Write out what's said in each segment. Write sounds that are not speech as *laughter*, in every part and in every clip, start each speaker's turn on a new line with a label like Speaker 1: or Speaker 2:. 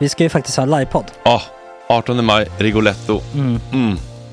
Speaker 1: Vi ska ju faktiskt ha livepodd.
Speaker 2: Ah, 18 maj, Rigoletto.
Speaker 1: Mm.
Speaker 2: Mm.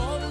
Speaker 2: *gasps*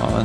Speaker 2: Ja,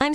Speaker 3: I'm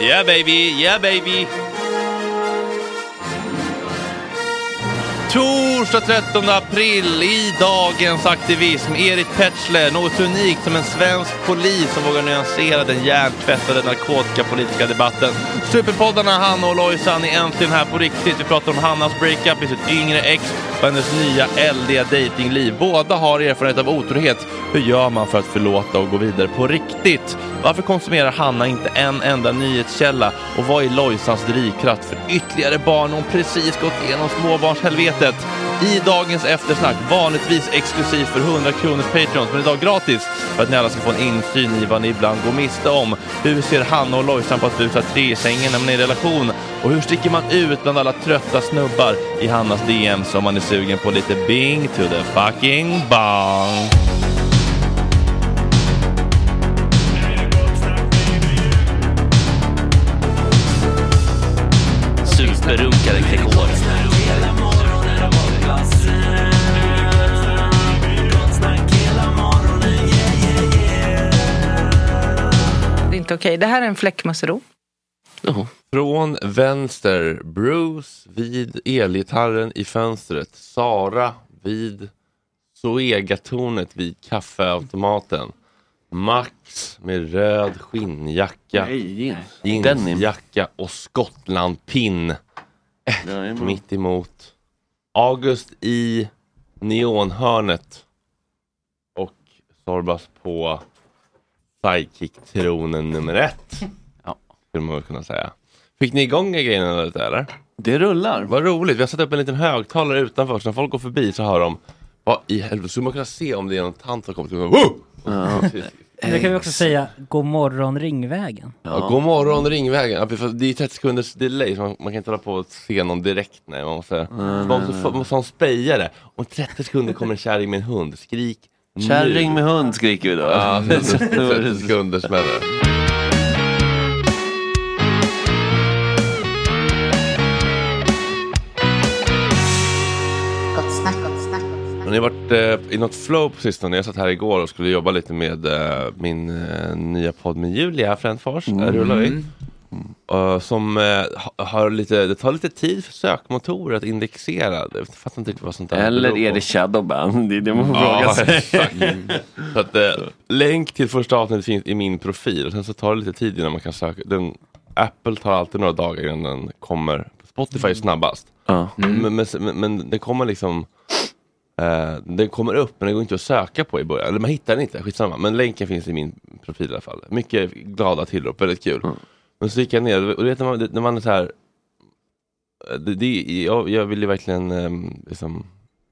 Speaker 2: Yeah baby, yeah baby! Torsdag 13 april i dagens aktivism. Erik Petschler, något så unikt som en svensk polis som vågar nyansera den hjärntvättade narkotikapolitiska debatten. Superpoddarna Hanna och Lojsan är äntligen här på riktigt. Vi pratar om Hannas breakup i sitt yngre ex, och hennes nya eldiga datingliv. Båda har erfarenhet av otrohet. Hur gör man för att förlåta och gå vidare på riktigt? Varför konsumerar Hanna inte en enda nyhetskälla? Och vad är Lojsans drivkraft för ytterligare barn hon precis gått igenom småbarnshelvetet? I dagens eftersnack, vanligtvis exklusivt för 100 kronors Patreons, men idag gratis för att ni alla ska få en insyn i vad ni ibland går miste om. Hur ser Hanna och Lojsan på att busa tre i sängen när man är i relation? Och hur sticker man ut bland alla trötta snubbar i Hannas DM som man är sugen på lite bing to the fucking bong? Superrunkare Gregor.
Speaker 4: Det är inte okej. Det här är en fläckmussero.
Speaker 2: Från vänster, Bruce vid elgitarren i fönstret. Sara vid Zoegatornet vid kaffeautomaten. Max med röd skinnjacka, jeansjacka och skottlandpinn. Mitt emot. August i neonhörnet. Och Sorbas på sidekick-tronen nummer ett. Skulle man väl kunna säga. Fick ni igång grejerna lite eller?
Speaker 5: Det rullar.
Speaker 2: Vad roligt, vi har satt upp en liten högtalare utanför så när folk går förbi så hör de Vad i helvete, så skulle man kunna se om det är någon tant som kommer till Woo!
Speaker 1: Nu kan vi också säga god morgon Ringvägen.
Speaker 2: Ja, god morgon Ringvägen, Ja, för det är 30 sekunders delay så man, man kan inte hålla på och se någon direkt nej, man måste, man måste, få- man måste ha en spejare. Om 30 sekunder kommer en kärring med en hund, skrik nu.
Speaker 5: Mm. Kärring med hund skriker vi då. *laughs*
Speaker 2: Ja, 30 sekunder smäller det. Har ni varit eh, i något flow på sistone? Jag satt här igår och skulle jobba lite med eh, min eh, nya podd med Julia Frändfors. Där
Speaker 5: Mm.
Speaker 2: rullar vi. Eh, som eh, ha- har lite, det tar lite tid för sökmotorer att indexera. Jag fattar inte riktigt vad sånt där
Speaker 5: Eller
Speaker 2: beror
Speaker 5: är
Speaker 2: på.
Speaker 5: det shadowban? Det är det man får
Speaker 2: Ja,
Speaker 5: fråga
Speaker 2: *laughs*
Speaker 5: sig.
Speaker 2: exakt. Så att, eh, länk till första avsnittet finns i min profil. Och sen så tar det lite tid innan man kan söka. Den, Apple tar alltid några dagar innan den kommer. Spotify är snabbast.
Speaker 5: Ja.
Speaker 2: Men, men, men, men den kommer liksom... Eh, den kommer upp men den går inte att söka på i början. Eller man hittar den inte, skitsamma. Men länken finns i min profil i alla fall. Mycket glada tillrop, väldigt kul.
Speaker 5: Mm.
Speaker 2: Men så gick jag ner och du vet när man, när man är så här... Eh, Det, det, jag, jag vill ju verkligen ehm, liksom,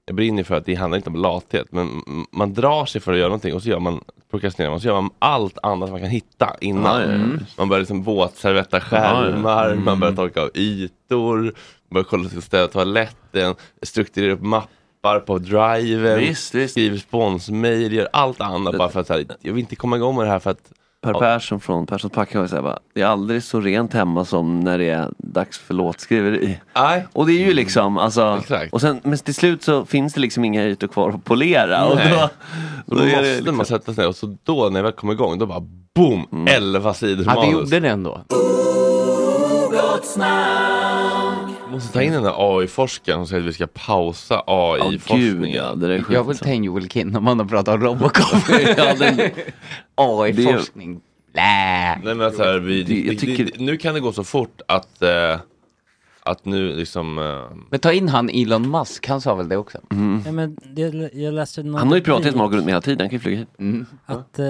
Speaker 2: jag brinner för att det handlar inte om lathet, men m- man drar sig för att göra någonting och så gör man, prokrastinerar man, så gör man allt annat man kan hitta innan.
Speaker 5: Ah, Ja, Ah, ja, ja.
Speaker 2: Man börjar liksom våtservetta skärmar, man börjar
Speaker 5: Mm.
Speaker 2: torka av ytor, börjar kolla till att städa toaletten, strukturera upp mappar på driven,
Speaker 5: Visst, visst.
Speaker 2: skriver sponsmail, gör allt annat bara för att så här, jag vill inte komma igång med det här för att
Speaker 5: Per Persson från Perssons Packa har ju sagt bara, det är aldrig så rent hemma som när det är dags för låtskriveri.
Speaker 2: Nej.
Speaker 5: Och det är ju liksom, alltså,
Speaker 2: Exakt.
Speaker 5: och sen, men till slut så finns det liksom inga ytor kvar att polera. Och
Speaker 2: Nej.
Speaker 5: då,
Speaker 2: Då
Speaker 5: är det
Speaker 6: Eh,
Speaker 2: måste
Speaker 5: liksom-
Speaker 2: man sätta sig ner och så då när jag väl kommer igång då bara boom, 11 sidor
Speaker 6: Mm. Ja, vi
Speaker 2: manus.
Speaker 6: gjorde det ändå.
Speaker 2: måste ta in den där AI-forskaren som säger att vi ska pausa
Speaker 5: Ja, gud
Speaker 2: AI-forskningen.
Speaker 5: ja, det där är
Speaker 6: Jag vill
Speaker 5: skit.
Speaker 6: ta in Joel Kinn om han har pratat om Robocop.
Speaker 5: *laughs*
Speaker 6: *laughs*
Speaker 5: Ja, den-
Speaker 6: AI-forskning. Blä!
Speaker 2: Nej men att så här, vi,
Speaker 5: Det- jag
Speaker 2: det-
Speaker 5: tycker-
Speaker 2: det- nu kan det gå så fort att, eh, att nu liksom... Eh, Mm.
Speaker 6: Men ta in han Elon Musk, han sa väl det också?
Speaker 1: Ja, men det, jag läste någon
Speaker 5: Mm. Han har ju pratat
Speaker 1: replik
Speaker 5: med runt hela tiden, han kan ju flyga hit.
Speaker 6: Mm.
Speaker 1: Att eh,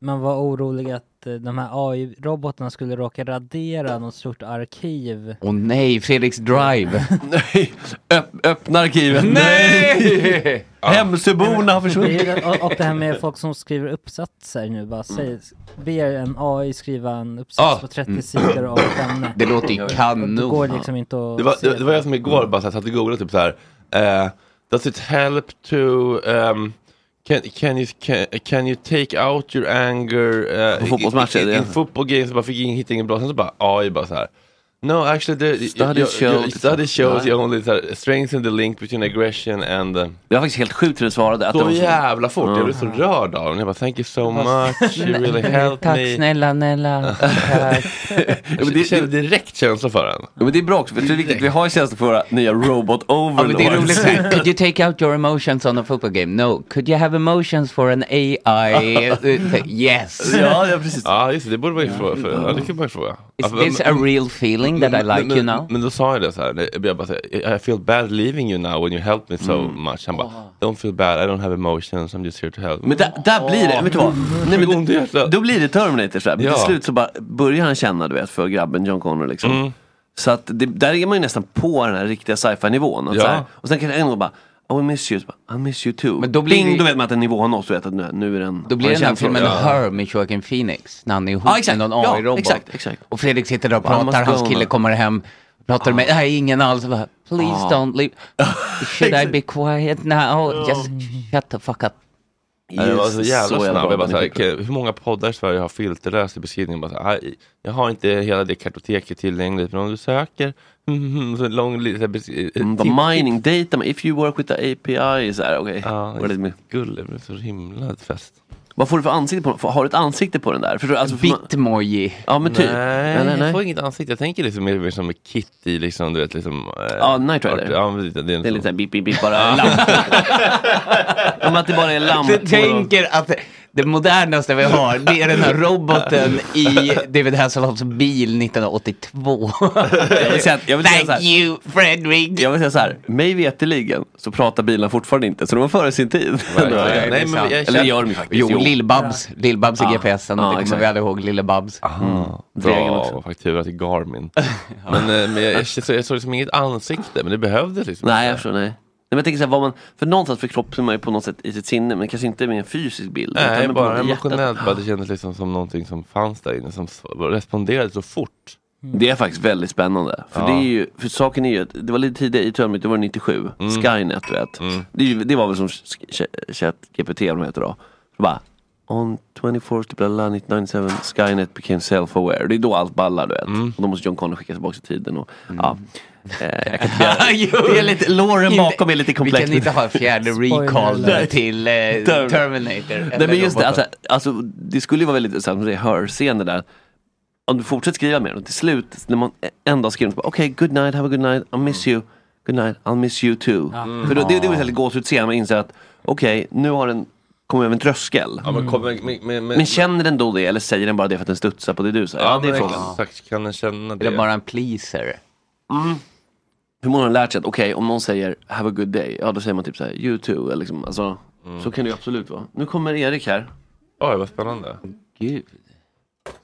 Speaker 1: man var orolig att eh, de här AI-robotarna skulle råka radera något stort arkiv.
Speaker 6: Åh nej, Fredriks Drive!
Speaker 5: *laughs* Nej, öpp,
Speaker 2: *laughs*
Speaker 5: öppna arkiven.
Speaker 6: *laughs* nej!
Speaker 5: Hemsöborna har
Speaker 1: Det
Speaker 5: försvunnit.
Speaker 1: är ju det- och- Och det här med folk som skriver uppsatser nu bara säger, ber en AI skriva en uppsats
Speaker 2: Ah.
Speaker 1: på
Speaker 5: Mm.
Speaker 1: 30 sidor av ett ämne.
Speaker 6: Det låter ju
Speaker 1: Det går
Speaker 6: kanon.
Speaker 1: liksom inte att
Speaker 2: det, var,
Speaker 1: se
Speaker 2: det, det var jag som igår bara så här, satt och googlade typ så här. Eh, does it help to... ehm, Can, can, you, can, can you take out your anger eh,
Speaker 5: På fotbollsmatcher,
Speaker 2: i- i-
Speaker 5: det är-
Speaker 2: in football games? Bara fick in, hitta ingen bra, sen så bara AI bara så här. No, actually, the,
Speaker 5: Study liksom. showed-
Speaker 2: study shows
Speaker 5: Nej.
Speaker 2: you only så här, strengthen the link between aggression and... eh,
Speaker 5: Det var faktiskt helt sjukt hur den svarade. Att
Speaker 2: Så
Speaker 5: de-
Speaker 2: jävla fort, jag blev så rörd av den. Jag bara thank you so much, you
Speaker 1: *laughs*
Speaker 6: *laughs*
Speaker 2: really helped
Speaker 6: Tack
Speaker 2: me. *laughs*
Speaker 6: snälla Nella. Tack.
Speaker 5: men det-
Speaker 2: Jag kände direkt känsla för den.
Speaker 5: Ja, men det är bra också, för det är viktigt. Vi har ju tjänster för våra nya robot
Speaker 6: Ja, men
Speaker 5: overlords.
Speaker 6: det är
Speaker 5: *laughs*
Speaker 6: roligt så här. Could you take out your emotions on a football game? No. Could you have emotions for an
Speaker 5: *laughs*
Speaker 6: AI? Eh, Yes! *laughs*
Speaker 5: Ja, ja precis.
Speaker 2: Ja just det, det borde man ju fråga. För, ja, det kan man ju fråga.
Speaker 6: Is this a real feeling that I
Speaker 2: Men-
Speaker 6: like
Speaker 2: men,
Speaker 6: you now?
Speaker 2: Men då sa jag det så här, det- jag bara, så här, I feel bad leaving you now when you helped me so
Speaker 5: Mm.
Speaker 2: much. Han bara, don't feel bad, I don't have emotions, I'm just here to help.
Speaker 5: Men där, där blir det, vet du vad? Nej, men
Speaker 2: ont i hjärtat.
Speaker 5: Då blir det Terminator så här. Men
Speaker 2: Ja.
Speaker 5: till slut så bara börjar han känna, du vet, för grabben John Connor liksom. Så att det, där är man ju nästan på den här riktiga sci-fi nivån. Att
Speaker 2: Ja.
Speaker 5: så här, och sen kan det en gång bara, "Oh, I miss you, så bara, I miss you too. Men
Speaker 6: då blir
Speaker 5: Ding,
Speaker 6: det-
Speaker 5: då vet man att en nivå har nåtts, du vet att nu, nu är den...
Speaker 6: Då blir
Speaker 5: har
Speaker 6: den här
Speaker 5: känslor.
Speaker 6: filmen
Speaker 5: Ja.
Speaker 6: Her med Joaquin Phoenix. När han är ihop
Speaker 5: Ja, exakt.
Speaker 6: med någon
Speaker 5: Ja,
Speaker 6: AI-robot.
Speaker 5: exakt, exakt.
Speaker 6: Och Fredrik sitter där och
Speaker 5: Ja, han
Speaker 6: pratar,
Speaker 5: måste
Speaker 6: hans
Speaker 5: gå
Speaker 6: kille
Speaker 5: nu.
Speaker 6: kommer hem. Pratar med, nej ingen alls. Jag Bara, Please
Speaker 5: Ah. *laughs* Ja.
Speaker 6: don't leave. Should I be quiet now? Just shut the fuck up.
Speaker 2: Ja, Jag var så
Speaker 5: Just
Speaker 2: jävla
Speaker 5: så jävla
Speaker 2: snabb.
Speaker 5: bra
Speaker 2: Jag bara,
Speaker 5: den
Speaker 2: så här,
Speaker 5: är
Speaker 2: okej, hur många poddar i Sverige har filterlöst i beskrivningen? Bara, så här, "Aj, jag har inte hela det kartoteket tillgängligt, men om du söker, *laughs* mm, så eh, en lång liten
Speaker 5: Mm,
Speaker 2: beskrivning.
Speaker 5: bara mining data, men if you work with the API, så här, okej.
Speaker 2: Ja,
Speaker 5: Var det lite mer-
Speaker 2: gullig, det blev så himla fest.
Speaker 5: Vad får du för ansikte på den? Får- Har du ett ansikte på den där? Förstår du? Alltså, för man-
Speaker 6: Bitmoji.
Speaker 5: Ja men typ.
Speaker 2: Nej,
Speaker 5: Nej, nej,
Speaker 2: jag
Speaker 5: nej.
Speaker 2: får inget ansikte. Jag tänker liksom mer som Kitty, liksom, du vet, liksom. eh,
Speaker 5: Ja, Knight Rider.
Speaker 2: Ja, men det, det är en
Speaker 5: Det är
Speaker 2: sån-
Speaker 5: lite såhär bip bip bip
Speaker 2: *laughs*
Speaker 5: bara. lampor. Om att det bara är lampor.
Speaker 6: Du tänker att det modernaste vi har, det är den här roboten i David Hasselhoffs bil 1982.
Speaker 5: Jag vill säga, jag vill säga så
Speaker 6: Thank
Speaker 5: här,
Speaker 6: you Fredrik!
Speaker 5: jag vill säga så här. Mig veterligen så pratar bilarna fortfarande inte. Så de var före sin tid. *laughs*
Speaker 2: Verkligen. Nej, men jag
Speaker 5: Eller
Speaker 2: känner-
Speaker 5: gör de ju faktiskt.
Speaker 6: Jo, Lill-Babs. Lill-Babs i
Speaker 5: Ja.
Speaker 6: GPSen.
Speaker 5: Ja,
Speaker 6: det kommer
Speaker 5: exakt.
Speaker 6: liksom, vi alla ihåg,
Speaker 5: *laughs*
Speaker 6: Lille-Babs.
Speaker 2: Ah,
Speaker 5: Dregen
Speaker 2: bra
Speaker 5: också.
Speaker 2: faktura till Garmin. Men, eh, men jag, jag, så- jag såg liksom inget ansikte, men det behövdes liksom
Speaker 5: Nej, jag
Speaker 2: inte.
Speaker 5: förstår. Nej. Nej, men jag tänker så här, vad man, för någonstans förkroppsligar man ju på något sätt i sitt sinne, men kanske inte med en fysisk bild. utan
Speaker 2: Nej,
Speaker 5: med
Speaker 2: bara
Speaker 5: något i hjärtat.
Speaker 2: emotionellt. Bara, det kändes liksom som någonting som fanns där inne, som s- responderade så fort.
Speaker 5: Mm. Det är faktiskt väldigt spännande. För,
Speaker 2: Ja.
Speaker 5: det är ju, för saken är ju att det var lite tidigare i Terminator, det var 97,
Speaker 2: Mm.
Speaker 5: Skynet du vet. Det, är ju- det var väl som ChatGPT de heter då. Så bara, On 24th blah, blah, 1997 Skynet became self-aware. Det är då allt ballar du vet.
Speaker 2: Mm.
Speaker 5: Och då måste John Connor skickas tillbaka i tiden. Och, ja. eh, jag kan
Speaker 2: *laughs*
Speaker 5: inte göra det. det är lite, låren bakom är lite komplex.
Speaker 6: Vi kan inte ha en fjärde
Speaker 1: Spoiler
Speaker 6: recall där
Speaker 1: alert.
Speaker 6: till eh, Terminator. eller
Speaker 5: Nej men just det,
Speaker 6: roboten.
Speaker 5: alltså, alltså, det skulle ju vara väldigt så här, som det är hörscener där. Om du fortsätter skriva med den, till slut när man en dag skriver så bara, okej, good night, have a good night, I'll miss you, good night, I'll miss you too. För då, det, det var ett gåshudsscen, man inser att okej, nu har den kommit över en tröskel.
Speaker 2: Ja, men, kom, men, men, men,
Speaker 5: Men känner den då det eller säger den bara det för att den studsar på det du säger?
Speaker 2: ja,
Speaker 5: det är
Speaker 2: men
Speaker 5: frågan.
Speaker 2: exakt, kan den känna
Speaker 6: Är
Speaker 2: det?
Speaker 6: det bara en pleaser?
Speaker 5: Mm.
Speaker 2: Mm.
Speaker 5: Hur många har lärt sig att okej, om någon säger have a good day, ja då säger man typ så här, you too, eller liksom, alltså,
Speaker 2: Mm.
Speaker 5: så kan det ju absolut vara. Nu kommer Erik här.
Speaker 2: Oj, vad spännande.
Speaker 6: Gud.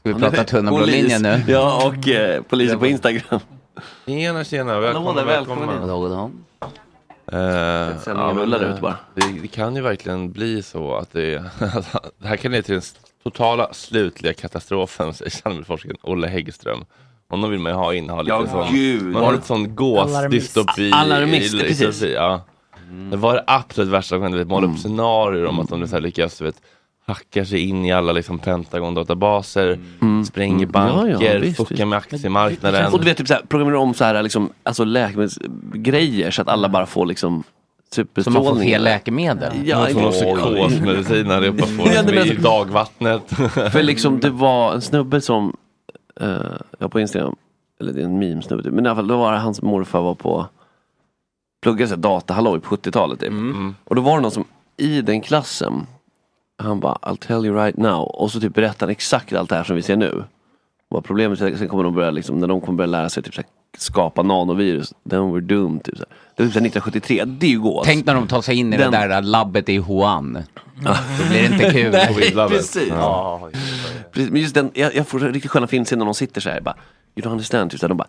Speaker 6: Ska vi prata tunna blå
Speaker 5: Polis.
Speaker 6: linjen nu?
Speaker 5: *laughs* Ja, och eh, polisen på Instagram.
Speaker 2: Tjena, tjena,
Speaker 5: där,
Speaker 2: välkomna,
Speaker 5: välkommen
Speaker 2: välkomna.
Speaker 6: Vadå, vadå?
Speaker 2: Eh,
Speaker 5: Sändningen
Speaker 2: men,
Speaker 5: rullar
Speaker 2: eh,
Speaker 5: ut bara.
Speaker 2: Det, det kan ju verkligen bli så att det, *laughs* alltså, det här kan leda till den s- totala slutliga katastrofen, säger kärnforskaren Olle Häggström. Honom vill man ju ha in, ha lite
Speaker 5: Ja,
Speaker 2: sån,
Speaker 5: gud.
Speaker 2: man har lite sån
Speaker 1: Alarmist.
Speaker 2: gåsdystopi. i-
Speaker 5: Alarmist,
Speaker 2: i- i-
Speaker 5: precis. Mm.
Speaker 2: Ja. Det var det absolut värsta som hände, vet, måla upp scenarier om att de så här lyckas du vet, hackar sig in i alla liksom, Pentagon-databaser, spränger
Speaker 5: Mm. Ja, ja,
Speaker 2: banker,
Speaker 5: visst,
Speaker 2: fuckar
Speaker 5: visst.
Speaker 2: med aktiemarknaden.
Speaker 5: Och du vet, typ såhär, programmerar om så här, liksom, alltså läkemedelsgrejer så att alla bara får liksom
Speaker 6: Så man
Speaker 5: superstrålning.
Speaker 6: får fel läkemedel?
Speaker 5: Ja,
Speaker 2: Någon
Speaker 5: exakt.
Speaker 2: får någon psykosmedicin här uppe
Speaker 5: *laughs* Ja, men
Speaker 2: får i
Speaker 5: alltså-
Speaker 2: dagvattnet.
Speaker 5: För liksom det var en snubbe som, eh, jag på Instagram, eller det är en meme-snubbe typ, men i alla fall då var det hans morfar var på, pluggade så här datahalloj på 70-talet typ.
Speaker 6: Mm.
Speaker 5: Och då var det någon som i den klassen, han bara I'll tell you right now och så typ berättar han exakt allt det här som vi ser nu. Vad problemet är, sen kommer de börja liksom, när de kommer börja lära sig typ så här, skapa nanovirus, then we're doomed. Typ, så här. Det var typ så här 1973, det är ju gås.
Speaker 6: Tänk när de tar sig in i
Speaker 5: Den-
Speaker 6: det där labbet i Wuhan. Då blir det inte kul.
Speaker 5: Nej,
Speaker 2: Love it.
Speaker 5: precis. Precis, Men just den, jag, jag får riktigt sköna filmscener när de sitter så här bara You don't understand, typ, så här, de bara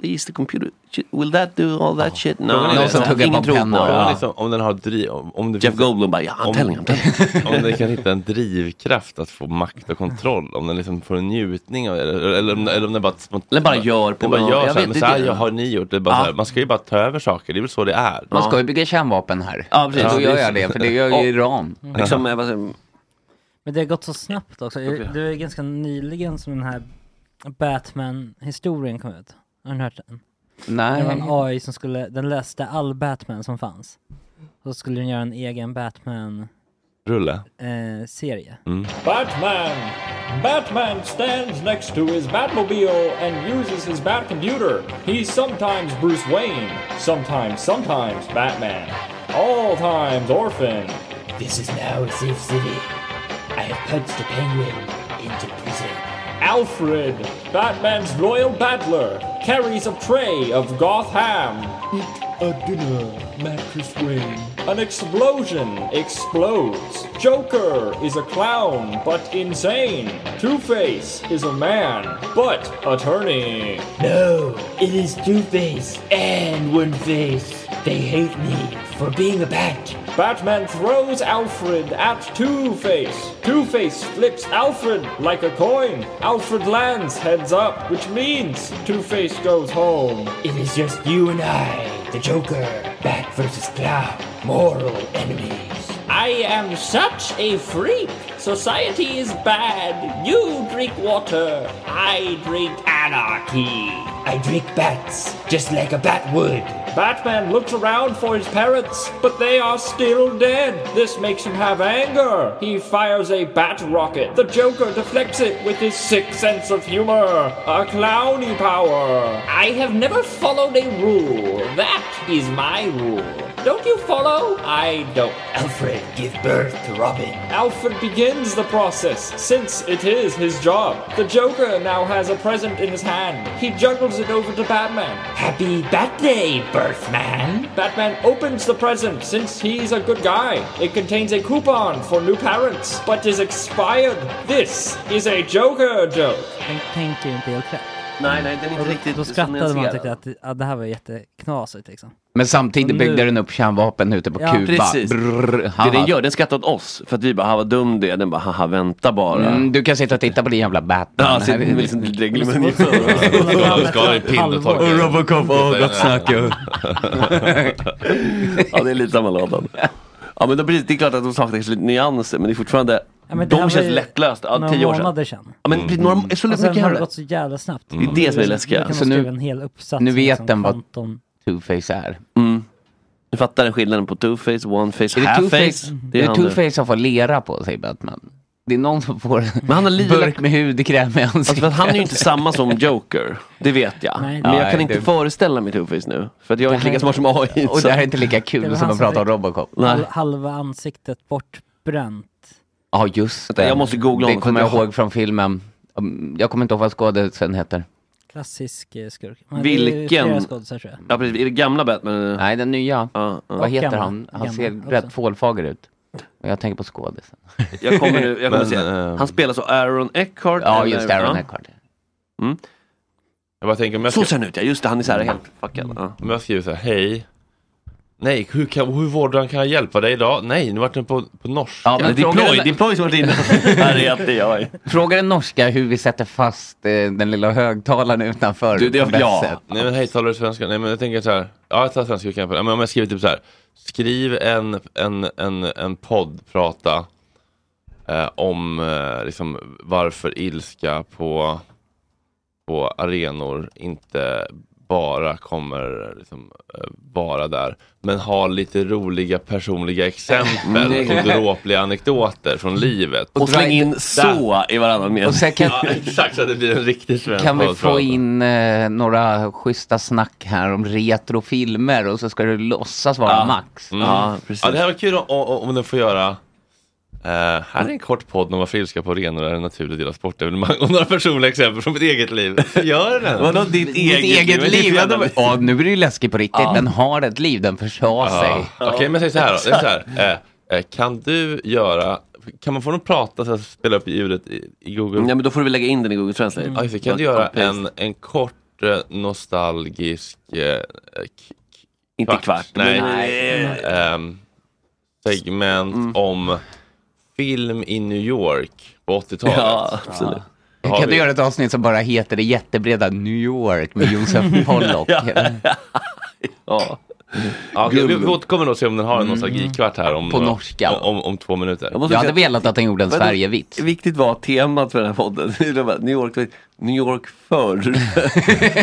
Speaker 5: Please the computer, shit, will that do all that shit? No,
Speaker 2: Någon
Speaker 5: det är
Speaker 6: som
Speaker 5: så här,
Speaker 6: tuggar på en
Speaker 5: ingen tror
Speaker 6: penna.
Speaker 5: det.
Speaker 6: Ja.
Speaker 2: Ja. Liksom, om den har driv, om, om det
Speaker 5: Jeff
Speaker 2: finns-
Speaker 5: Goldblum bara, ja, I'm
Speaker 2: Om-
Speaker 5: telling, I'm telling.
Speaker 2: *laughs* om den kan hitta en drivkraft att få makt och kontroll, om den liksom får en njutning av det, eller, eller, om- eller om den bara spontant...
Speaker 5: Eller bara gör på-
Speaker 2: den bara gör
Speaker 5: jag
Speaker 2: så här,
Speaker 5: vet,
Speaker 2: men
Speaker 5: det
Speaker 2: så
Speaker 5: är
Speaker 2: här
Speaker 5: det.
Speaker 2: jag har ni gjort, det är bara så här,
Speaker 5: Ja.
Speaker 2: man ska ju bara ta över saker, det är väl så det är.
Speaker 6: Man ska ju bygga kärnvapen här.
Speaker 5: Ja, precis. Ja,
Speaker 6: Då gör
Speaker 5: det-
Speaker 6: jag det, för det gör
Speaker 5: Och-
Speaker 6: ju Iran.
Speaker 5: liksom, eh, vad säger-
Speaker 1: Men det har gått så snabbt också.
Speaker 5: Okej.
Speaker 1: Det var ju ganska nyligen som den här Batman-historien kom ut. Har ni hört den? Det var
Speaker 6: Nej.
Speaker 1: en AI som skulle, den läste all Batman som fanns. Så skulle den göra en egen eh, Batman-serie.
Speaker 2: Rulle.
Speaker 7: Batman! Batman stands next to his Batmobile and uses his Batcomputer. He's sometimes Bruce Wayne, sometimes, sometimes Batman, all times Orphan. This is now a safe city. I have punched a penguin into prison. Alfred, Batman's loyal battler, carries a tray of goth ham. Eat a dinner, mattress rain. An explosion explodes. Joker is a clown, but insane. Two Face is a man, but attorney.
Speaker 8: No, it is Two Face and One Face. They hate me for being a bat.
Speaker 7: Batman throws Alfred at Two Face. Two Face flips Alfred like a coin. Alfred lands heads up, which means Two Face goes home.
Speaker 8: It is just you and I, the Joker. Bat versus Clown, moral enemies.
Speaker 7: I am such a freak. Society is bad. You drink water. I drink anarchy.
Speaker 8: I drink bats, just like a bat would.
Speaker 7: Batman looks around for his parents, but they are still dead. This makes him have anger. He fires a bat rocket. The Joker deflects it with his sick sense of humor, a clowny power. I have never followed a rule. That is my rule. Don't you follow? I don't.
Speaker 8: Alfred, give birth to Robin.
Speaker 7: Alfred begins the process, since it is his job. The Joker now has a present in his hand. He juggles it over to Batman.
Speaker 8: Happy Bat Day, Birthman!
Speaker 7: Batman opens the present, since he's a good guy. It contains a coupon for new parents, but is expired. This is a Joker joke.
Speaker 1: Den tänker ju inte helt rätt.
Speaker 5: Nej, nej, den är inte
Speaker 1: Och då-
Speaker 5: riktigt
Speaker 1: Då skrattade man och tyckte
Speaker 5: nyanserad.
Speaker 1: att ja, det här var jätteknasigt liksom.
Speaker 6: Men samtidigt
Speaker 1: Och
Speaker 6: byggde
Speaker 1: nu-
Speaker 6: den upp kärnvapen ute på
Speaker 1: Ja,
Speaker 6: Kuba.
Speaker 5: Precis.
Speaker 6: Brrr,
Speaker 5: det
Speaker 6: haha.
Speaker 5: den gör, den skrattar åt oss. För att vi bara, "Ha, vad dum du är. Den bara, haha vänta bara.
Speaker 6: Mm, du kan sitta och titta på din jävla Batman.
Speaker 5: Ja, sitter
Speaker 6: Här-
Speaker 5: med
Speaker 6: *laughs*
Speaker 5: liksom regler med *laughs*
Speaker 2: Skala i pinnetorket.
Speaker 6: liksom- Och Robocop, åh gott snack ju.
Speaker 5: *laughs* Ja, det är lite samma lådan. Ja, men då, precis, det är klart att de saknar kanske lite nyanser, men det är fortfarande,
Speaker 1: Ja, men det
Speaker 5: de
Speaker 1: här var
Speaker 5: känns
Speaker 1: ju
Speaker 5: lättlösta. Ja,
Speaker 1: några
Speaker 5: tio år sedan.
Speaker 1: månader sedan.
Speaker 5: Ja, men mm. några, så
Speaker 1: Och
Speaker 5: mycket
Speaker 1: sen har det
Speaker 5: händer.
Speaker 1: gått så jävla snabbt.
Speaker 5: Det är det som är läskiga.
Speaker 1: Så
Speaker 5: Så
Speaker 1: nu
Speaker 5: nu-
Speaker 1: Mm. kan man skriva en hel uppsats.
Speaker 6: nu
Speaker 1: med
Speaker 6: vet
Speaker 1: liksom
Speaker 6: den vad-
Speaker 1: 15
Speaker 6: Two-Face är.
Speaker 5: Mm. Du fattar den skillnaden på two-face, one-face,
Speaker 6: Är det
Speaker 5: half-face.
Speaker 6: Two-Face
Speaker 5: Det är han nu.
Speaker 6: two som får lera på sig Batman? Det är någon som får
Speaker 5: Men han har
Speaker 6: en
Speaker 5: lila-
Speaker 6: burk med hudkräm i ansiktet.
Speaker 5: Alltså, för att han är ju inte samma som Joker, det vet jag.
Speaker 1: Nej,
Speaker 5: men jag
Speaker 6: nej,
Speaker 5: kan inte
Speaker 6: det-
Speaker 5: föreställa mig two-face nu. För att jag är
Speaker 1: Det
Speaker 5: inte lika
Speaker 1: här-
Speaker 5: smart som AI.
Speaker 6: Och
Speaker 5: så-
Speaker 6: det här är inte lika
Speaker 1: Det
Speaker 6: kul
Speaker 1: var
Speaker 6: som
Speaker 1: han
Speaker 6: att
Speaker 1: som
Speaker 6: prata om
Speaker 1: fick-
Speaker 6: Robocop.
Speaker 5: Nej.
Speaker 1: hal- halva ansiktet bortbränt.
Speaker 6: Ja, just det.
Speaker 5: Jag måste googla
Speaker 6: Det
Speaker 5: honom,
Speaker 6: kommer
Speaker 5: för
Speaker 6: jag
Speaker 5: att jag-
Speaker 6: ihåg från filmen. Mm, Jag kommer inte ihåg vad skådespelaren heter.
Speaker 1: Klassisk eh, skurk. Men Det är
Speaker 5: Vilken?
Speaker 1: flera skådisar tror jag.
Speaker 5: Ja, precis. Är det gamla Batman?
Speaker 6: Nej, den nya.
Speaker 5: Ja, ja.
Speaker 6: Vad heter
Speaker 1: gamla.
Speaker 6: han? Han
Speaker 1: Gamla
Speaker 6: ser
Speaker 1: också.
Speaker 6: rätt fålfager ut. Och jag tänker på skådisen.
Speaker 5: Jag kommer nu, jag kommer
Speaker 2: Men,
Speaker 5: se.
Speaker 2: ehm,
Speaker 5: Han spelar så Aaron Eckhart.
Speaker 6: Ja,
Speaker 5: eller-
Speaker 6: just det, Aaron
Speaker 5: ja.
Speaker 6: Eckhart.
Speaker 2: Jag bara tänker om jag,
Speaker 5: Så ser
Speaker 2: ska, Mm.
Speaker 5: han ut ja, just det. Han är så här helt fuckad. Ja.
Speaker 2: om jag skriver så här, hej. Nej, hur, kan, hur vårdan kan jag hjälpa dig idag? Nej, nu vart den på, på norska.
Speaker 6: Ja, men
Speaker 5: det är
Speaker 6: frågan-
Speaker 5: ploj, det är ploj som har varit inne. Här är att det är jag.
Speaker 6: Fråga den norska hur vi sätter fast eh, den lilla högtalaren utanför.
Speaker 5: Du, det-
Speaker 6: på bäst
Speaker 5: ja.
Speaker 6: sätt.
Speaker 2: Nej men hej, talar du svenska? Nej men jag tänker så här, ja jag tar svenska jag kan på det. Men om jag skriver typ så här, skriv en, en, en, en podd, prata eh, om eh, liksom, varför ilska på, på arenor inte bara kommer liksom, eh, vara där. Men ha lite roliga personliga exempel
Speaker 5: *laughs*
Speaker 2: och dråpliga anekdoter från livet.
Speaker 5: Och släng in så i varannan mening.
Speaker 6: Och sen kan,
Speaker 2: Ja, exakt, så att det blir en riktig svensk
Speaker 6: kan vi
Speaker 2: podd,
Speaker 6: få
Speaker 2: prata.
Speaker 6: in eh, några schyssta snack här om retrofilmer och så ska du låtsas vara
Speaker 5: Ja.
Speaker 6: Max.
Speaker 2: Mm.
Speaker 5: Ja, precis.
Speaker 2: Ja, det här var kul om, om, om den får göra eh, här är en kort podd om varför ilska på arenor är en naturlig del av sportevenemang och några personliga exempel från mitt eget liv. Gör den?
Speaker 5: Vadå ditt,
Speaker 6: Ditt eget liv!
Speaker 5: Ja, de-
Speaker 6: Ja, nu blir det ju läskigt på riktigt. Den har ett liv, den försade
Speaker 2: Ja.
Speaker 6: sig.
Speaker 2: Okej, men säg så här då. Det är så
Speaker 5: *laughs*
Speaker 2: här. Eh, eh, kan du göra, kan man få den att prata så att spela upp ljudet i, i Google?
Speaker 5: Ja, men då får du väl lägga in den i Google Translate.
Speaker 2: Ja, just det. kan du göra en, en kort eh, nostalgisk eh, eh, k-
Speaker 5: Inte kvart.
Speaker 2: Nej.
Speaker 5: men-
Speaker 2: ehm, segment
Speaker 5: Mm.
Speaker 2: om film i New York på 80-talet?
Speaker 5: Ja, absolut.
Speaker 2: Eh, Har
Speaker 6: Kan
Speaker 2: vi-
Speaker 6: du göra ett avsnitt som bara heter det jättebreda New York
Speaker 2: *laughs*
Speaker 6: med Josef Pollock?
Speaker 5: Ja.
Speaker 2: Mm. Ja, okej, vi, vi
Speaker 5: Gubben.
Speaker 2: återkommer då och se om den har en nostalgikvart här om,
Speaker 6: På
Speaker 2: några-
Speaker 6: norska.
Speaker 2: om, om, om två minuter.
Speaker 5: Jag måste
Speaker 6: Jag
Speaker 5: säga
Speaker 6: hade
Speaker 5: att-
Speaker 6: velat att han gjorde en
Speaker 5: Vadå?
Speaker 6: Sverigevits.
Speaker 5: Viktigt var temat för den här podden. *laughs* Det var New York, New York förr.
Speaker 6: *laughs*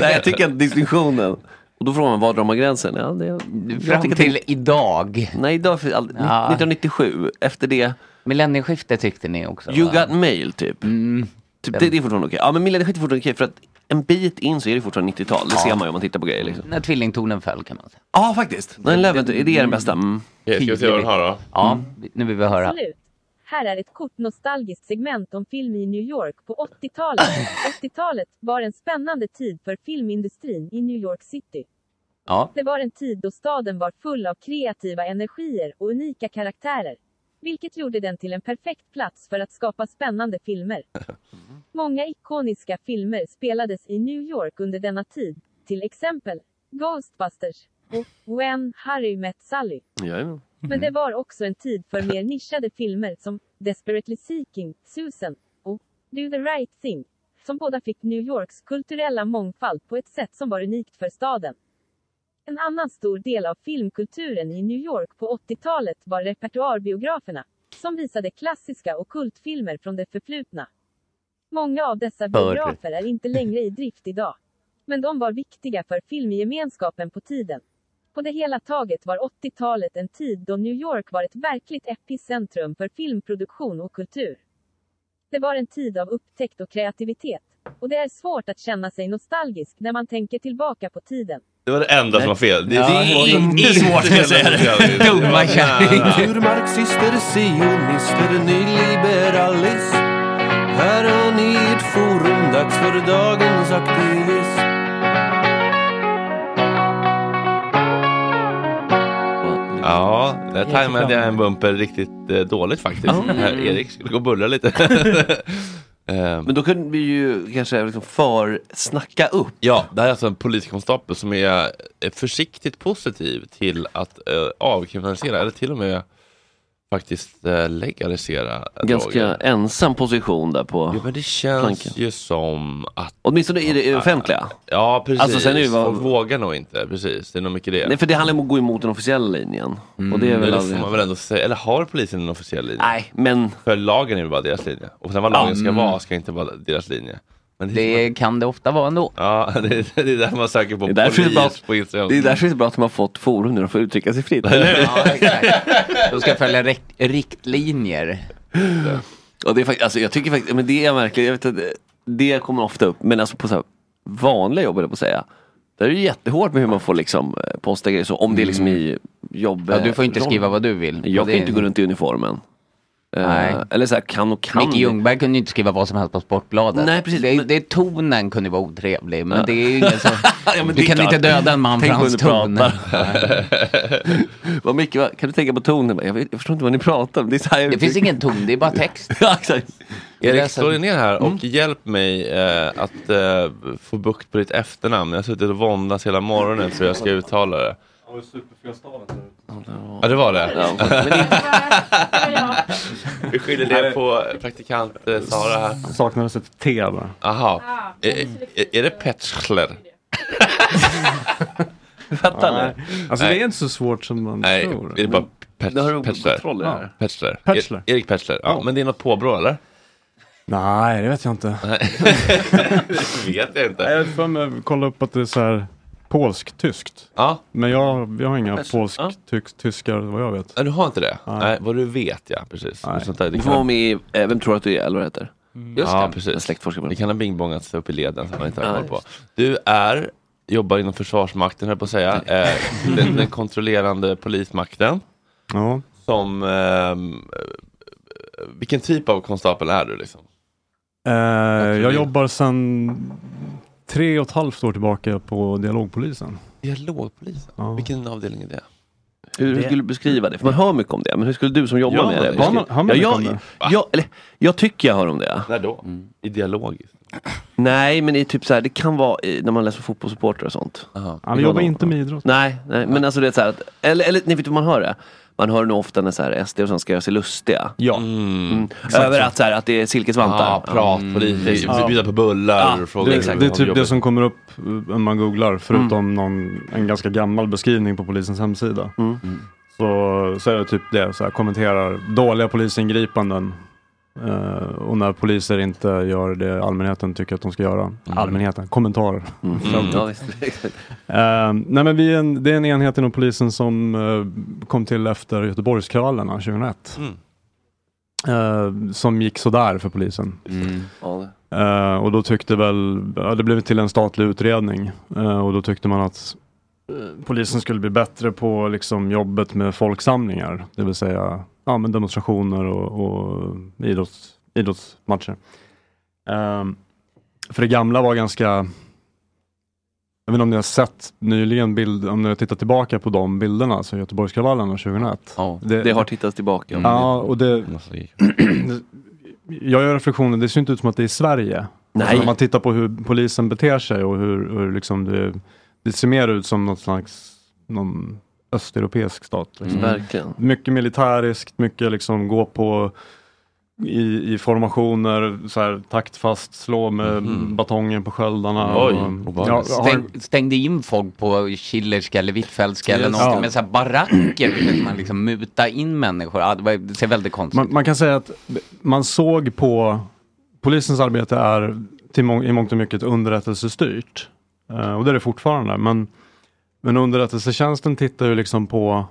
Speaker 5: Nej, jag tycker att distinktionen. Och då frågar man, var drar man gränsen? Ja, det, jag
Speaker 6: Fram
Speaker 5: tycker
Speaker 6: till
Speaker 5: att
Speaker 6: idag.
Speaker 5: det, nej, idag för all,
Speaker 6: Ja.
Speaker 5: 1997. Efter det,
Speaker 6: Millennieskiftet tyckte ni också?
Speaker 5: you
Speaker 6: va?
Speaker 5: got mail typ.
Speaker 6: Mm.
Speaker 5: typ det, det är fortfarande okej. Ja, men millennieskiftet är fortfarande okej. För att en bit in så är det fortfarande 90-tal. Det ser man ju om man tittar på grejer. Liksom.
Speaker 6: När tvillingtonen föll kan man säga.
Speaker 5: Ja, faktiskt. 9-11, är det den bästa? Mm.
Speaker 2: Okej, ska vi se vad den har då? Mm.
Speaker 6: Ja, nu vill vi höra.
Speaker 9: Här är ett kort nostalgiskt segment om film i New York på 80-talet.
Speaker 6: *clears throat*
Speaker 9: 80-talet var en spännande tid för filmindustrin i New York City.
Speaker 6: Ja.
Speaker 9: Det var en tid då staden var full av kreativa energier och unika karaktärer. Vilket gjorde den till en perfekt plats för att skapa spännande
Speaker 6: *laughs*
Speaker 9: filmer. Många ikoniska filmer spelades i New York under denna tid. Till exempel Ghostbusters och When Harry Met Sally.
Speaker 5: Jajamän.
Speaker 9: Men det var också en tid för mer nischade filmer som Desperately Seeking, Susan och Do the Right Thing. Som båda fick New Yorks kulturella mångfald på ett sätt som var unikt för staden. En annan stor del av filmkulturen i New York på 80-talet var repertoarbiograferna. Som visade klassiska och kultfilmer från det förflutna. Många av dessa
Speaker 6: Förr.
Speaker 9: biografer är inte längre i drift idag. Men de var viktiga för filmgemenskapen på tiden. På det hela taget var 80-talet en tid då New York var ett verkligt epicentrum för filmproduktion och kultur. Det var en tid av upptäckt och kreativitet. Och det är svårt att känna sig nostalgisk när man tänker tillbaka på tiden.
Speaker 2: Det var det enda som var fel.
Speaker 10: Det är inte svårt,
Speaker 2: ska jag säga.
Speaker 10: Dumma
Speaker 2: Nej,
Speaker 10: Ur marxister, sionister, nyliberalism. Här har ni ett forum, dags för dagens aktivism.
Speaker 2: Ja, där tajmade jag en bumper riktigt eh, dåligt faktiskt. Här, Erik skulle gå och bullra lite.
Speaker 5: *laughs*
Speaker 2: Eh,
Speaker 5: Men då kunde vi ju kanske liksom för snacka upp.
Speaker 2: Ja, det här är alltså en poliskonstapel som är eh, försiktigt positiv till att eh, avkriminalisera eller till och med faktiskt eh, legalisera
Speaker 5: Ganska
Speaker 2: droger.
Speaker 5: ensam position där på
Speaker 2: Ja, men det känns
Speaker 5: planken.
Speaker 2: ju som att...
Speaker 5: Åtminstone i det offentliga.
Speaker 2: Ja, precis.
Speaker 5: Alltså, sen är det ju vad-
Speaker 2: Folk vågar nog inte, precis. Det är nog mycket det.
Speaker 5: Nej, för det handlar om att gå emot den officiella linjen. Och det är väl
Speaker 2: Mm, men
Speaker 5: aldrig-
Speaker 2: får man väl ändå säga. Eller har polisen en officiell linje?
Speaker 5: Nej, men...
Speaker 2: För lagen är väl bara deras linje. Och sen vad lagen ska
Speaker 6: Mm.
Speaker 2: vara ska inte vara deras linje. Men
Speaker 6: Det kan det ofta vara ändå.
Speaker 2: Ja, *laughs* det, är- det är där man söker på
Speaker 5: Det är därför det är bra,
Speaker 2: polis på Instagram.
Speaker 5: det är
Speaker 6: *laughs*
Speaker 5: därför det är bra att de har fått forum nu, de får uttrycka
Speaker 2: *laughs*
Speaker 5: sig fritt.
Speaker 6: De ska följa rekt- riktlinjer.
Speaker 5: Och det är faktiskt, alltså jag tycker faktiskt, men det är verkligen, jag vet att det- det kommer ofta upp, men alltså på så här vanliga jobb höll jag på att säga. Där är det jättehårt med hur man får liksom eh, posta grejer så, om det är liksom i jobb.
Speaker 6: Mm. Ja, du får inte
Speaker 5: eh, roll.
Speaker 6: skriva vad du vill.
Speaker 5: Jag
Speaker 6: Och
Speaker 5: kan
Speaker 6: det-
Speaker 5: inte gå runt i uniformen. Eh,
Speaker 6: Nej.
Speaker 5: Eller så här, kan och kan.
Speaker 6: Micke Ljungberg kunde ju inte skriva vad som helst på Sportbladet.
Speaker 5: Nej, precis.
Speaker 6: Det, det, tonen kunde vara otrevlig, men
Speaker 5: Ja.
Speaker 6: det är ju
Speaker 2: *laughs*
Speaker 5: *laughs*
Speaker 6: ingen som...
Speaker 5: Ja, men det
Speaker 6: du
Speaker 5: är
Speaker 6: kan
Speaker 5: klart.
Speaker 6: inte döda en man för
Speaker 5: Tänk på
Speaker 6: hans
Speaker 5: hur
Speaker 6: ton.
Speaker 2: *laughs*
Speaker 5: ni pratar. Vad Micke, vad- kan du tänka på tonen? Jag, vet, jag förstår inte vad ni pratar om. Det, är så här jag
Speaker 6: Det finns
Speaker 5: uttrycker-
Speaker 6: ingen ton, det är bara text.
Speaker 5: *laughs* ja, exakt.
Speaker 2: Erik, slå dig ner här
Speaker 11: Mm.
Speaker 2: och hjälp mig eh, att eh, få bukt på ditt efternamn. Jag har suttit och våndats hela morgonen för hur jag ska uttala det.
Speaker 11: Har du superfel stavat?
Speaker 2: Ja, det var det.
Speaker 11: Ja, men
Speaker 2: Vi skyller det på praktikant eh, *laughs* Sara här.
Speaker 11: Saknades ett T bara.
Speaker 2: Aha. Är, är, är det Petschler? Fattar
Speaker 11: Ja,
Speaker 2: ni?
Speaker 11: nej. Alltså det
Speaker 2: Nej.
Speaker 11: är inte så svårt som man
Speaker 2: Nej,
Speaker 11: tror.
Speaker 2: är det bara
Speaker 11: Det har du
Speaker 2: Petsch- Petschler?
Speaker 11: kontroll i det här.
Speaker 2: Petschler.
Speaker 11: Petschler.
Speaker 2: E- Erik Petschler. Ja, men det är något påbrå eller?
Speaker 11: Nej, det vet jag inte. *laughs*
Speaker 2: Det vet jag inte.
Speaker 11: Nej, Jag har för mig att kolla upp att det är så här polsk-tyskt.
Speaker 2: Ja.
Speaker 11: Men jag, jag har inga
Speaker 2: Petsch- ja.
Speaker 11: polsk-tyskar vad jag vet.
Speaker 2: Nej, du har inte det? Nej, vad du vet ja, precis.
Speaker 11: Nej. Mm.
Speaker 2: Sånt där, det
Speaker 11: Du får
Speaker 2: kan-
Speaker 11: vara med
Speaker 5: i, eh, Vem tror att du är, eller vad det heter? Just
Speaker 2: ja,
Speaker 5: det.
Speaker 2: precis.
Speaker 5: Släktforskare.
Speaker 2: Det kan ha bingbongats upp i leden som man inte
Speaker 5: Ja,
Speaker 2: har koll på.
Speaker 5: just
Speaker 2: Du är, jobbar inom Försvarsmakten höll jag på att säga, eh,
Speaker 5: *laughs*
Speaker 2: den, den kontrollerande polismakten.
Speaker 11: Ja.
Speaker 2: Som, ehm, eh, vilken typ av konstapel är du liksom?
Speaker 11: Eh,
Speaker 2: det-
Speaker 11: jag jobbar sedan tre och ett halvt år tillbaka på dialogpolisen.
Speaker 2: Dialogpolisen, vilken avdelning är det?
Speaker 5: Hur
Speaker 2: Det-
Speaker 5: skulle du beskriva det? För man hör mycket om det, men hur skulle du som jobbar
Speaker 2: Ja,
Speaker 5: med det?
Speaker 2: hör man-
Speaker 5: beskriva-
Speaker 2: hör man
Speaker 5: ja,
Speaker 2: mycket
Speaker 5: jag,
Speaker 2: om
Speaker 5: Jag, eller, jag tycker jag hör om det.
Speaker 2: När då? I dialog?
Speaker 5: Nej, men i typ så här, det kan vara i, när man läser fotbollssupportrar och sånt.
Speaker 11: Ja, vi Alltså, jobbar inte med idrott.
Speaker 5: Nej, nej men alltså det är så här att, eller, eller nej, vet du hur man hör det? Man hör nog ofta när så här SD och sånt ska göra sig lustiga.
Speaker 11: Ja.
Speaker 5: Mm.
Speaker 11: Exakt.
Speaker 5: Över att, så här, att det är silkesvantar. Mm.
Speaker 2: Ja, prat på lite, bjuda på bullar. och liksom fråga
Speaker 11: Det,
Speaker 2: exakt
Speaker 11: det är
Speaker 2: vad
Speaker 11: typ det
Speaker 2: jobbet-
Speaker 11: som kommer upp eh, när man googlar, förutom någon, en ganska gammal beskrivning på polisens hemsida. Så, så är det typ det, så här, kommenterar dåliga polisingripanden. eh, och när poliser inte gör det allmänheten tycker att de ska göra. Allmänheten, kommentarer. *laughs* Fältet.
Speaker 5: Ja, visst, exakt.
Speaker 11: *laughs* Eh, nej men vi är en, det är en enhet inom polisen som eh, kom till efter Göteborgskravallerna 2001. Eh, som gick sådär för polisen.
Speaker 5: Mm. Ja,
Speaker 11: Eh, och då tyckte väl, ja, det blev till en statlig utredning Eh, och då tyckte man att eh, polisen skulle bli bättre på liksom, jobbet med folksamlingar, det vill säga ja, men demonstrationer och, och idrotts, idrottsmatcher. Ehm, för det gamla var ganska jag vet inte om ni har sett nyligen, bild, om ni har tittat tillbaka på de bilderna, alltså Göteborgskravallerna 2001.
Speaker 5: det, har tittats tillbaka.
Speaker 11: Mm. Ja, och det, *clears throat* det- jag gör reflektionen, det ser inte ut som att det är i Sverige.
Speaker 5: Nej.
Speaker 11: Alltså, om man tittar på hur polisen beter sig och hur, hur liksom det, det ser mer ut som något slags någon östeuropeisk stat. Liksom.
Speaker 5: Mm. Verkligen.
Speaker 11: Mycket militäriskt, mycket liksom gå på i, i formationer, så här, taktfast, slå med batongen på sköldarna.
Speaker 6: Mhm. Oj,
Speaker 11: ja, har,
Speaker 6: Stäng, stängde in folk på Schillerska eller Hvitfeldtska eller
Speaker 11: Yes.
Speaker 6: någonting
Speaker 11: Ja.
Speaker 6: med så här baracker försökte man liksom muta in människor. Ja, det, var, det ser väldigt konstigt
Speaker 11: Man, man kan säga att man såg på polisens arbete är till må- i mångt och mycket underrättelsestyrt. Eh, och det är det fortfarande. Men, men underrättelsetjänsten tittar ju liksom på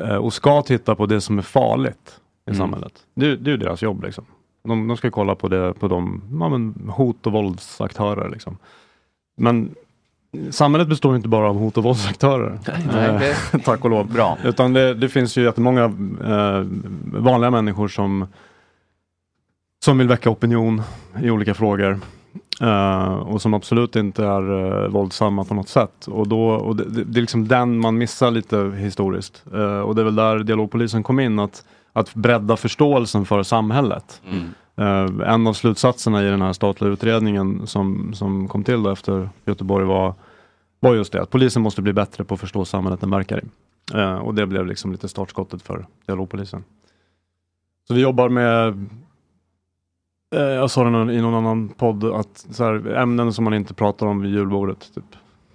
Speaker 11: eh, och ska titta på det som är farligt i samhället. Det, det är ju deras jobb. Liksom. De, de ska kolla på, det, på de ja, men hot och våldsaktörer. Liksom. Men samhället består ju inte bara av hot och våldsaktörer.
Speaker 6: nej,
Speaker 11: Eh,
Speaker 6: det-
Speaker 11: *laughs* Tack och lov.
Speaker 6: Bra.
Speaker 11: Utan det, det finns ju jättemånga eh, vanliga människor som, som vill väcka opinion i olika frågor. Eh, och som absolut inte är eh, våldsamma på något sätt. Och, då, och det, det, det är liksom den man missar lite historiskt. Eh, och det är väl där dialogpolisen kom in, att, att bredda förståelsen för samhället. Eh, en av slutsatserna i den här statliga utredningen som, som kom till då efter Göteborg var, var just det, att polisen måste bli bättre på att förstå samhället den verkar i. Eh, och det blev liksom lite startskottet för dialogpolisen. Så vi jobbar med Eh, Jag sa det någon- i någon annan podd, att så här, ämnen som man inte pratar om vid julbordet. Typ.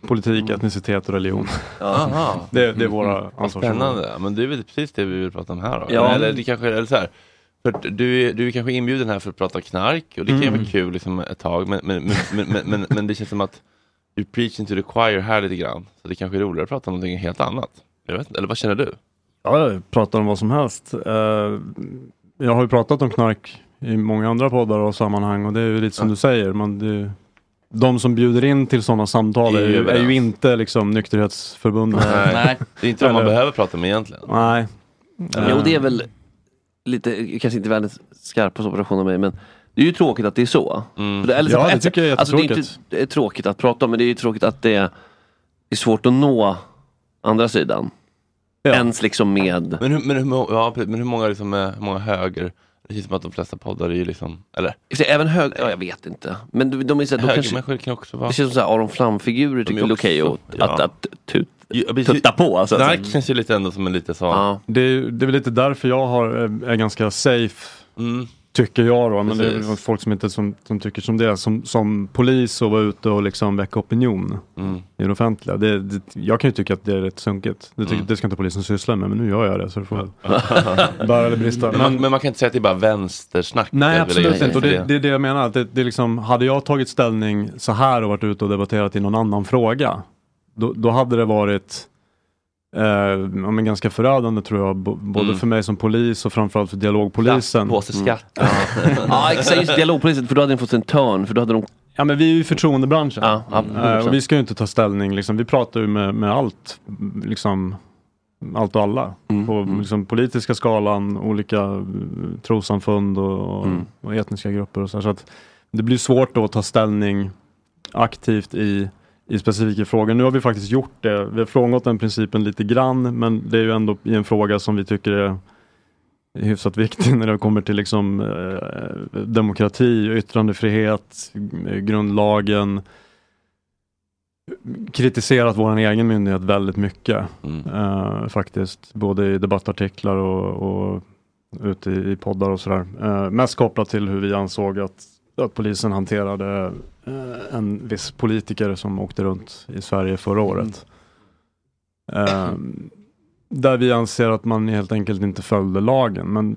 Speaker 11: Politik, etnicitet och religion.
Speaker 2: Jaha.
Speaker 11: *laughs* det, det är våra
Speaker 2: Mm. Vad
Speaker 11: ansvarsområden.
Speaker 2: Spännande. Men det är väl precis det vi vill prata om här då?
Speaker 11: Ja.
Speaker 2: Eller det kanske eller så här. För att du, är, du är kanske inbjuden här för att prata knark och det kan ju
Speaker 11: Mm.
Speaker 2: vara kul liksom ett tag men, men, men, men, men, men, men det känns som att du preaching to the choir här lite grann. Så det kanske är roligare att prata om någonting helt annat. Jag vet inte, eller vad känner du?
Speaker 11: Ja, jag pratar om vad som helst. Eh, Jag har ju pratat om knark i många andra poddar och sammanhang och det är ju lite som du säger. Man, det är ju, de som bjuder in till sådana samtal
Speaker 2: Det
Speaker 11: är
Speaker 2: är ju
Speaker 11: ju, är
Speaker 2: överens.
Speaker 11: ju inte liksom nykterhetsförbunden. *laughs*
Speaker 2: Det är inte vad man
Speaker 11: Eller-
Speaker 2: behöver prata om egentligen.
Speaker 11: Nej.
Speaker 5: Jo, det är väl lite, kanske inte världens skarpaste operation av mig, men det är ju tråkigt att det är så.
Speaker 2: Mm.
Speaker 5: För eller så-
Speaker 11: Ja, det
Speaker 5: alltså-
Speaker 11: tycker jag är
Speaker 5: alltså, det, är inte,
Speaker 11: jättetråkigt.
Speaker 5: det är tråkigt att prata om, men det är ju tråkigt att det är svårt att nå andra sidan. Ens liksom med...
Speaker 2: Men hur, men hur, må- ja, precis. men hur många, liksom, eh, hur många höger, det känns som att de flesta poddar är ju liksom, eller?
Speaker 5: Även höger, ja jag vet inte. Men de, de är så här, de
Speaker 2: Högermänniskor kan också vara...
Speaker 5: Det känns som så här, Aron Flam-figurer tycker det är okej att, att, att tut, tutta på. Alltså,
Speaker 2: Knark känns ju lite ändå som en lite så...
Speaker 11: *laughs* Det, är, det är väl lite därför jag har, eh, är ganska safe, tycker jag då. Men det är väl
Speaker 2: Mm. Precis.
Speaker 11: folk som inte som, som tycker som det, som, som polis och vara ute och liksom väcka opinion
Speaker 2: Mm.
Speaker 11: i det offentliga. Det, det, jag kan ju tycka att det är rätt sunkigt. Det, tycker,
Speaker 2: Mm.
Speaker 11: det ska inte polisen syssla med, men nu gör jag det så det får
Speaker 2: *laughs*
Speaker 11: väl bära eller brista.
Speaker 2: Men, man, men man kan inte säga att det är bara vänstersnack. Det
Speaker 11: Nej,
Speaker 2: är väl
Speaker 11: absolut
Speaker 2: egentligen
Speaker 11: inte. Och det,
Speaker 2: för
Speaker 11: det är det jag menar. Att det, det är liksom, hade jag tagit ställning så här och varit ute och debatterat i någon annan fråga, då, då hade det varit eh, ja, men ganska förödande tror jag, bo- både
Speaker 5: Mm.
Speaker 11: för mig som polis och framförallt för dialogpolisen.
Speaker 2: Plastpåseskatt.
Speaker 11: Mm.
Speaker 5: ja exakt, just dialogpolisen, för då hade den fått en törn. För då hade de...
Speaker 11: Ja men vi är ju i förtroendebranschen.
Speaker 5: Ja,
Speaker 2: Mm.
Speaker 5: ja,
Speaker 11: Eh, och vi ska ju inte ta ställning, liksom. vi pratar ju med, med allt, liksom, allt och alla.
Speaker 5: Mm.
Speaker 11: På liksom, politiska skalan, olika eh, trossamfund och, och-
Speaker 5: Mm.
Speaker 11: och etniska grupper. Och så här. så att det blir svårt då att ta ställning aktivt i, i specifika frågor. Nu har vi faktiskt gjort det, vi har frångått den principen lite grann, men det är ju ändå i en fråga som vi tycker är är hyfsat viktig *laughs* när det kommer till liksom, eh, demokrati, yttrandefrihet, eh, grundlagen. Kritiserat vår egen myndighet väldigt mycket eh, faktiskt, både i debattartiklar och, och ute i, i poddar och sådär. Eh, mest kopplat till hur vi ansåg att, att polisen hanterade eh, en viss politiker som åkte runt i Sverige förra året. Eh, där vi anser att man helt enkelt inte följde lagen. Men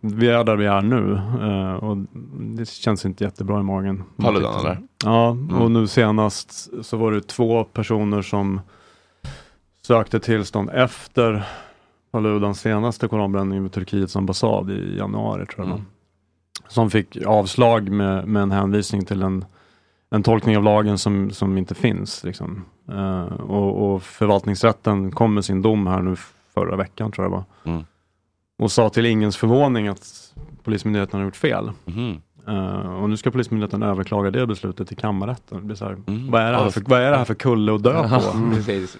Speaker 11: vi är där vi är nu eh, och det känns inte jättebra i magen.
Speaker 2: Paludan, eller?
Speaker 11: Ja, och nu senast så var det två personer som sökte tillstånd efter Paludans senaste koranbränning med Turkiets ambassad i januari tror jag. det var. Som fick avslag med, med en hänvisning till en, en tolkning av lagen som, som inte finns. Liksom. Eh, och, och förvaltningsrätten kom med sin dom här nu förra veckan tror jag det var. och sa till ingens förvåning att Polismyndigheten har gjort fel.
Speaker 2: Mhm.
Speaker 11: Eh, och nu ska Polismyndigheten överklaga det beslutet till kammarrätten. Det blir så här, vad, är det här för, vad är det här för kulle att dö
Speaker 2: Mm. Ja,
Speaker 11: på?
Speaker 2: *laughs* precis.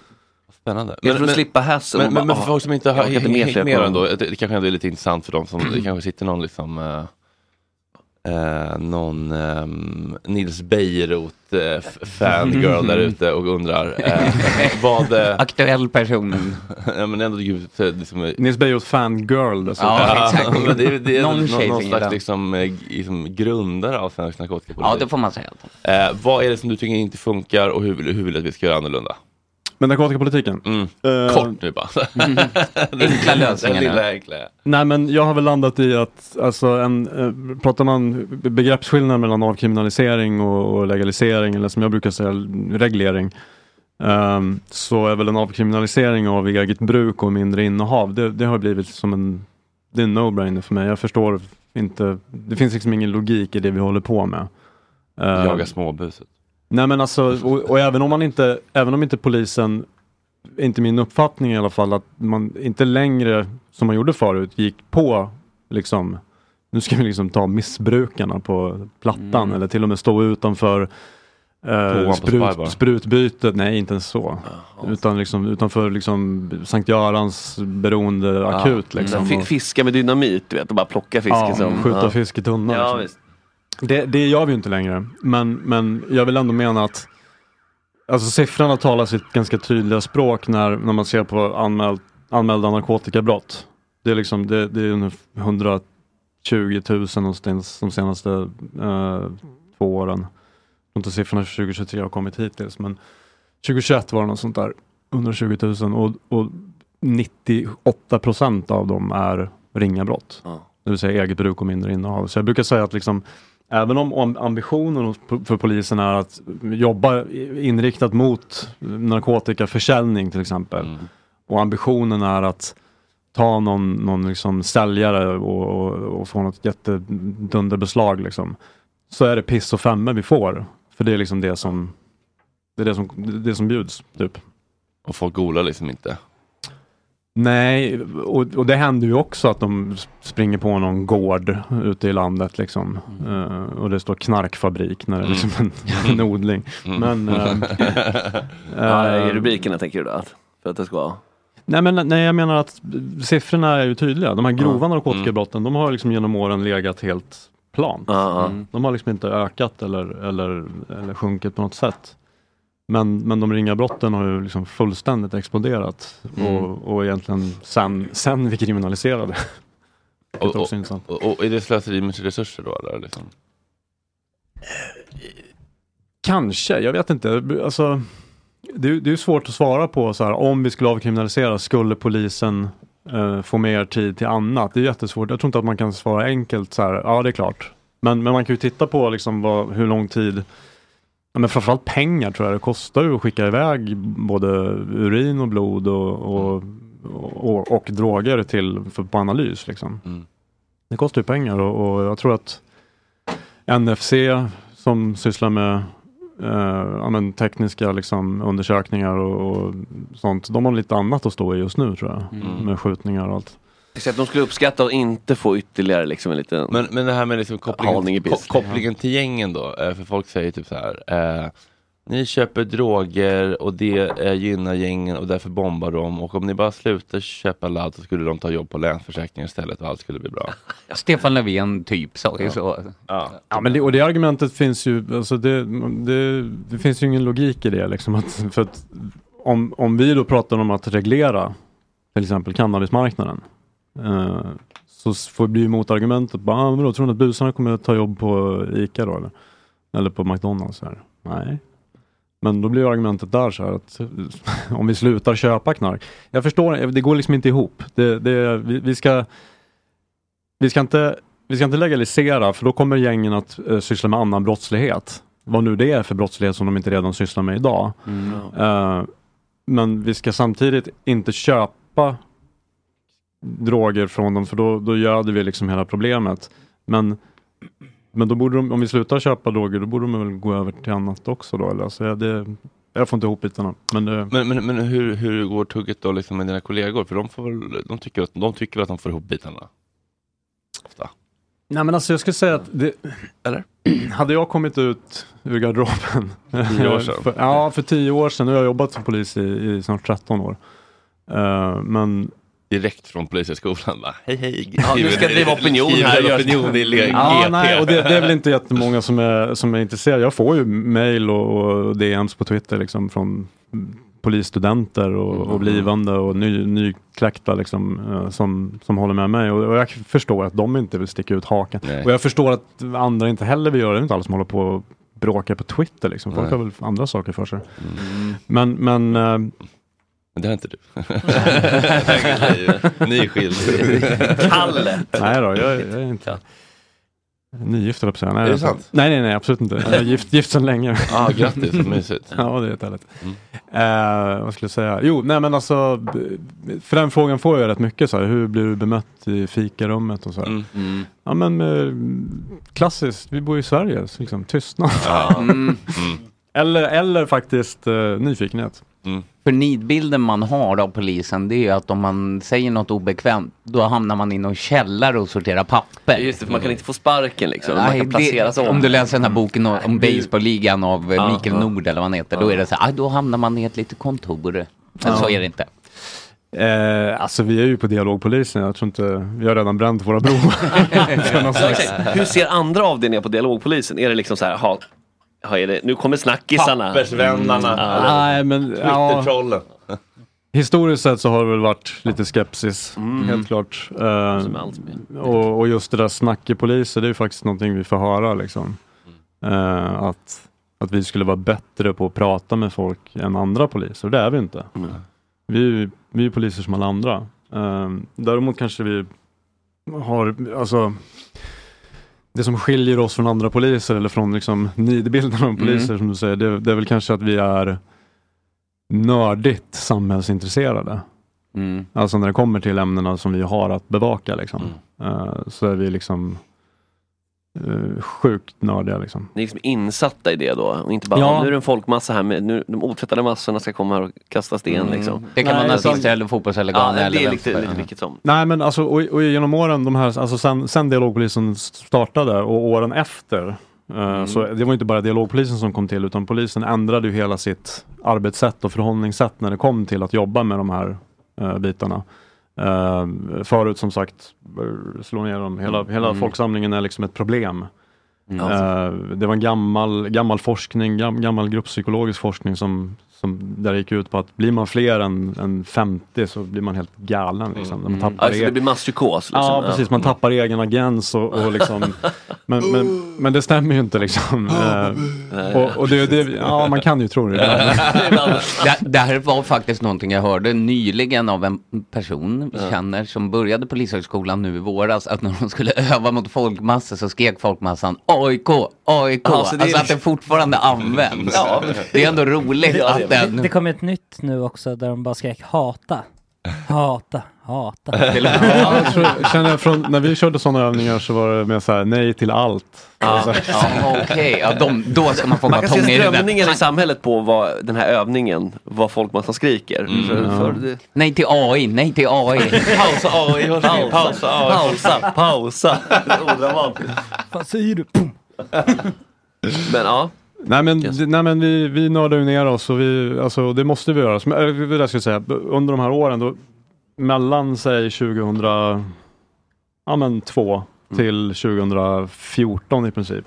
Speaker 2: Spännande.
Speaker 5: Det Mm. är för att slippa hassle och
Speaker 2: Men, men,
Speaker 5: bara,
Speaker 2: men för
Speaker 5: ah,
Speaker 2: folk som inte
Speaker 5: jag
Speaker 2: har
Speaker 5: orkar inte
Speaker 2: hängt
Speaker 5: medflöpa
Speaker 2: med
Speaker 5: dem.
Speaker 2: ändå, det, det kanske ändå är lite intressant för dem som, det kanske sitter någon liksom eh, eh, någon ehm, Nils Bejerot eh, f- fangirl *laughs* där ute och undrar eh, vad... Eh,
Speaker 6: Aktuell person.
Speaker 2: ja, men ändå, gud, så, liksom, eh,
Speaker 11: Nils Beijos fangirl dessutom.
Speaker 2: *laughs* men det, är- det är någon, någon,
Speaker 11: slags liksom-
Speaker 2: slags liksom, eh, liksom grundare av svensk narkotikapolitik.
Speaker 11: Ja, det får
Speaker 6: man säga.
Speaker 2: Eh, vad är det som du tycker inte funkar och hur, vill- hur vill du att vi ska göra annorlunda?
Speaker 11: Men narkotikapolitiken? Eh,
Speaker 2: Mm. Kort
Speaker 11: *laughs*
Speaker 2: nu
Speaker 5: *laughs*
Speaker 2: bara.
Speaker 6: Enkla lösningar
Speaker 2: Den
Speaker 6: nu.
Speaker 2: lilla enkla.
Speaker 11: Nej men jag har väl landat i att, alltså en, eh, pratar man begreppsskillnad mellan avkriminalisering och, och legalisering, eller som jag brukar säga, reglering, ehm, så är väl en avkriminalisering av eget bruk och mindre innehav, det, det har blivit som en, det är en no-brainer för mig. Jag förstår inte, det finns liksom ingen logik i det vi håller på med. Ehm,
Speaker 2: Jaga småbuset.
Speaker 11: Nej men alltså, och, och även om man inte, även om inte polisen, inte min uppfattning i alla fall, att man inte längre, som man gjorde förut, gick på liksom, nu ska vi liksom ta missbrukarna på plattan eller till och med stå utanför
Speaker 2: Mm. Tvåan
Speaker 11: eh,
Speaker 2: på Spy Bar.
Speaker 11: sprut, sprutbytet, nej inte ens så. Utan liksom, utanför liksom Sankt Görans beroende
Speaker 2: Ah.
Speaker 11: akut
Speaker 2: Mm.
Speaker 5: Ja.
Speaker 11: liksom.
Speaker 5: Fi-
Speaker 11: Och-
Speaker 5: Fiska Mm. med dynamit, du vet, och bara plocka fisk.
Speaker 11: Ja,
Speaker 5: liksom.
Speaker 11: skjuta fisk i tunnan,
Speaker 5: Ja,
Speaker 11: liksom.
Speaker 5: visst.
Speaker 11: Det, det gör vi ju inte längre, men, men jag vill ändå mena att alltså, siffrorna talar sitt ganska tydliga språk när, när man ser på anmäld, anmälda narkotikabrott. Det är liksom, det, det är ungefär 120 000 någonstans de senaste eh, två åren. Jag tror inte siffrorna för 2023 har kommit hittills, men 2021 var det något sånt där, 120 000 och, och 98 procent av dem är ringa brott. Det vill säga eget bruk och mindre innehav. Så jag brukar säga att liksom, även om om ambitionen hos po- för polisen är att jobba i- inriktat mot narkotikaförsäljning till exempel och ambitionen är att ta någon, någon liksom säljare och, och, och få något jättedunderbeslag liksom, så är det piss och femme vi får. För det är liksom det som, det är det som, det som bjuds. Typ.
Speaker 2: Och folk golar liksom inte.
Speaker 11: Nej, och, och det händer ju också att de s- springer på någon gård ute i landet liksom.
Speaker 2: Mm.
Speaker 11: Eh, och det står knarkfabrik när det är liksom en, *laughs* en odling. *laughs*
Speaker 2: Mm.
Speaker 11: Men,
Speaker 2: *laughs*
Speaker 11: eh,
Speaker 5: ja, I
Speaker 11: eh,
Speaker 5: rubrikerna tänker du då? att- För att det ska vara...
Speaker 11: Nej, men, nej, jag menar att siffrorna är ju tydliga. De här grova
Speaker 2: Mm.
Speaker 11: narkotikabrotten, de har liksom genom åren legat helt plant. Mm. De har liksom inte ökat eller, eller, eller sjunkit på något sätt. Men, men de ringa brotten har ju liksom fullständigt exploderat
Speaker 2: Mm.
Speaker 11: och, och egentligen sen, sen vi kriminaliserade. Det är
Speaker 2: Och,
Speaker 11: också
Speaker 2: och,
Speaker 11: intressant.
Speaker 2: och, och är det slöseri med resurser då? Eller, liksom?
Speaker 11: Kanske, jag vet inte. Alltså, det, är- det är svårt att svara på så här, om vi skulle avkriminalisera, skulle polisen eh, få mer tid till annat? Det är jättesvårt. Jag tror inte att man kan svara enkelt så här, ja det är klart. Men, men man kan ju titta på liksom vad, hur lång tid, ja, men framförallt pengar tror jag det kostar ju att skicka iväg både urin och blod och, och, och, och droger till, för, på analys. Liksom. Det kostar ju pengar och, och jag tror att NFC som sysslar med eh, ja, men tekniska liksom, undersökningar och, och sånt. De har lite annat att stå i just nu tror jag.
Speaker 5: Mm.
Speaker 11: Med skjutningar och allt.
Speaker 5: Så att de skulle uppskatta att inte få ytterligare liksom en liten...
Speaker 2: Men, men det här med liksom
Speaker 5: Halning i
Speaker 2: kopplingen,
Speaker 5: pisk.
Speaker 2: ko kopplingen till gängen då, eh, för folk säger typ så här. Eh, ni köper droger och det eh, gynnar gängen och därför bombar de och om ni bara slutar köpa ladd så skulle de ta jobb på Länsförsäkringen istället och allt skulle bli
Speaker 6: *laughs*
Speaker 2: bra.
Speaker 6: Stefan Löfven typ sa ju
Speaker 2: Ja.
Speaker 6: så.
Speaker 2: Ja.
Speaker 11: Ja, men det, och det argumentet finns ju, alltså det, det, det finns ju ingen logik i det. Liksom, att, för att om, om vi då pratar om att reglera till exempel cannabismarknaden eh, så s- får bli motargumentet, bara, ah, men då, tror ni att busarna kommer att ta jobb på ICA då eller, eller på McDonalds? Här? Nej. Men då blir ju argumentet där så här att *laughs* om vi slutar köpa knark. Jag förstår, det går liksom inte ihop. Det, det, vi, vi ska vi ska, inte, vi ska inte legalisera för då kommer gängen att eh, syssla med annan brottslighet. Vad nu det är för brottslighet som de inte redan sysslar med idag. Eh, men vi ska samtidigt inte köpa droger från dem för då, då göder vi liksom hela problemet. Men, men då borde de, om vi slutar köpa droger då borde de väl gå över till annat också då? Eller? Alltså, ja, det, Jag får inte ihop bitarna. Men eh, det,
Speaker 2: Men, men, men hur, hur går tugget då liksom med dina kollegor? För de, får, väl- de, tycker att, de tycker väl att de får ihop bitarna? Ofta.
Speaker 11: Nej men alltså jag skulle säga att det, Eller? *clears throat* Hade jag kommit ut ur garderoben
Speaker 2: Tio år sedan.
Speaker 11: *laughs* för, Ja, för tio år sedan. Nu har jag jobbat som polis i, i snart 13 år. Eh, men...
Speaker 2: Direkt från polishögskolan va? Hej *laughs* hej!
Speaker 5: Ja, nu ska jag driva opinion
Speaker 2: skriv en
Speaker 5: här.
Speaker 2: opinion i le-
Speaker 11: Ja,
Speaker 2: GT.
Speaker 11: nej, och det, det är väl inte jättemånga som är, som är intresserade. Jag får ju mail och, och DMs på Twitter liksom från polisstudenter
Speaker 2: Mm.
Speaker 11: och, och blivande och ny, nykläckta liksom, eh, som, som håller med mig. Och, och jag förstår att de inte vill sticka ut hakan. Och jag förstår att andra inte heller vill göra det. Det är inte alla som håller på och bråkar på Twitter. Liksom. Folk
Speaker 2: Nej. Mm.
Speaker 11: har väl andra saker för sig. Men, men eh,
Speaker 2: Men det har inte du. *laughs* Tack,
Speaker 5: *laughs*
Speaker 2: Liv. Ni är skilda. Kallet.
Speaker 11: Nej då, jag, jag är inte nygift höll jag på att säga. Nej,
Speaker 2: Är det
Speaker 11: jag-
Speaker 2: sant?
Speaker 11: Nej, nej, nej, absolut inte.
Speaker 2: *laughs*
Speaker 11: Jag är gift, gift sedan länge.
Speaker 2: Ah, grattis, vad mysigt.
Speaker 11: *laughs*
Speaker 2: Mm.
Speaker 11: ja, det är härligt. Eh, vad skulle jag säga? Jo, nej men alltså, b- för den frågan får jag rätt mycket. Så här, hur blir du bemött i fikarummet och så
Speaker 2: Mm,
Speaker 11: här. Ja men eh, klassiskt, vi bor i Sverige, så liksom tystnad.
Speaker 6: Ja. Mm. Mm.
Speaker 11: Eller, eller faktiskt eh, nyfikenhet.
Speaker 6: För nidbilden man har av polisen det är ju att om man säger något obekvämt då hamnar man i någon källare och sorterar papper.
Speaker 5: Just det, för man kan inte få sparken liksom. man
Speaker 6: Nej,
Speaker 5: kan placeras
Speaker 6: det,
Speaker 5: om.
Speaker 6: om. du läser den här boken om, om baseballligan av eh,
Speaker 5: Ja,
Speaker 6: Mikael
Speaker 5: ja.
Speaker 6: Nord eller vad han heter, då
Speaker 5: Ja.
Speaker 6: är det så här, "Aj, då hamnar man i ett litet kontor. Men så
Speaker 11: Ja.
Speaker 6: är det inte.
Speaker 11: *laughs* Eh, alltså vi är ju på dialogpolisen, jag tror inte, vi har redan bränt våra
Speaker 2: *laughs*
Speaker 11: broar. För någon
Speaker 5: Ja,
Speaker 11: slags-
Speaker 5: exakt. Hur ser andra avdelningar på dialogpolisen? Är det liksom så här, ha, ha, är det, nu kommer snackisarna. Mm.
Speaker 2: Pappersvännarna.
Speaker 11: Nej, men, ja.
Speaker 2: Twittertrollen.
Speaker 11: Historiskt sett så har det väl varit lite skepsis,
Speaker 2: Mm.
Speaker 11: helt klart. Eh,
Speaker 5: Som med allt med.
Speaker 11: och, och just det där snack i poliser, det är ju faktiskt någonting vi får höra. Liksom. Eh, att, att vi skulle vara bättre på att prata med folk än andra poliser, och det är vi inte. Vi, är ju- vi är ju poliser som alla andra. Eh, däremot kanske vi har, alltså, det som skiljer oss från andra poliser eller från liksom, nidbilden av poliser
Speaker 5: Mm.
Speaker 11: som du säger, det, det är väl kanske att vi är nördigt samhällsintresserade. Alltså när det kommer till ämnena som vi har att bevaka liksom. Eh, så är vi liksom eh, sjukt nördiga liksom.
Speaker 5: Ni är liksom insatta i det då och inte bara,
Speaker 11: Ja.
Speaker 5: "Ah, nu är det en folkmassa här, med, nu, de otvättade massorna ska komma här och kasta sten
Speaker 6: Mm.
Speaker 5: liksom.
Speaker 6: Det kan vara
Speaker 5: alltså-
Speaker 6: nazister eller fotbollshuliganer
Speaker 5: Ja, det
Speaker 6: eller
Speaker 5: är lite,
Speaker 6: vänster.
Speaker 5: lite vilket som.
Speaker 11: Nej men alltså och, och genom åren, de här, alltså sen, sen dialogpolisen startade och åren efter eh,
Speaker 5: Mm.
Speaker 11: Så det var inte bara dialogpolisen som kom till utan polisen ändrade ju hela sitt arbetssätt och förhållningssätt när det kom till att jobba med de här eh, bitarna. Eh, förut som sagt, eh, slå ner dem. Hela, hela
Speaker 5: Mm.
Speaker 11: folksamlingen är liksom ett problem.
Speaker 5: Mm.
Speaker 11: Eh, det var en gammal, gammal forskning, gam, gammal grupppsykologisk forskning som, som där det gick ut på att blir man fler än, än 50 så blir man helt galen. Liksom. Man tappar
Speaker 5: Alltså det
Speaker 11: e-
Speaker 5: blir masspsykos. Liksom.
Speaker 11: Ja precis, man tappar egen agens och, och liksom men,
Speaker 6: Uh.
Speaker 11: men, men det stämmer ju inte liksom. Eh, och, och det, det, ja man kan ju tro det.
Speaker 6: *laughs* det, det här var faktiskt någonting jag hörde nyligen av en person vi
Speaker 11: Ja.
Speaker 6: känner som började polishögskolan nu i våras att när de skulle *laughs* öva mot folkmassor så skrek folkmassan AIK, AIK.
Speaker 1: Ja, så
Speaker 6: alltså
Speaker 1: det är-
Speaker 6: att det fortfarande används.
Speaker 1: Ja.
Speaker 6: Det är ändå roligt att den...
Speaker 1: Det, det kom ett nytt nu också där de bara skrek hata. Hata, hata.
Speaker 11: *laughs* Ja, jag tror, känner jag från, när vi körde sådana övningar så var det mer så här, nej till allt. Så
Speaker 5: Ja,
Speaker 11: här.
Speaker 5: ja,
Speaker 6: okej. Ja, de- då ska man få
Speaker 5: Man
Speaker 6: bara
Speaker 5: kan se
Speaker 6: tånga i den där.
Speaker 5: strömningen i samhället på vad den här övningen, vad folkmassan skriker. För, för det,
Speaker 6: Mm, Nej till AI, nej till AI.
Speaker 5: *laughs* Pausa AI, hörs ni? Pausa AI. Pausa,
Speaker 6: *laughs*
Speaker 5: pausa. Odramatiskt.
Speaker 1: Vad säger du? Pum.
Speaker 5: *laughs* Men ja.
Speaker 11: Nej men, nej, men vi, vi nördar ju ner oss och vi, alltså, det måste vi göra. Som- eh, Det där ska jag säga, under de här åren då, mellan säg 2002 ja, men, två till 2014 i princip,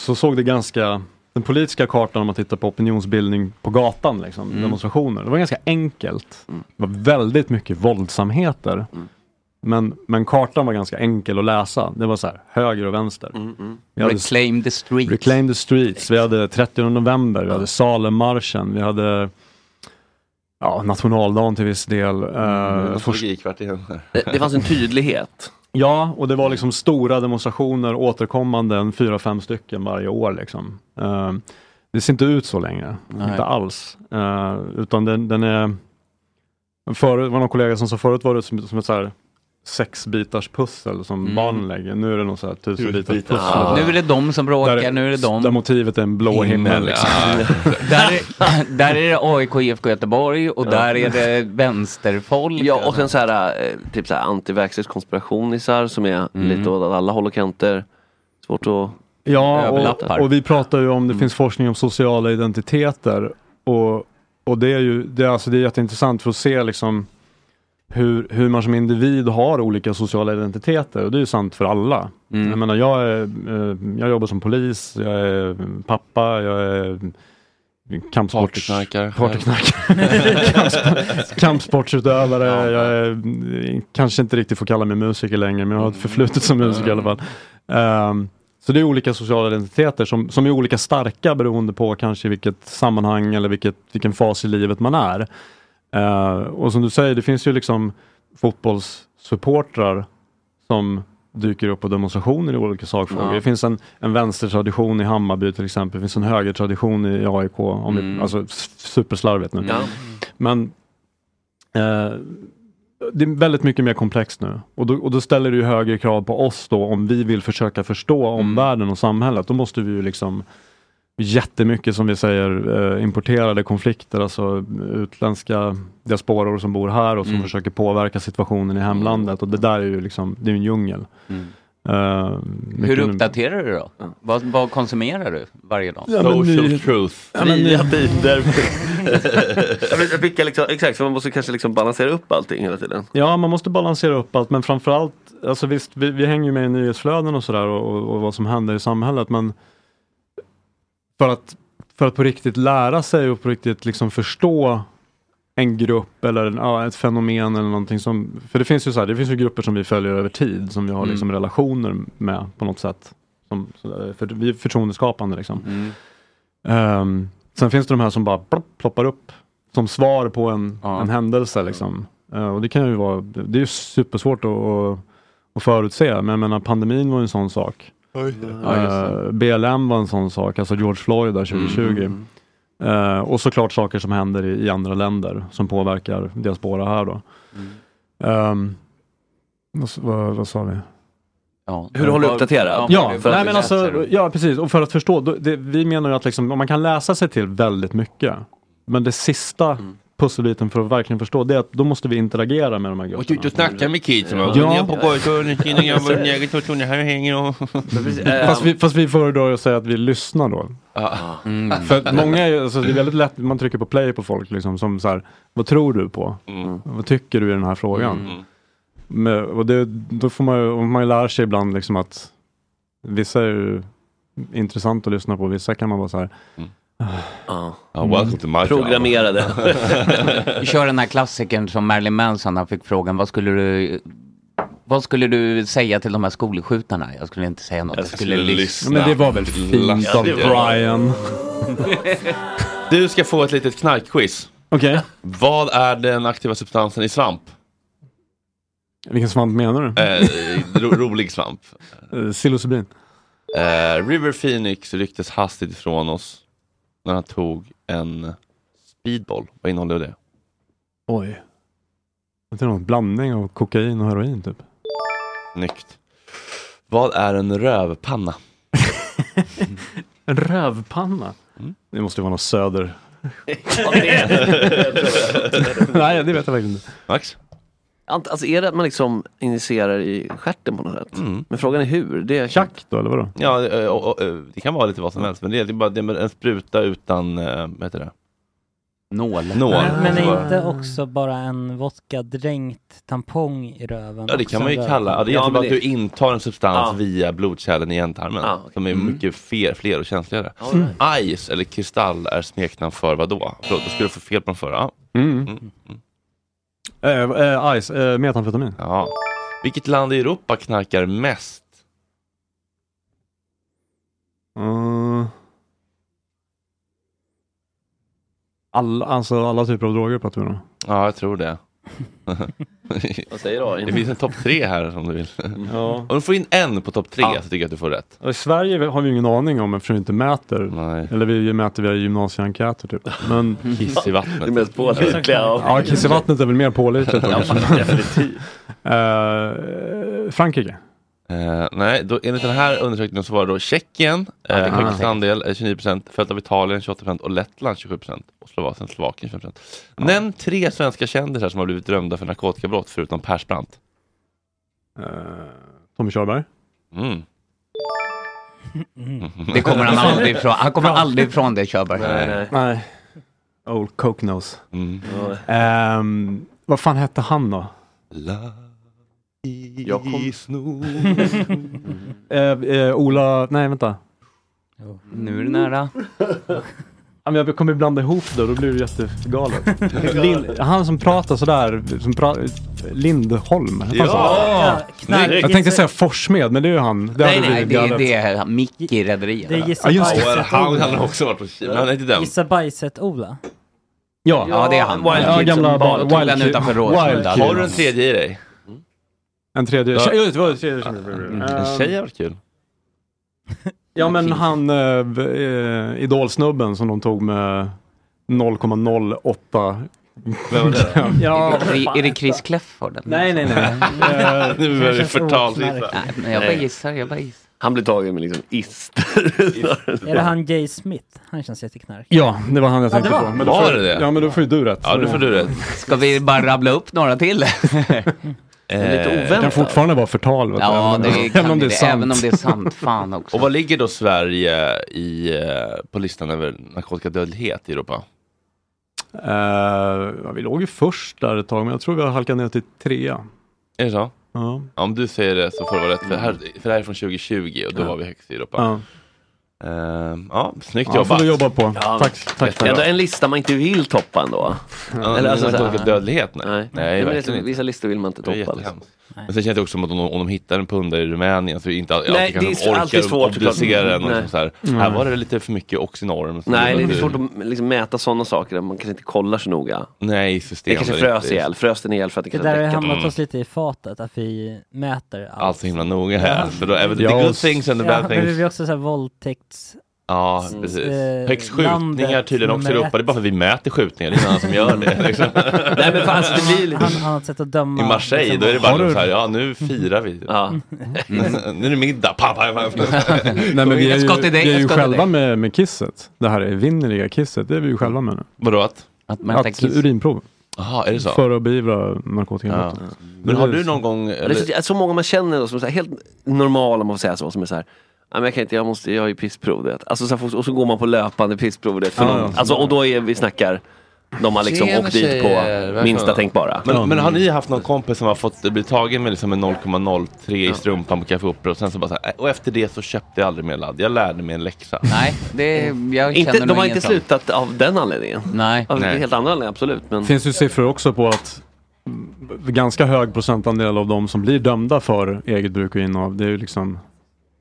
Speaker 11: så såg det ganska, den politiska kartan om man tittar på opinionsbildning på gatan, liksom, demonstrationer, det var ganska enkelt. Det var väldigt mycket våldsamheter. Men, men kartan var ganska enkel att läsa. Det var så här, höger och vänster. Vi hade-
Speaker 6: Reclaim the streets.
Speaker 11: Reclaim the streets. Vi hade 30 november, vi hade Salemmarschen, vi hade ja, nationaldagen till viss del.
Speaker 6: Mm,
Speaker 11: eh, först-
Speaker 5: Det, det fanns en tydlighet.
Speaker 11: Ja, och det var liksom stora demonstrationer återkommande, en fyra, fem stycken varje år. Liksom. Eh, det ser inte ut så längre,
Speaker 5: Nej.
Speaker 11: inte alls. Eh, utan den, den är... Förut, det var någon kollega som sa förut var det som, som ett så här sex bitars pussel som
Speaker 6: Mm.
Speaker 11: barnen lägger. Nu är det någon så här tusen bitars
Speaker 6: Tusenbitars.
Speaker 11: pussel.
Speaker 6: Ja. Nu är det de som bråkar,
Speaker 11: Där
Speaker 6: nu är det de-
Speaker 11: Där motivet är en blå himmel. Liksom.
Speaker 6: där, är, *laughs* där är det AIK, IFK Göteborg och
Speaker 5: Ja.
Speaker 6: där är det vänsterfolk. alltså.
Speaker 5: Ja och sen så här, eh, typ så här antivaxxers-konspirationisar som är
Speaker 6: Mm.
Speaker 5: lite åt alla håll och kanter. Svårt att
Speaker 11: *laughs* Ja,
Speaker 5: överlappa.
Speaker 11: och, och vi pratar ju om det finns forskning om sociala identiteter. Och, och det är ju det är, alltså, det är jätteintressant för att se liksom hur, hur man som individ har olika sociala identiteter och det är ju sant för alla. Jag menar, jag, är, eh, jag jobbar som polis, jag är pappa, jag är kampsports...
Speaker 2: Partyknarkare.
Speaker 11: partyknarkare. *laughs* Kampsport- *laughs* kampsportsutövare, jag är, eh, kanske inte riktigt får kalla mig musiker längre, men jag har ett förflutet som musiker i alla fall. Ehm, så det är olika sociala identiteter som, som är olika starka beroende på kanske vilket sammanhang eller vilket, vilken fas i livet man är. Eh, och som du säger, det finns ju liksom fotbollssupportrar som dyker upp på demonstrationer i olika sakfrågor.
Speaker 2: Ja.
Speaker 11: Det finns en, en vänstertradition i Hammarby till exempel. Det finns en högertradition i AIK. Om vi, alltså s- superslarvigt nu.
Speaker 5: Ja.
Speaker 11: Men eh, det är väldigt mycket mer komplext nu. Och då, och då ställer det ju högre krav på oss då om vi vill försöka förstå omvärlden och samhället. Då måste vi ju liksom jättemycket som vi säger eh, importerade konflikter, alltså utländska diasporor som bor här och som
Speaker 2: Mm.
Speaker 11: försöker påverka situationen i hemlandet. Och det där är ju liksom, det är ju en djungel.
Speaker 6: Mm.
Speaker 11: Eh,
Speaker 6: Hur
Speaker 11: mycket-
Speaker 6: uppdaterar du då? Vad, vad konsumerar du varje dag?
Speaker 11: Ja, men Social ny-
Speaker 2: truth.
Speaker 11: Ja, men Fria ny-
Speaker 5: tider. Vilka liksom, exakt, för man måste kanske liksom balansera upp allting hela
Speaker 11: *laughs*
Speaker 5: tiden.
Speaker 11: Ja, man måste balansera upp allt, men framförallt, alltså visst, vi, vi hänger ju med i nyhetsflöden och sådär och, och, och vad som händer i samhället, men för att, för att på riktigt lära sig och på riktigt liksom förstå en grupp eller en, ja, ett fenomen eller någonting som, för det finns ju så här, det finns ju grupper som vi följer över tid, som vi har
Speaker 2: Mm.
Speaker 11: liksom relationer med på något sätt. Som, så där, för, vi är förtroendeskapande liksom. Ehm, sen finns det de här som bara plopp, ploppar upp som svar på en, en händelse. Liksom. Eh, och det kan ju vara, det är ju supersvårt att, att, att förutse, men jag menar pandemin var ju en sån sak.
Speaker 2: Ja, just det.
Speaker 11: Eh, BLM var en sån sak, alltså George Floyd där 2020. Eh, och såklart saker som händer i, i andra länder som påverkar diaspora här då. Ehm, vad, s- vad, vad sa vi?
Speaker 5: Hur håller du uppdaterad?
Speaker 11: Ja,
Speaker 5: För att-
Speaker 11: nej, men alltså, ja precis. Och för att förstå, då, det, vi menar ju att liksom, om man kan läsa sig till väldigt mycket, men det sista pusselbiten för att verkligen förstå, det är att då måste vi interagera med de här
Speaker 2: Och
Speaker 11: grupperna.
Speaker 2: ut och snacka med kidsen.
Speaker 11: Ja.
Speaker 2: Ja. Jag på pojkrummet, innan jag var eget och tog här och hänger och...
Speaker 11: *laughs*
Speaker 2: Mm.
Speaker 11: Fast vi, fast vi föredrar ju att säga att vi lyssnar då.
Speaker 2: eh, Ja. Mm.
Speaker 11: För att många är ju, alltså, det är väldigt lätt, man trycker på play på folk liksom, som så här, vad tror du på?
Speaker 2: Mm.
Speaker 11: Vad tycker du i den här frågan? Men, och det, då får man ju, och man lär sig ibland liksom att vissa är ju intressant att lyssna på, vissa kan man vara så här, "Ah,
Speaker 5: Ja.
Speaker 2: Mm. Ja, welcome to my
Speaker 6: *laughs* Vi kör den här klassikern som Marilyn Manson, han fick frågan vad skulle du vad skulle du säga till de här skolskjutarna? Jag skulle inte säga något. Jag skulle, lyssna.
Speaker 11: Men det var väl fint av Brian.
Speaker 2: Du ska få ett litet knarkquiz.
Speaker 11: Okej.
Speaker 2: Vad är den aktiva substansen i svamp?
Speaker 11: Vilken svamp menar du?
Speaker 2: Eh, ro rolig svamp.
Speaker 11: Eh, Psilocybin.
Speaker 2: Eh, River Phoenix rycktes hastigt ifrån oss när han tog en speedball. Vad innehåller det?
Speaker 11: Oj. Det är någon blandning av kokain och heroin typ.
Speaker 2: Snyggt. Vad är en rövpanna?
Speaker 11: En rövpanna?
Speaker 2: Mm.
Speaker 11: Det *laughs* måste ju vara något söder. Nej, det vet jag faktiskt inte.
Speaker 2: Max?
Speaker 5: Ant- Alltså är det att man liksom injicerar i stjärten på något sätt?
Speaker 2: Mm.
Speaker 5: Men frågan är hur? Det är...
Speaker 11: Tjack då eller vadå?
Speaker 2: Ja, eh, och, och, eh, det kan vara lite vad som helst, men det är, det är bara det är en spruta utan, eh, vad heter det?
Speaker 6: Nål.
Speaker 2: Nål.
Speaker 1: Men är inte också bara en vodka dränkt tampong i röven?
Speaker 2: Ja, det kan man ju
Speaker 1: Också en
Speaker 2: kalla. Ja, det är
Speaker 1: röv-
Speaker 2: egentligen bara att du intar en substans
Speaker 1: Ja.
Speaker 2: via blodkärlen i ändtarmen. Som är mycket fler, fler och känsligare. Mm.
Speaker 1: All
Speaker 2: Ice eller kristall är smeknamn för vad då? Förlåt, då skulle du få fel på den förra.
Speaker 11: Mm. Eh, eh, ice, eh, metamfetamin.
Speaker 2: Ja. Vilket land i Europa knarkar mest?
Speaker 11: Mm. Alla, alltså alla typer av droger pratar vi om.
Speaker 2: Ja, jag tror det.
Speaker 5: Vad säger AI?
Speaker 2: Det finns en topp tre här som du vill.
Speaker 11: Ja.
Speaker 2: Om du får in en på topp tre
Speaker 11: Ja.
Speaker 2: så tycker jag att du får rätt.
Speaker 11: Och I Sverige har vi ju ingen aning om eftersom vi inte mäter. Eller vi mäter via gymnasieenkäter typ. Men...
Speaker 2: Kiss i vattnet.
Speaker 5: Det mest pålitliga av-
Speaker 11: Ja, kiss i vattnet är väl mer pålitligt.
Speaker 5: Ja,
Speaker 11: kanske.
Speaker 5: definitivt.
Speaker 11: *laughs* Eh, Frankrike.
Speaker 2: Eh, nej, då, enligt den här undersökningen så var det då Tjeckien eh,
Speaker 11: det kan
Speaker 2: högst
Speaker 11: man
Speaker 2: andel, eh, 29 följt av Italien 28 och Lettland 27 och Slovakien, Slovakien 25 Nämn tre svenska kändisar som har blivit dömda för narkotikabrott förutom Persbrandt.
Speaker 11: Eh. Tommy Körberg.
Speaker 2: Mm.
Speaker 6: Det kommer *laughs* han aldrig ifrån. Han kommer aldrig ifrån det, Körberg.
Speaker 11: Nej, nej. Old Coke Nose.
Speaker 6: Ja, det.
Speaker 11: Ehm, vad fan hette han då?
Speaker 2: Jag kom...
Speaker 11: *laughs* Eh, eh, Ola, nej vänta.
Speaker 6: Nu är det nära.
Speaker 11: Ja, men jag kommer blanda ihop det och då blir det jättegalet. Lind, han som pratar sådär, som pra, Lindholm. hette han så?
Speaker 6: Ja, knark.
Speaker 11: jag tänkte säga Forsmed, men det är ju han. Det
Speaker 6: Nej,
Speaker 11: hade
Speaker 6: nej,
Speaker 11: blivit
Speaker 6: det är
Speaker 11: galet.
Speaker 6: det är Mick i Rederiet.
Speaker 1: Det är gissa Ja, just det. bajset.
Speaker 2: Han hade också varit på Kina, men han är inte dömd.
Speaker 1: Gissa bajset Ola.
Speaker 11: Ja,
Speaker 6: Ja, det är han.
Speaker 11: Wild Ja, Kids gamla som barn- tog Wild den Kids. utanför Råsunda. Wild Kids.
Speaker 2: Har du en tredje i dig?
Speaker 11: En tredje.
Speaker 2: Ja.
Speaker 11: Tjej, det var en tredje som
Speaker 2: Mm. En tjej har varit kul.
Speaker 11: Ja men han eh, v- eh, idolsnubben som de tog med 0,08
Speaker 2: Vem var det då?
Speaker 11: *laughs* ja,
Speaker 6: Är det- är det Chris Clefford?
Speaker 11: Nej,
Speaker 6: *laughs*
Speaker 11: nej, nej. Eh,
Speaker 5: *laughs* Nu börjar vi förtalsgissa.
Speaker 6: Nej, men Jag bara gissar, jag bara gissar.
Speaker 5: Han blir tagen med liksom ister.
Speaker 1: Är det han Jay Smith? Han känns jätteknark.
Speaker 11: Ja, det var han jag
Speaker 1: Ja, det
Speaker 11: tänkte
Speaker 1: var
Speaker 11: på.
Speaker 1: han.
Speaker 11: då
Speaker 1: Var
Speaker 11: får-
Speaker 1: det det?
Speaker 11: Ja, men då får ju du rätt.
Speaker 2: Ja, då får du rätt. Eh,
Speaker 6: Ska vi bara rabbla upp
Speaker 2: *laughs*
Speaker 6: några till?
Speaker 2: lite
Speaker 11: Eh, Det kan fortfarande vara förtal. Vet du, även
Speaker 6: Ja,
Speaker 11: om- *laughs*
Speaker 6: det kan
Speaker 11: även om det är sant.
Speaker 6: Även om det är sant. Fan
Speaker 11: *laughs*
Speaker 6: också.
Speaker 2: Och vad ligger då Sverige i, eh, på listan över narkotikadödlighet i Europa?
Speaker 11: Eh, ja, vi låg ju först där ett tag, men jag tror vi har halkat ner till trea.
Speaker 2: Är det så?
Speaker 11: Ja.
Speaker 2: Om du säger det så får det vara rätt. För, här, för det här är från 2020 och då var vi högst i Europa.
Speaker 11: Ja.
Speaker 2: Ehm, ja, snyggt
Speaker 11: Ja,
Speaker 2: jobbat.
Speaker 11: får du jobba på. Tack, tack.
Speaker 5: Ändå en lista man inte vill toppa ändå.
Speaker 2: Ja, Eller alltså narkotikadödlighet? Nej, nej,
Speaker 5: men det är så-
Speaker 2: verkligen inte.
Speaker 5: Vissa listor vill man inte
Speaker 2: Det är
Speaker 5: toppa. liksom.
Speaker 2: jättehemskt. Men sen känns det också som att om de, om de hittar en pundare i Rumänien så är det inte all,
Speaker 5: Nej,
Speaker 2: alltid
Speaker 5: det är
Speaker 2: kanske de
Speaker 5: så- alltid
Speaker 2: orkar
Speaker 5: svårt, såklart.
Speaker 2: obducera den. Och
Speaker 5: Nej.
Speaker 2: liksom så här.
Speaker 5: Mm.
Speaker 2: här var det lite för mycket oxynorm. Så
Speaker 5: Nej, det är
Speaker 2: blir-
Speaker 5: svårt att liksom mäta sådana saker. Man kanske inte kollar så noga.
Speaker 2: Nej,
Speaker 5: Det
Speaker 2: system.
Speaker 5: kanske
Speaker 2: där det
Speaker 5: frös
Speaker 2: inte är-
Speaker 5: ihjäl. Frös den ihjäl för att
Speaker 1: Det
Speaker 5: det kanske
Speaker 1: där har ju
Speaker 5: däckade.
Speaker 1: hamnat oss lite i fatet, att vi mäter allt.
Speaker 2: Allt så himla noga här. För då, även the
Speaker 5: Ja,
Speaker 2: good
Speaker 5: och-
Speaker 2: things and the
Speaker 1: Ja,
Speaker 2: bad
Speaker 1: men
Speaker 2: things.
Speaker 1: vi har också så här våldtäkts...
Speaker 2: Ja, precis.
Speaker 1: eh,
Speaker 2: Högst skjutningar
Speaker 1: landet
Speaker 2: tydligen också
Speaker 1: nummer
Speaker 2: i Europa. Det är bara för att vi mäter skjutningar. Det är ingen annan som
Speaker 1: *laughs*
Speaker 2: gör det. Liksom.
Speaker 5: Nej, men fan, alltså, det blir lite...
Speaker 1: Han annat sätt att döma.
Speaker 2: I Marseille,
Speaker 1: liksom.
Speaker 2: då är det bara
Speaker 11: Har du-
Speaker 2: så här, ja nu firar vi. *laughs* nu är det middag. Pa, pa, pa.
Speaker 11: *laughs* Nej, men vi är
Speaker 2: Ett
Speaker 11: ju,
Speaker 2: skott i dig,
Speaker 11: vi är
Speaker 2: ett
Speaker 11: ju
Speaker 2: skott i
Speaker 11: själva
Speaker 2: dig.
Speaker 11: med, med kisset. Det här evinnerliga kisset, det är vi ju själva med nu.
Speaker 2: Vadå att?
Speaker 6: Att
Speaker 11: att urinprov.
Speaker 2: Jaha, är det så?
Speaker 11: För att beivra narkotikabrott.
Speaker 2: Ja. Men har du någon gång...
Speaker 5: Eller... så, att så många man känner då, som är så här, helt normala, om man får säga så, som är så här "Nej, men jag kan inte, jag måste, jag har ju pissprov du vet. Alltså, så här, folk- och så går man på löpande pissprov du vet, för
Speaker 2: Ja,
Speaker 5: någon,
Speaker 2: ja.
Speaker 5: alltså, och då är vi snackar, de har liksom
Speaker 2: Tjena,
Speaker 5: åkt dit på
Speaker 2: tjejer. Välkomna.
Speaker 5: minsta tänkbara.
Speaker 2: Men, men har ni haft någon kompis som har fått bli tagen med liksom en 0,03 i strumpan på Café Opera och sen så bara så här, "Äh, och efter det så köpte jag aldrig mer ladd. Jag lärde mig en läxa.
Speaker 6: Nej, det, jag
Speaker 5: inte,
Speaker 6: känner
Speaker 5: de
Speaker 6: nog
Speaker 5: har
Speaker 6: ingen
Speaker 5: inte
Speaker 6: sån.
Speaker 5: slutat av den anledningen.
Speaker 6: Nej.
Speaker 5: Av
Speaker 11: Nej.
Speaker 5: helt andra anledningar, absolut. Men...
Speaker 11: Det finns ju siffror också på att ganska hög procentandel av de som blir dömda för eget bruk och innehav, det är ju liksom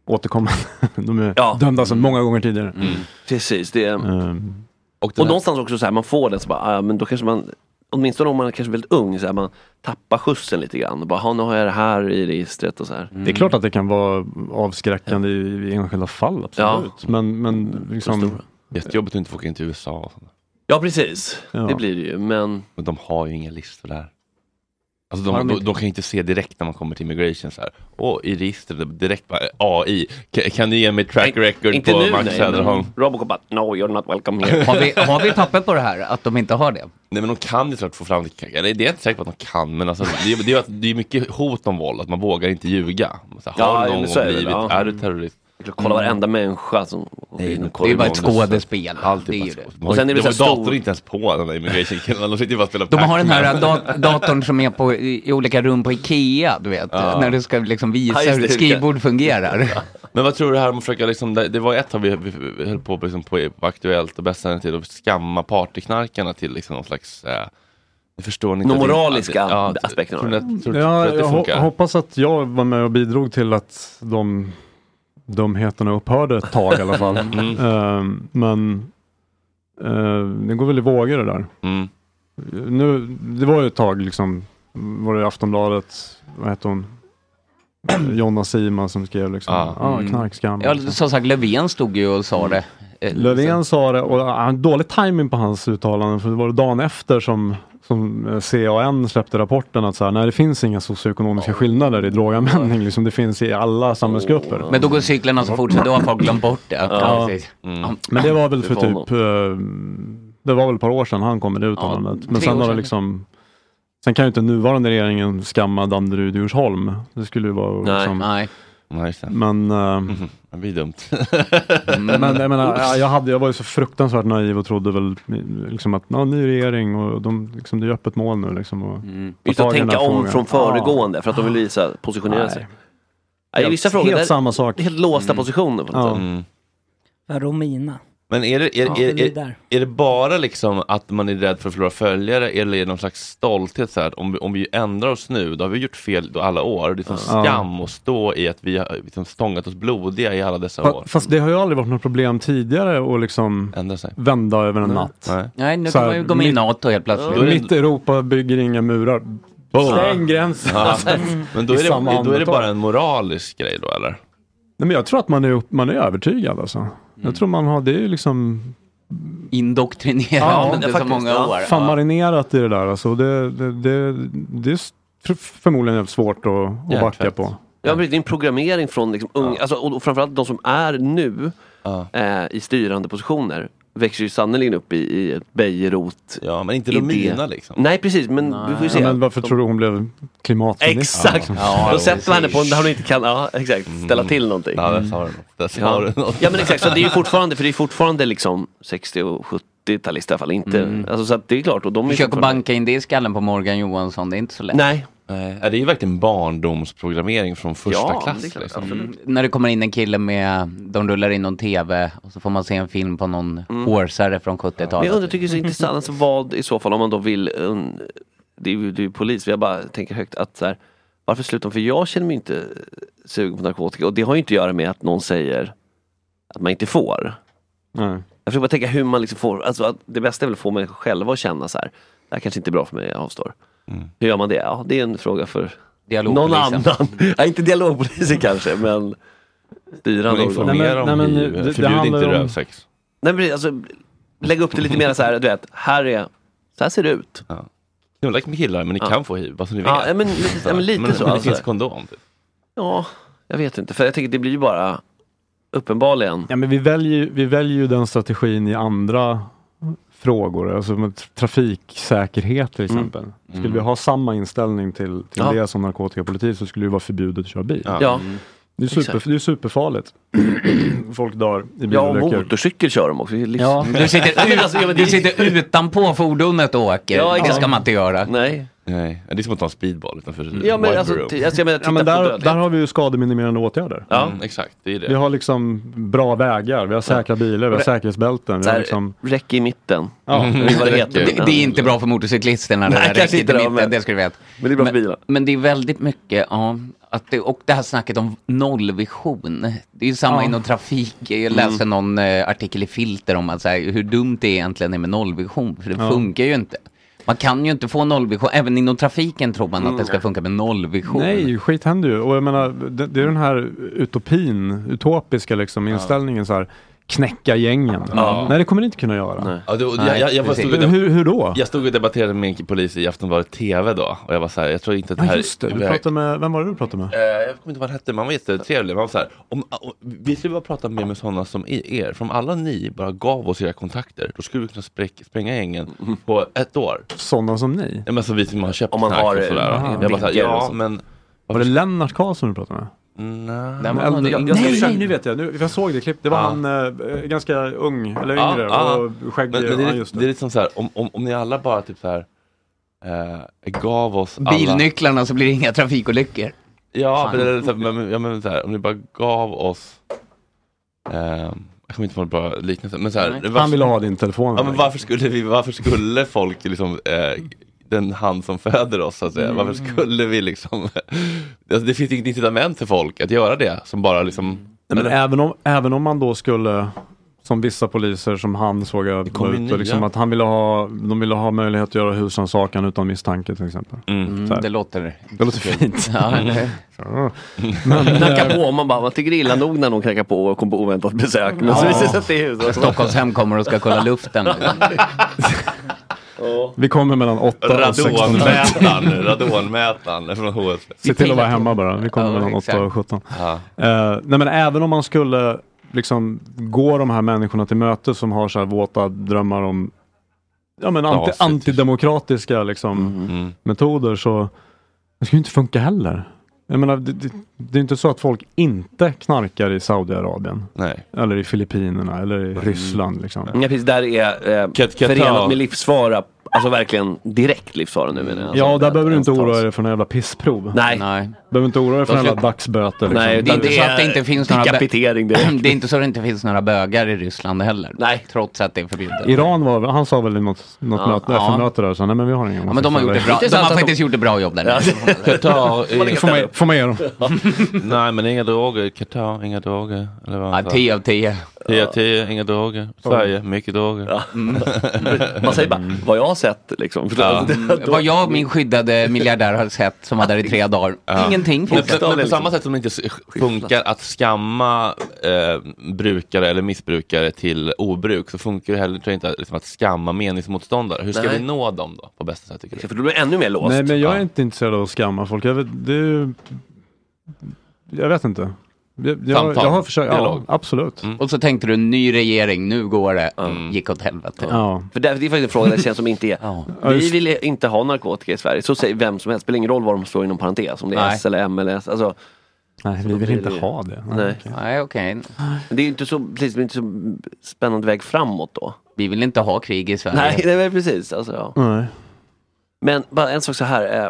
Speaker 11: återkommande. *laughs* De är dömda sedan många gånger tidigare.
Speaker 2: Mm.
Speaker 5: Precis, det är...
Speaker 11: Ehm.
Speaker 2: Och,
Speaker 11: den här-
Speaker 5: någonstans också så här, man får den så bara, ah, men då kanske man, åtminstone om man är kanske väldigt ung, så här, man tappar skjutsen lite grann. Och bara, "Ah, nu har jag det här i registret och så här.
Speaker 2: Mm.
Speaker 11: Det är klart att det kan vara avskräckande i, i enskilda fall, absolut. Men, men liksom...
Speaker 2: Jättejobbigt att inte få åka in till USA. och sånt.
Speaker 5: Ja, precis.
Speaker 11: Ja.
Speaker 5: Det blir det ju, men...
Speaker 2: Men de har ju inga listor där. Alltså
Speaker 5: Har
Speaker 2: de,
Speaker 5: de
Speaker 2: de,
Speaker 5: inte?
Speaker 2: de kan ju inte se direkt när man kommer till immigration så här. Åh, i registret direkt bara, eh, AI. Kan, kan du ge mig track record
Speaker 5: Inte
Speaker 2: på
Speaker 5: nu,
Speaker 2: Max
Speaker 5: nej, men
Speaker 2: Söderholm?
Speaker 5: Robocop bara, no you're not welcome here.
Speaker 6: Har vi, har vi papper på det här? Att de inte har det?
Speaker 2: Nej men de kan ju såklart få fram det, eller det är jag inte säker på att de kan, men alltså, det, är- det, är, ju att- det är mycket hot om våld, att man vågar inte ljuga. Så här,
Speaker 5: Ja,
Speaker 2: har du
Speaker 5: jo,
Speaker 2: någon
Speaker 5: men så
Speaker 2: gång
Speaker 5: är det väl,
Speaker 2: blivit,
Speaker 5: ja.
Speaker 2: är du terrorist? Mm.
Speaker 5: Kolla varenda människa som...
Speaker 2: Nej, men
Speaker 6: Det är
Speaker 2: kolla
Speaker 6: ju bara
Speaker 2: hur
Speaker 6: ett
Speaker 2: många-
Speaker 6: skådespel.
Speaker 2: Allt är
Speaker 6: Det är
Speaker 2: bara
Speaker 6: ju
Speaker 2: skådespel.
Speaker 6: det.
Speaker 2: De
Speaker 6: Och sen är det
Speaker 2: har ju
Speaker 6: så här stor-
Speaker 2: datorn inte ens på den där immigration killarna, de sitter ju bara och spelar
Speaker 6: De har den
Speaker 2: Pac-Man.
Speaker 6: här dat- datorn som är på, i, i olika rum på Ikea, du vet.
Speaker 2: Ja.
Speaker 6: När du ska liksom
Speaker 2: Ja,
Speaker 6: visa
Speaker 2: just
Speaker 6: hur
Speaker 2: det,
Speaker 6: ett skrivbord fungerar.
Speaker 2: Men vad tror du här om att försöka liksom, det, det var ett tag vi, vi, vi höll på, liksom, på på Aktuellt och Bästa än tid att skamma partyknarkarna till liksom någon slags, eh, ni förstår ni inte.
Speaker 5: De
Speaker 2: att det-
Speaker 5: moraliska
Speaker 2: att det- ja,
Speaker 5: aspekterna
Speaker 2: Tror ni att, tror,
Speaker 11: Ja,
Speaker 2: tror att det
Speaker 11: jag ho-
Speaker 2: funkar?
Speaker 11: hoppas att jag var med och bidrog till att de dumheterna upphörde ett tag i alla fall.
Speaker 2: *laughs* Mm.
Speaker 11: Ehm, men eh, det går väl i vågor det där.
Speaker 2: Mm.
Speaker 11: Nu, det var ju ett tag liksom, var det Aftonbladet, vad hette hon? *clears throat* Jonna Sima som skrev liksom, ja ah, knarkskam.
Speaker 6: Ja, som sagt, Löfven stod ju och sa det. Eh,
Speaker 11: Löfven sa det och han hade dålig timing på hans uttalanden för det var dagen efter som som eh, CAN släppte rapporten att så här, nej, det finns inga socioekonomiska skillnader i droganvändning. Liksom, det finns i alla samhällsgrupper.
Speaker 6: Men då går cyklerna så fort så då har folk glömt bort det.
Speaker 11: Ja.
Speaker 6: precis.
Speaker 11: Mm. Men det var väl för
Speaker 6: Det var
Speaker 11: typ, eh, det var väl ett par år sedan han kom med det uttalandet. Men
Speaker 6: tre
Speaker 11: sen
Speaker 6: år
Speaker 11: har det
Speaker 6: sedan.
Speaker 11: liksom, sen kan ju inte nuvarande regeringen skamma Danderyd och Djursholm. Det skulle ju vara
Speaker 2: Nej,
Speaker 11: liksom,
Speaker 6: nej.
Speaker 11: Men, eh,
Speaker 2: *laughs* Det blir dumt.
Speaker 11: *laughs* men jag menar,
Speaker 2: Oops.
Speaker 11: jag- jag, hade, jag var ju så fruktansvärt naiv och trodde väl liksom att, ja, ny regering och de, liksom, det är öppet mål nu liksom. Och,
Speaker 2: Mm.
Speaker 11: ta
Speaker 5: Just att
Speaker 11: tag i den
Speaker 5: tänka
Speaker 11: här
Speaker 5: om
Speaker 11: frågan.
Speaker 5: från föregående
Speaker 11: Ja.
Speaker 5: för att de vill visa, positionera
Speaker 11: Nej.
Speaker 5: sig. Nej, I
Speaker 11: Helt-
Speaker 5: vissa frågor,
Speaker 11: helt
Speaker 5: där-
Speaker 11: samma sak.
Speaker 5: Helt låsta
Speaker 11: Mm.
Speaker 5: positioner på något
Speaker 11: Ja.
Speaker 5: sätt.
Speaker 1: Romina.
Speaker 2: Men är det, är,
Speaker 1: Ja,
Speaker 2: är,
Speaker 1: det blir
Speaker 2: är,
Speaker 1: där.
Speaker 2: är, det bara liksom att man är rädd för att förlora följare eller är det någon slags stolthet så här, att om, vi, om vi ändrar oss nu, då har vi gjort fel då alla år. Det är som
Speaker 11: Ja.
Speaker 2: skam att stå i att vi har liksom stångat oss blodiga i alla dessa
Speaker 11: Fa-
Speaker 2: år.
Speaker 11: Fast det har ju aldrig varit något problem tidigare att liksom vända över en
Speaker 2: Nej.
Speaker 11: natt.
Speaker 2: Nej.
Speaker 6: Nej, nu
Speaker 11: Så
Speaker 6: kan
Speaker 11: här,
Speaker 6: man ju gå med i
Speaker 11: mitt-
Speaker 6: NATO helt plötsligt.
Speaker 11: Ja. Mitt Europa bygger inga murar. Stäng gränsen! *laughs* Mm.
Speaker 2: Ja. Men då
Speaker 11: I
Speaker 2: är,
Speaker 11: samma
Speaker 2: det, då är det
Speaker 11: andetag.
Speaker 2: bara en moralisk grej då eller?
Speaker 11: Nej, men jag tror att man är, upp- man är övertygad alltså.
Speaker 5: Mm.
Speaker 11: Jag tror man har, det är ju liksom...
Speaker 6: Indoktrinerad
Speaker 11: Ja,
Speaker 6: under så
Speaker 11: faktiskt,
Speaker 6: många
Speaker 11: ja.
Speaker 6: år.
Speaker 11: Fan marinerat i det där alltså. Och Det, det, det, det är s- för- förmodligen jävligt svårt att, att backa
Speaker 5: Hjärntvätt.
Speaker 11: på.
Speaker 5: Ja, precis. Det är en programmering från liksom unga, alltså, och och framförallt de som är nu eh, i styrande positioner växer ju sannerligen upp i, i ett Bejerot.
Speaker 2: Ja, men inte Romina, liksom.
Speaker 5: Nej, precis. Men vi får ju se.
Speaker 11: Ja, men varför tror du hon blev klimatminister?
Speaker 5: Exakt! Då sätter man henne på en där hon inte kan, ja exakt, ställa till någonting.
Speaker 2: Mm. Ja, där sa du något. Där sa du något.
Speaker 5: ja men exakt, så det är ju fortfarande, för det är fortfarande liksom 60 och 70-talister i alla fall. Inte,
Speaker 6: Mm.
Speaker 5: alltså, så att det är klart, och de är
Speaker 6: Försök att
Speaker 5: fortfarande-
Speaker 6: banka in det i skallen på Morgan Johansson, det är inte så lätt.
Speaker 5: Nej.
Speaker 2: Nej, det är ju verkligen barndomsprogrammering från första
Speaker 6: Ja,
Speaker 2: klass.
Speaker 6: det är klart,
Speaker 2: liksom.
Speaker 6: absolut. Mm. När det kommer in en kille med, de rullar in någon tv och så får man se en film på någon
Speaker 5: Mm.
Speaker 6: hårsare från
Speaker 5: Men
Speaker 6: 70-talet.
Speaker 5: jag undrar, tycker det är så intressant, alltså, vad i så fall om man då vill, um, det är ju det är ju polis, jag bara tänker högt att så här, varför slutar de? För jag känner mig inte sugen på narkotika och det har ju inte att göra med att någon säger att man inte får.
Speaker 11: Nej.
Speaker 5: Jag försöker bara tänka hur man liksom får, alltså att det bästa är väl att få människor själva att känna så här, det här kanske inte är bra för mig, jag avstår. Hur gör man det? Ja, det är en fråga för någon
Speaker 11: Dialogpolisen.
Speaker 5: annan. Nej, inte dialogpolisen kanske, men styrande
Speaker 2: Men informera Nej, men- om nej, men
Speaker 5: eh,
Speaker 2: hiv. det- det Förbjud handlar inte om- rövsex.
Speaker 5: Nej, men alltså, lägg upp det lite mer så här, du vet, här är, så här ser det ut.
Speaker 2: Ja. Det är väl med killar, men ni
Speaker 5: Ja.
Speaker 2: kan få hiv, bara så ni vet.
Speaker 5: Ja, men- men- ja, men lite så,
Speaker 2: Men det
Speaker 5: alltså.
Speaker 2: finns kondom. Typ.
Speaker 5: Ja, jag vet inte, för jag tänker det blir ju bara uppenbarligen.
Speaker 11: Ja, men vi, väljer, ju- vi väljer ju den strategin i andra frågor, alltså med tra- trafiksäkerhet till
Speaker 5: Mm.
Speaker 11: exempel. Skulle
Speaker 5: Mm.
Speaker 11: vi ha samma inställning till, till
Speaker 5: Ja.
Speaker 11: det som narkotikapolitik så skulle det ju vara förbjudet att köra bil.
Speaker 5: Ja. Mm. Ja.
Speaker 11: Det, är super,
Speaker 5: Exakt.
Speaker 11: det är superfarligt. *clears throat* Folk dör i
Speaker 5: Ja, och
Speaker 11: bilolyckor.
Speaker 5: motorcykel kör de också. *laughs*
Speaker 6: Ja, du sitter, ut,
Speaker 5: alltså,
Speaker 6: du sitter
Speaker 11: *laughs*
Speaker 6: utanpå fordonet och åker.
Speaker 5: Ja,
Speaker 6: det
Speaker 5: exakt.
Speaker 6: ska man inte göra.
Speaker 5: Nej.
Speaker 2: Nej, det är som att ta en speedball utanför
Speaker 5: Ja, men alltså,
Speaker 2: room.
Speaker 5: ty- alltså, jag menar,
Speaker 11: Ja,
Speaker 5: titta
Speaker 11: men
Speaker 5: på
Speaker 11: där,
Speaker 5: dödlighet.
Speaker 11: där har vi ju skademinimerande åtgärder.
Speaker 2: Ja, mm, exakt. Det är det.
Speaker 11: Vi har liksom bra vägar, vi har säkra bilar, vi har
Speaker 5: Och det-
Speaker 11: säkerhetsbälten. Vi
Speaker 5: Så
Speaker 11: har
Speaker 5: här,
Speaker 11: liksom...
Speaker 5: Räcke i mitten.
Speaker 11: Ja.
Speaker 6: *laughs*
Speaker 5: Det, var det, heter.
Speaker 6: Det, det är inte bra för motorcyklisterna det
Speaker 5: Nej,
Speaker 6: där
Speaker 5: kanske
Speaker 6: räcket
Speaker 5: inte
Speaker 6: i
Speaker 5: då,
Speaker 6: mitten,
Speaker 5: men-
Speaker 6: det ska du veta.
Speaker 5: Men det är bra för bilar.
Speaker 6: Men det är väldigt mycket, ja, att det, och det här snacket om nollvision. Det är ju samma
Speaker 5: Ja.
Speaker 6: inom trafik, jag läste
Speaker 5: Mm.
Speaker 6: någon eh, artikel i Filter om att, så här, hur dumt det egentligen är med nollvision, för det
Speaker 5: Ja.
Speaker 6: funkar ju inte. Man kan ju inte få nollvision, även inom trafiken tror man
Speaker 5: Mm.
Speaker 6: att det ska funka med nollvision.
Speaker 11: Nej, skit händer ju. Och jag menar, det, det är den här utopin, utopiska liksom, inställningen så här, knäcka gängen.
Speaker 2: Ja.
Speaker 11: Nej, det kommer ni inte kunna göra.
Speaker 2: Ja, då, jag, jag, jag, var- stod och deb-
Speaker 11: hur, hur då?
Speaker 2: jag stod och debatterade med en polis i Aftonbladet TV då och jag var så här, jag tror inte att det
Speaker 11: Ja,
Speaker 2: här...
Speaker 11: just det. Du
Speaker 2: jag,
Speaker 11: pratade med, vem var det du pratade med?
Speaker 2: eh, jag kommer inte vad han hette, men han var jättetrevlig. Men Han var så här, om, om, vi skulle bara prata mer med sådana som i- er, för om alla ni bara gav oss era kontakter, då skulle vi kunna spräck, spränga gängen på ett år.
Speaker 11: Sådana som ni?
Speaker 2: Ja, men så vi som har köpt
Speaker 5: Om man
Speaker 2: knark
Speaker 5: har,
Speaker 2: och sådär.
Speaker 5: eh,
Speaker 2: jag bara så här,
Speaker 5: vinkel och
Speaker 2: ja,
Speaker 5: så.
Speaker 2: men...
Speaker 11: Var det Lennart Karlsson du pratade med?
Speaker 2: Nej,
Speaker 11: Den
Speaker 2: men-
Speaker 11: äldre-
Speaker 2: jag- jag-
Speaker 11: nej, nej, nu vet jag. Nu, jag såg det klipp. Det var
Speaker 2: Ja.
Speaker 11: han eh, ganska ung, eller
Speaker 2: Ja,
Speaker 11: yngre,
Speaker 2: ja.
Speaker 11: och skäggig.
Speaker 2: Men, men det,
Speaker 11: ja,
Speaker 2: är,
Speaker 11: just
Speaker 2: det. är lite som så här, om, om, om ni alla bara typ så här, eh, gav oss alla...
Speaker 6: Bilnycklarna så blir det inga trafikolyckor.
Speaker 2: Ja,
Speaker 6: Fan.
Speaker 2: men, eller, så här, men, ja, men så här, om ni bara gav oss... ehm, jag kommer inte på någon bra liknelse. Men så här,
Speaker 11: Nej.
Speaker 2: varför-
Speaker 11: Han ville ha din telefon.
Speaker 2: Ja, men varför skulle, vi, varför skulle folk, liksom, eh, den hand som föder oss, så att säga, varför
Speaker 11: Mm.
Speaker 2: skulle vi liksom... *laughs* alltså, det finns inget incitament för folk att göra det, som bara liksom...
Speaker 11: Nej, men även, om, även om man då skulle, som vissa poliser som han såg jag
Speaker 2: kommer
Speaker 11: var
Speaker 2: ju
Speaker 11: ute,
Speaker 2: nya.
Speaker 11: liksom att han ville ha, de ville ha möjlighet att göra husrannsakan utan misstanke till exempel.
Speaker 6: Mm,
Speaker 11: Så här.
Speaker 6: det låter...
Speaker 11: Det låter fint.
Speaker 6: Ja,
Speaker 11: *laughs*
Speaker 6: eller-
Speaker 11: Så.
Speaker 5: Men,
Speaker 11: Men,
Speaker 5: knackar
Speaker 11: eh,
Speaker 5: på, man bara, man tycker illa nog när någon knackar på och kommer på oväntat besök. Men *laughs* så
Speaker 6: Ja.
Speaker 5: visar det sig att det är huset. *laughs*
Speaker 6: Stockholmshem kommer och ska kolla luften.
Speaker 11: *laughs* Vi kommer mellan 8 och 16.
Speaker 2: Radonmätaren, radonmätaren från HSB.
Speaker 11: Se till att vara hemma bara. Vi kommer mellan 8 och 17.
Speaker 2: Ja.
Speaker 11: Eh, nej men även om man skulle liksom gå de här människorna till möte som har så här våta drömmar om ja, men anti,
Speaker 2: Rasistiskt.
Speaker 11: antidemokratiska liksom, metoder så det skulle ju inte funka heller. Jag menar, det, det, det är inte så att folk inte knarkar i Saudiarabien. Eller i Filippinerna eller i Ryssland. Liksom.
Speaker 5: Ja, precis, där är eh, förenat med livsfara, alltså verkligen direkt livsfara nu menar jag. Alltså,
Speaker 11: ja, och där behöver du inte oroa dig för några jävla pissprov.
Speaker 5: Nej.
Speaker 11: Behöver inte oroa dig för
Speaker 5: De
Speaker 11: några jävla
Speaker 5: skulle-
Speaker 11: dagsböter. Liksom.
Speaker 6: Nej, det är inte så att det inte finns några... bö-
Speaker 5: Dekapitering direkt.
Speaker 6: *clears throat* Det är inte så att det inte finns några bögar i Ryssland heller. Nej. Trots att det är förbjudet.
Speaker 11: Iran var, han sa väl i något, något
Speaker 6: Ja,
Speaker 11: möte,
Speaker 6: ja.
Speaker 11: FN-möte där, så nej men vi har ingen
Speaker 6: Ja, men de har gjort det bra. De har faktiskt gjort ett bra jobb där.
Speaker 2: *laughs*
Speaker 11: Får man- får man ge dem.
Speaker 2: Nej, men inga droger. Qatar, inga droger. Eller vad han
Speaker 6: Ja,
Speaker 2: sa.
Speaker 6: 10 av 10.
Speaker 2: 10 av 10, inga droger. Sverige, mycket droger. *laughs*
Speaker 11: Mm.
Speaker 5: Man säger bara, vad jag har sett liksom.
Speaker 2: Ja.
Speaker 6: Mm. Vad jag och min skyddade miljardär har sett som var där i tre dagar. Ingenting.
Speaker 2: Men, men, men på samma sätt som det inte s- funkar att skamma eh, brukare eller missbrukare till obruk så funkar det heller tror jag, inte att- liksom, att skamma meningsmotståndare. Hur ska
Speaker 5: Nej.
Speaker 2: vi nå dem då på bästa sätt tycker du?
Speaker 5: För då blir det ännu mer låst.
Speaker 11: Nej men jag är inte intresserad av att skamma folk. Jag vet, det är ju, jag vet inte. Jag, jag,
Speaker 6: Samtal,
Speaker 11: jag har försökt, ja,
Speaker 6: dialog.
Speaker 11: absolut.
Speaker 6: Mm. Och så tänkte du, ny regering, nu går det.
Speaker 2: Mm.
Speaker 6: Mm. Gick åt helvete.
Speaker 11: Ja.
Speaker 5: För det, det är faktiskt en fråga där det känns
Speaker 2: *laughs*
Speaker 5: som inte är. Vi vill inte ha narkotika i Sverige. Så säger vem som helst. Spelar ingen roll vad de slår inom parentes. Om det är
Speaker 6: Nej.
Speaker 5: S eller M eller S. Alltså,
Speaker 11: Nej, vi vill inte ha det.
Speaker 5: Nej.
Speaker 6: Nej, okej.
Speaker 5: Det är ju inte så, precis, det är inte så spännande väg framåt då.
Speaker 6: Vi vill inte ha krig i Sverige.
Speaker 5: Nej, *laughs* nej men precis. Alltså, ja.
Speaker 11: Nej.
Speaker 5: Men bara en sak så här. Eh,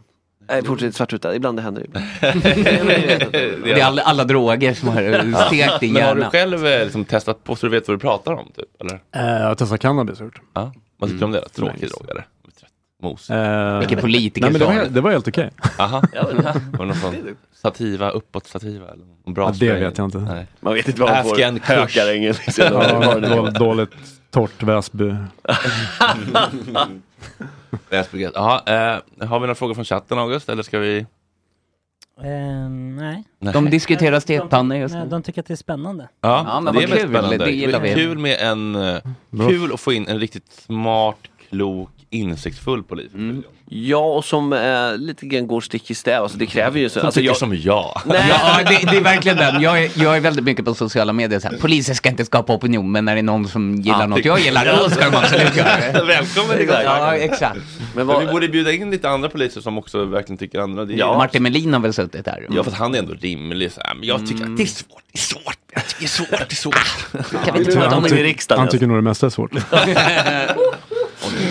Speaker 5: Nej, fortsätt svartruta. Ibland *laughs*
Speaker 2: *laughs*
Speaker 5: det händer. Ibland.
Speaker 6: Det är alla, alla droger som har stekt i
Speaker 2: Men har du
Speaker 6: hjärnan.
Speaker 2: själv eh, liksom, testat på så du vet vad du pratar om? Typ, eller?
Speaker 11: Eh, jag har testat cannabis har jag gjort.
Speaker 2: Ja. Vad tycker du om det? Tråkig drog eller? Mos.
Speaker 11: Mm. Eh, nej, men det, var, helt- det var helt okej.
Speaker 5: *laughs*
Speaker 11: *laughs*
Speaker 2: Aha. Var det någon sån sativa, uppåt sativa? Eller någon bra
Speaker 11: Ja, det
Speaker 2: spray?
Speaker 11: vet jag inte.
Speaker 2: Nej.
Speaker 5: Man vet inte vad man
Speaker 2: Ask
Speaker 5: får.
Speaker 2: en kush.
Speaker 5: Hökarängen, liksom. *laughs*
Speaker 11: Ja, då, dåligt torrt
Speaker 6: *laughs*
Speaker 11: Väsby.
Speaker 2: *laughs* Läsbegrepp. Jaha, eh, har vi några frågor från chatten August eller ska vi?
Speaker 1: Ehm, nej.
Speaker 2: Nej. De
Speaker 6: diskuterar stekpannor
Speaker 1: just
Speaker 6: just
Speaker 1: nu.
Speaker 6: nu.
Speaker 1: De tycker att det är spännande.
Speaker 2: Ja,
Speaker 6: men
Speaker 2: det
Speaker 6: vad
Speaker 2: är väldigt
Speaker 6: kul.
Speaker 2: spännande.
Speaker 6: Det gillar vi.
Speaker 2: Kul med en, eh,
Speaker 6: Bra.
Speaker 2: kul att få in en riktigt smart, klok, insiktsfull polis. Mm.
Speaker 5: Ja, och som eh, lite grann går stick i stäv. Alltså, det kräver ju... Så,
Speaker 2: Mm. Som
Speaker 5: alltså,
Speaker 2: tycker som jag.
Speaker 6: Ja, det, det är verkligen den. Jag är, jag är väldigt mycket på sociala medier. Så här, Poliser ska inte skapa opinion, men när det är någon som gillar
Speaker 2: Ja,
Speaker 6: något
Speaker 2: det-
Speaker 6: jag gillar, då ska de absolut göra det.
Speaker 2: Välkommen till Glasgow.
Speaker 6: Ja, exakt.
Speaker 2: Men
Speaker 6: Men vad-
Speaker 2: vi borde bjuda in lite andra poliser som också verkligen tycker andra. Det är-
Speaker 6: Ja. Martin Melin har väl suttit där?
Speaker 2: Ja, fast han är ändå rimlig. Så här. Men jag tycker
Speaker 6: Mm.
Speaker 2: att det är svårt, det är svårt, jag tycker det är svårt, det är
Speaker 6: *laughs*
Speaker 2: svårt.
Speaker 5: *laughs* Kan vi inte prata om det i riksdagen?
Speaker 11: han tycker nog det mesta är svårt.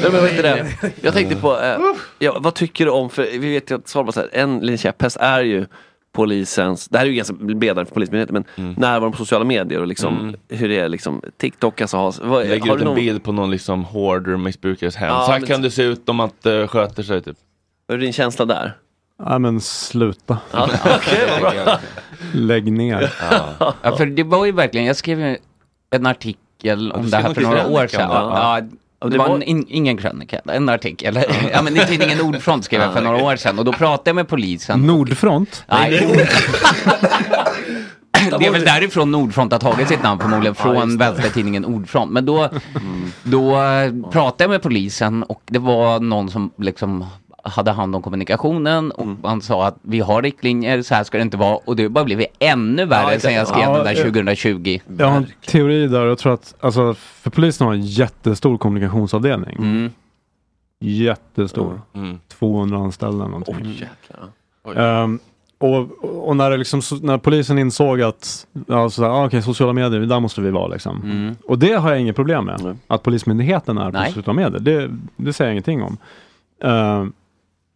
Speaker 5: Nej, men vad heter det? Jag tänkte på, eh, ja, vad tycker du om, för vi vet ju att Svalbard, så här, en liten käpphäst är ju polisens, det här är ju ganska bredare för polismyndigheten, men närvaron på sociala medier och liksom
Speaker 2: Mm.
Speaker 5: hur det är liksom, TikTok alltså har, vad,
Speaker 2: Lägger
Speaker 5: har
Speaker 2: ut
Speaker 5: du
Speaker 2: en
Speaker 5: någon,
Speaker 2: bild på någon liksom hoarder missbrukares hem.
Speaker 5: Ja,
Speaker 2: så här
Speaker 5: men-
Speaker 2: kan det se ut om att uh, sköter eh, sig typ.
Speaker 5: vad är din känsla där?
Speaker 11: Nej men sluta.
Speaker 6: Ja, okej, vad bra.
Speaker 11: Lägg ner.
Speaker 6: Ja. för det var ju verkligen, jag skrev ju en artikel om
Speaker 11: du
Speaker 6: det
Speaker 11: skrev
Speaker 6: här
Speaker 11: en
Speaker 6: för några
Speaker 11: krönika
Speaker 6: år
Speaker 11: om
Speaker 6: sedan.
Speaker 11: det,
Speaker 6: Ja.
Speaker 11: va?
Speaker 6: det var en, in, ingen krönika, en artikel. *laughs* Ja, men i tidningen Nordfront skrev jag för några år sedan och då pratade jag med polisen.
Speaker 11: Nordfront?
Speaker 6: Nej. Det är väl därifrån Nordfront har tagit sitt namn förmodligen, från vänstertidningen Ordfront. Men då, då pratade jag med polisen och det var någon som liksom hade hand om kommunikationen och man sa att vi har riktlinjer, så här ska det inte vara och det har bara blivit ännu värre
Speaker 11: exakt.
Speaker 6: sen jag skrev
Speaker 11: Ja,
Speaker 6: den där
Speaker 11: eh,
Speaker 6: 2020.
Speaker 11: Jag har en teori där. Jag tror att alltså, för polisen har en jättestor kommunikationsavdelning.
Speaker 6: Mm.
Speaker 11: Jättestor. 200 anställda eller någonting. Ehm, och, och när, det liksom, så- när polisen insåg att ja, så där, ah, okej, sociala medier, där måste vi vara. Liksom. Och det har jag inget problem med. Att Polismyndigheten är på
Speaker 6: Mm. Nej.
Speaker 11: sociala medier, det, det säger jag ingenting om. Ehm,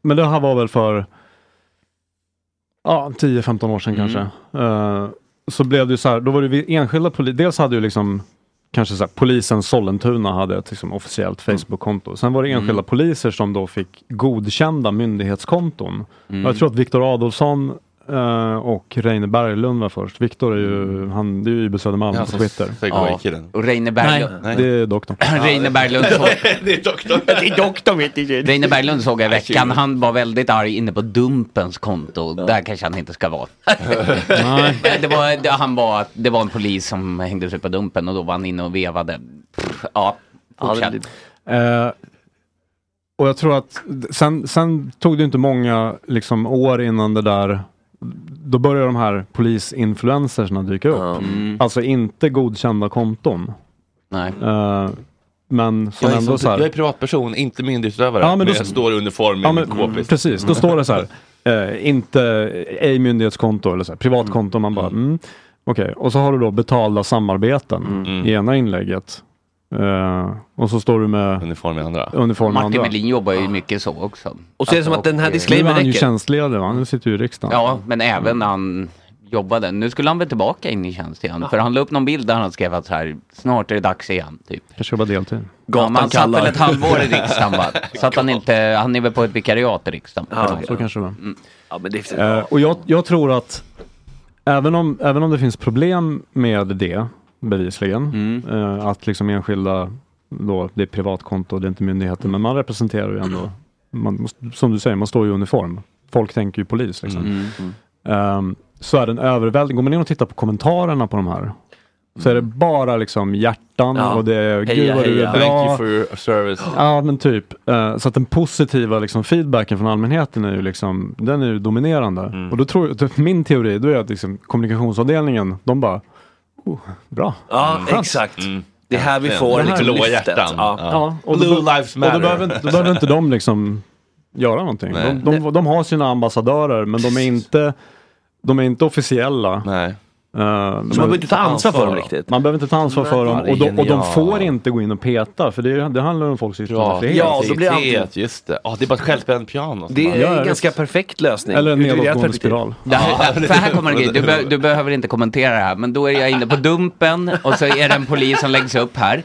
Speaker 11: men det här var väl för ja, 10-15 år
Speaker 5: Mm.
Speaker 11: sedan kanske. Eh, så blev det ju så här, då var det vi- enskilda poliser, dels hade ju liksom kanske så här, polisen Sollentuna hade ett liksom, officiellt Facebook-konto. Sen var det enskilda
Speaker 5: Mm.
Speaker 11: poliser som då fick godkända myndighetskonton.
Speaker 5: Mm.
Speaker 11: Och jag tror att Viktor Adolfsson eh, och Reine Berglund var först. Viktor är
Speaker 5: Mm.
Speaker 11: ju, han, det är ju IB Södermalm
Speaker 2: Ja,
Speaker 11: på
Speaker 2: så
Speaker 11: Twitter.
Speaker 2: segway-killen.
Speaker 6: Och Reine Berglund.
Speaker 11: Nej, det är doktorn.
Speaker 6: Reine Berglund såg...
Speaker 2: det är doktorn. Det är doktorn, vet du.
Speaker 6: Reine Berglund såg jag i veckan, han var väldigt arg inne på Dumpens konto, där kanske han inte ska vara.
Speaker 11: *laughs* Nej.
Speaker 6: Det var, det, han var, det var en polis som hängde sig på Dumpen och då var han inne och vevade. Pff, Ja, fortsätt.
Speaker 11: Eh, och jag tror att d- sen, sen tog det inte många liksom, år innan det där då börjar de här polisinfluencersna dyka upp.
Speaker 5: Mm.
Speaker 11: Alltså inte godkända konton. Eh,
Speaker 6: Nej.
Speaker 11: men som
Speaker 2: Jag är,
Speaker 11: ändå
Speaker 2: som,
Speaker 11: så här.
Speaker 2: jag är privatperson, inte myndighetsutövare.
Speaker 11: Ja, men
Speaker 2: men
Speaker 11: då-
Speaker 2: jag står i uniform i
Speaker 11: Ja,
Speaker 2: en
Speaker 11: men,
Speaker 2: k-pist.
Speaker 11: precis, då står det så
Speaker 2: *laughs*
Speaker 11: här. Eh, inte, ej myndighetskonto eller så här, privatkonto. Man bara, mm. okej. Och så har du då betalda samarbeten
Speaker 2: Mm.
Speaker 11: i ena inlägget. Eh, och så står du med
Speaker 2: uniform i andra.
Speaker 11: Uniform i
Speaker 6: Martin
Speaker 11: andra.
Speaker 6: Melin jobbar ju mycket så också.
Speaker 11: Och så är det som
Speaker 6: Alltså,
Speaker 11: att den här
Speaker 6: och, eh,
Speaker 11: disclaimern Nu är han ju räcker. tjänstledig va? Nu sitter ju i riksdagen.
Speaker 6: Ja, men även när han jobbade. Nu skulle han väl tillbaka in i tjänst igen. För han la upp någon bild där han skrev att så här, snart är det dags igen, typ.
Speaker 11: Kanske jobbar deltid.
Speaker 6: ja, men han satt väl ett halvår
Speaker 5: *laughs*
Speaker 6: i riksdagen va? Så att han inte, han är väl på ett vikariat i riksdagen. Mm.
Speaker 11: Ja, så kanske det var.
Speaker 5: Ja, men det
Speaker 11: Eh, och jag, jag tror att även om, även om det finns problem med det bevisligen, eh, att liksom enskilda, då, det är privatkonto, det är inte myndigheten, men man representerar ju ändå, man, måste- som du säger, man står i uniform. Folk tänker ju polis. Liksom.
Speaker 5: Mm, mm.
Speaker 11: Ehm, så är den överväldigande. Går man in och tittar på kommentarerna på de här så är det bara liksom hjärtan
Speaker 2: Ja.
Speaker 11: och det är gud
Speaker 2: Heja,
Speaker 11: vad du
Speaker 2: heja.
Speaker 11: är bra.
Speaker 2: Thank you for your service.
Speaker 11: Ja men typ. Eh, Så att den positiva liksom, feedbacken från allmänheten är ju liksom, den är ju dominerande. Och då tror jag, typ, min teori då är att liksom, kommunikationsavdelningen, de bara, oh, bra.
Speaker 5: Ja, exakt. Det är här vi får
Speaker 11: Det här-
Speaker 5: liksom
Speaker 11: Blåa
Speaker 5: lyftet.
Speaker 11: hjärtan.
Speaker 5: Ja.
Speaker 11: Ja, och då,
Speaker 5: Blue
Speaker 11: be-
Speaker 5: lives
Speaker 11: Och
Speaker 5: matter. Mm.
Speaker 11: då behöver, inte-
Speaker 5: *laughs*
Speaker 11: då behöver inte de liksom göra någonting.
Speaker 5: Nej.
Speaker 11: De, de, de har sina ambassadörer men de är inte, de är inte officiella. Eh,
Speaker 2: Nej.
Speaker 11: man
Speaker 5: behöver inte ta ansvar för dem riktigt.
Speaker 11: Man behöver inte ta ansvar för dem
Speaker 5: Nej.
Speaker 11: och de, och de
Speaker 5: Genial.
Speaker 11: får inte gå in och peta för det, det handlar om folks yttrandefrihet.
Speaker 2: Kreativitet, Just det. Ja, det är bara ett självspänd piano.
Speaker 5: Det är en ganska perfekt lösning.
Speaker 11: Eller en
Speaker 5: Ur deras
Speaker 11: nedåtgående
Speaker 5: perspektiv.
Speaker 11: spiral.
Speaker 6: Det
Speaker 5: *laughs*
Speaker 6: här, för här kommer en grej, du, be, du behöver inte kommentera det här, men då är jag inne på Dumpen och så är det en polis som läggs upp här.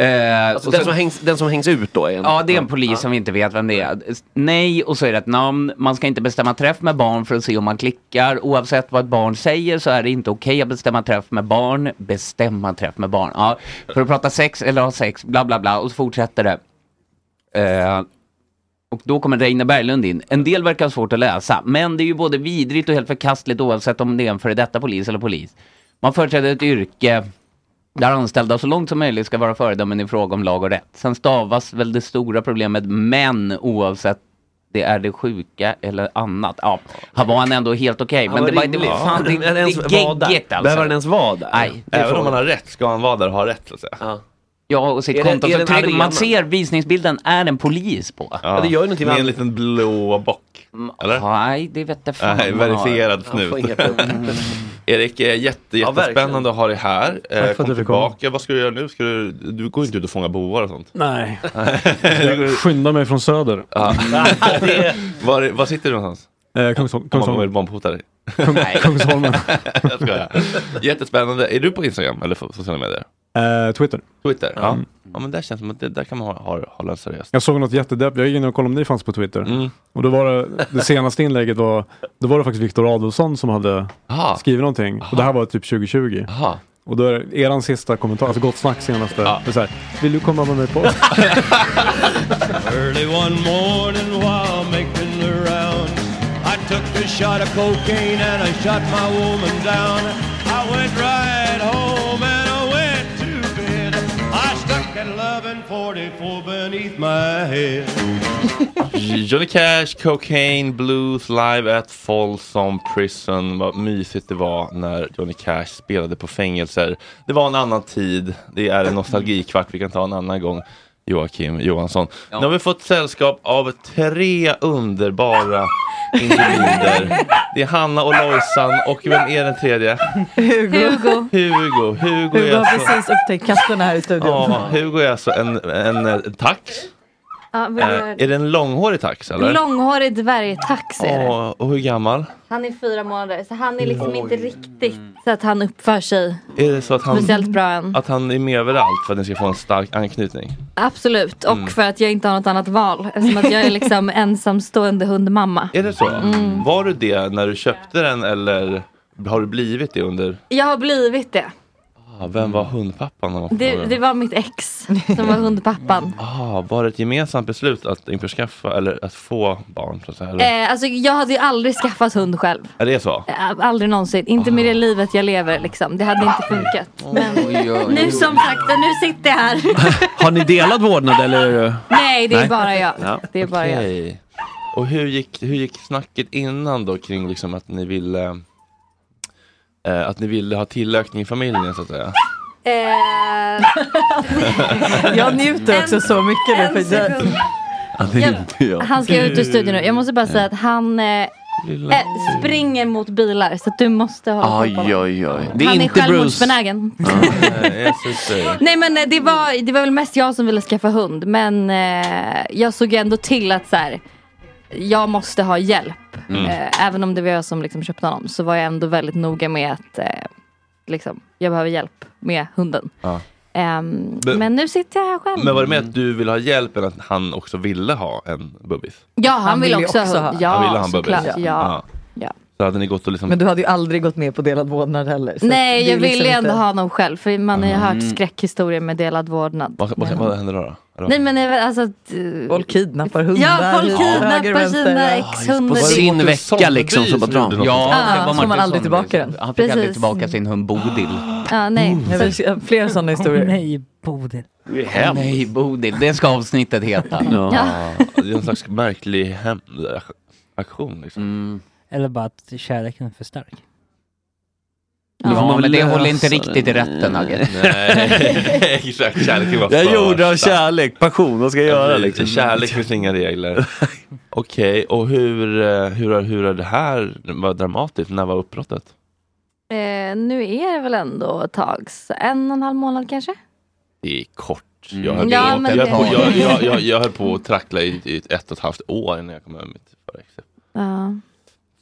Speaker 6: Eh,
Speaker 5: Alltså,
Speaker 6: och
Speaker 5: den,
Speaker 6: så-
Speaker 5: som hängs, den som hängs ut då? Är en,
Speaker 6: Ja, det är en polis som vi inte vet vem det är. Nej, och så är det ett namn. Man ska inte bestämma träff med barn för att se om man klickar. Oavsett vad ett barn säger så är det inte okej att bestämma träff med barn. Bestämma träff med barn. Ja, för att prata sex eller ha sex, bla bla bla. Och så fortsätter det. Eh, och då kommer Reine Berglund in. En del verkar svårt att läsa, men det är ju både vidrigt och helt förkastligt oavsett om det är en före detta polis eller polis. Man företräder ett yrke där anställda så långt som möjligt ska vara föredömen i fråga om lag och rätt. Sen stavas väl det stora problemet men oavsett det är det sjuka eller annat. Ja, här var han ändå helt okej.
Speaker 5: Han
Speaker 6: men
Speaker 5: var
Speaker 6: det var, det var
Speaker 5: rimlig.
Speaker 6: fan, det,
Speaker 5: *laughs*
Speaker 6: det,
Speaker 5: Men
Speaker 6: det
Speaker 5: ens vara där.
Speaker 6: är geggigt alltså.
Speaker 5: Behöver han ens vara där?
Speaker 6: Nej. det är
Speaker 2: Även om
Speaker 6: frågan.
Speaker 2: man har rätt, ska han vara där och ha rätt så att säga.
Speaker 6: Ja, och
Speaker 5: Är
Speaker 6: sitt
Speaker 5: det-
Speaker 6: konto.
Speaker 5: är det
Speaker 6: så
Speaker 5: en
Speaker 6: tryck-
Speaker 5: arena?
Speaker 6: Man ser visningsbilden är en polis på.
Speaker 2: Ja, det gör ju någonting med en liten blå bock. Eller?
Speaker 6: Mm, Nej, det vet jag fan
Speaker 2: Nej,
Speaker 6: om man har.
Speaker 2: verifierad
Speaker 6: Han får
Speaker 2: snut.
Speaker 6: inga Mm. problem.
Speaker 2: *laughs* Erik, eh, jätte,
Speaker 6: Ja, verkligen.
Speaker 2: jättespännande att ha dig här. Eh,
Speaker 11: för att
Speaker 2: Kom
Speaker 11: du fick komma.
Speaker 2: tillbaka. Vad ska du göra nu? Ska du, du går inte ut och fångar bovar och sånt. *laughs*
Speaker 11: Nej. *laughs* Skynda mig från söder.
Speaker 2: Ja. *laughs* var, var sitter du någonstans?
Speaker 11: Eh, Kungsholm-
Speaker 2: Om man
Speaker 11: Kungsholmen.
Speaker 2: vill bombhota dig.
Speaker 11: Kung- Kungsholmen.
Speaker 2: *laughs* jag skojar. Jättespännande. Är du på Instagram eller på sociala medier?
Speaker 11: *laughs* Eh, Twitter.
Speaker 2: Twitter? Ja. Ja men det känns som att det där kan man ha, ha, hålla seriöst.
Speaker 11: Jag såg något jättedepp, jag gick in och kollade om ni fanns på Twitter.
Speaker 2: Mm.
Speaker 11: Och då var det, det senaste inlägget var, då var det faktiskt Viktor Adolfsson som hade
Speaker 2: Aha.
Speaker 11: skrivit någonting. Och det här var typ 2020.
Speaker 2: Aha.
Speaker 11: Och då är det eran sista kommentar, alltså Gott Snack senaste, det är så här, vill du komma med mig
Speaker 10: *laughs*
Speaker 11: på?
Speaker 10: Early one morning while making the round, I took a shot of cocaine and I shot my woman down. I went right home and I went to bed. I stuck at 1144 beneath my head.
Speaker 2: *laughs* Johnny Cash, Cocaine Blues live at Folsom Prison. Vad mysigt det var när Johnny Cash spelade på fängelser. Det var en annan tid. Det är en nostalgikvart vi kan ta en annan gång. Joakim Johansson. Nu har vi fått sällskap av tre underbara individer. Det är Hanna och Lojsan och vem är den tredje?
Speaker 12: Hugo. Hugo.
Speaker 2: Hugo. Hugo
Speaker 12: Hugo
Speaker 2: är
Speaker 12: har
Speaker 2: alltså,
Speaker 12: precis upptäckt katterna här i studion.
Speaker 2: ja, Hugo är alltså en, en, eh, tax.
Speaker 13: Ja, vi
Speaker 2: Eh,
Speaker 13: har-
Speaker 2: är det en långhårig tax eller?
Speaker 13: Långhårig dvärgtax är det.
Speaker 2: Åh, och hur gammal?
Speaker 13: Han är fyra månader så han är liksom inte riktigt så att han uppför sig
Speaker 2: Är det så att han,
Speaker 13: speciellt bra än.
Speaker 2: att han är med överallt för att ni ska få en stark anknytning?
Speaker 13: Absolut och
Speaker 2: Mm.
Speaker 13: för att jag inte har något annat val eftersom att jag
Speaker 2: *laughs*
Speaker 13: är liksom ensamstående hundmamma.
Speaker 2: Är det så?
Speaker 13: Mm.
Speaker 2: Var du det när du köpte den eller har du blivit det under?
Speaker 13: Jag har blivit det.
Speaker 2: Ah, vem var hundpappan? om man får
Speaker 13: det.
Speaker 2: fråga?
Speaker 13: Det var mitt ex som
Speaker 2: *laughs*
Speaker 13: var hundpappan.
Speaker 2: Ah, var det ett gemensamt beslut att införskaffa eller att få barn? Så att säga, eller?
Speaker 13: Eh, alltså jag hade ju aldrig skaffat hund själv.
Speaker 2: Är det så?
Speaker 13: Eh, Aldrig någonsin. Inte med det livet jag lever liksom. Det hade inte
Speaker 2: *laughs*
Speaker 13: funkat. Men nu som sagt, nu sitter jag här.
Speaker 5: Har ni delat vårdnad eller? är det-
Speaker 13: Nej, det är bara jag. Det är bara jag.
Speaker 2: Okej. Och hur gick, hur gick snacket innan då kring liksom att ni ville eh, att ni ville ha tillökning i familjen så att säga?
Speaker 13: Eh,
Speaker 12: *laughs* Jag njuter också så mycket nu. För jag,
Speaker 13: Han ska ut ur studion nu. Jag måste bara säga att han eh,
Speaker 5: Lilla-
Speaker 13: eh, springer mot bilar så att du måste hålla koll på honom.
Speaker 5: Aj, oj, oj. Det är
Speaker 13: Han är
Speaker 5: inte Bruce.
Speaker 13: självmordsbenägen.
Speaker 2: Jesus.
Speaker 13: Nej men eh, det var, det var väl mest jag som ville skaffa hund men eh, jag såg ändå till att så här, jag måste ha hjälp.
Speaker 14: Mm.
Speaker 13: Eh, även om det var jag som liksom köpte honom så var jag ändå väldigt noga med att eh, liksom, jag behöver hjälp med hunden.
Speaker 2: Ja.
Speaker 13: Ehm,
Speaker 2: Men-
Speaker 13: men nu sitter jag här själv.
Speaker 2: Men var det med att du ville ha hjälp eller att han också ville ha en bubbis?
Speaker 13: Ja, han,
Speaker 12: Han
Speaker 13: vill
Speaker 12: vill ju
Speaker 13: också,
Speaker 12: också
Speaker 13: ha hund.
Speaker 12: ha-
Speaker 13: Ja,
Speaker 2: han ville ha en bubbis?
Speaker 13: såklart. Ja. Ja.
Speaker 2: Så hade ni gått och liksom
Speaker 12: men du hade ju aldrig gått med på delad vårdnad heller. så
Speaker 13: Nej,
Speaker 12: det är
Speaker 13: jag ville
Speaker 12: liksom
Speaker 13: ändå
Speaker 12: inte-
Speaker 13: ha honom själv för man har ju
Speaker 2: Mm.
Speaker 13: hört skräckhistorier med delad vårdnad.
Speaker 2: Vad, vad, vad hände då? då? Eller vad?
Speaker 13: Nej men det är väl alltså att...
Speaker 12: Folk kidnappar hundar.
Speaker 13: Ja, folk
Speaker 12: hit, höger,
Speaker 13: kidnappar
Speaker 12: vänster.
Speaker 13: sina
Speaker 12: Ja,
Speaker 13: ex-hundar.
Speaker 6: På
Speaker 13: Det-
Speaker 6: sin
Speaker 5: Marcus
Speaker 6: vecka
Speaker 5: Sonneby
Speaker 6: liksom
Speaker 5: som
Speaker 6: som
Speaker 5: gjorde något
Speaker 6: Ja,
Speaker 13: sånt.
Speaker 6: det
Speaker 13: Ja,
Speaker 6: var
Speaker 13: Ah, som man
Speaker 6: Marcus
Speaker 13: aldrig
Speaker 6: Sonneby.
Speaker 13: tillbaka den.
Speaker 6: Han fick aldrig
Speaker 13: Precis. Ah.
Speaker 6: tillbaka sin hund Bodil.
Speaker 13: Ja, nej.
Speaker 12: Jag vill- Fler sådana historier.
Speaker 1: Nej, Bodil.
Speaker 6: Hem. Nej, Bodil. Det ska avsnittet heta.
Speaker 13: Ja.
Speaker 2: Det är en slags märklig hämndaktion. Liksom.
Speaker 5: Mm.
Speaker 1: Eller bara att kärleken är för stark.
Speaker 6: Ja,
Speaker 1: Då får man
Speaker 6: men
Speaker 1: väl
Speaker 6: det alltså håller inte
Speaker 1: lösa
Speaker 6: riktigt i rätten, Hagge.
Speaker 5: *laughs*
Speaker 2: Nej, exakt. Kärleken var
Speaker 5: Jag
Speaker 2: första.
Speaker 5: gjorde av kärlek, passion, vad ska jag göra liksom?
Speaker 2: Kärlek finns inga
Speaker 5: *laughs*
Speaker 2: regler. Okej, och hur, eh, hur, har- hur har det här varit dramatiskt? När var uppbrottet?
Speaker 13: Eh, nu är det väl ändå ett tag, så en och en halv månad kanske?
Speaker 2: Det är kort. Jag höll,
Speaker 13: Mm. Ja,
Speaker 2: på,
Speaker 13: men
Speaker 2: jag,
Speaker 13: det-
Speaker 2: höll på, jag, jag, jag, jag höll på att trackla i, i ett och ett halvt år innan jag kom över mitt förra ex.
Speaker 13: Ja.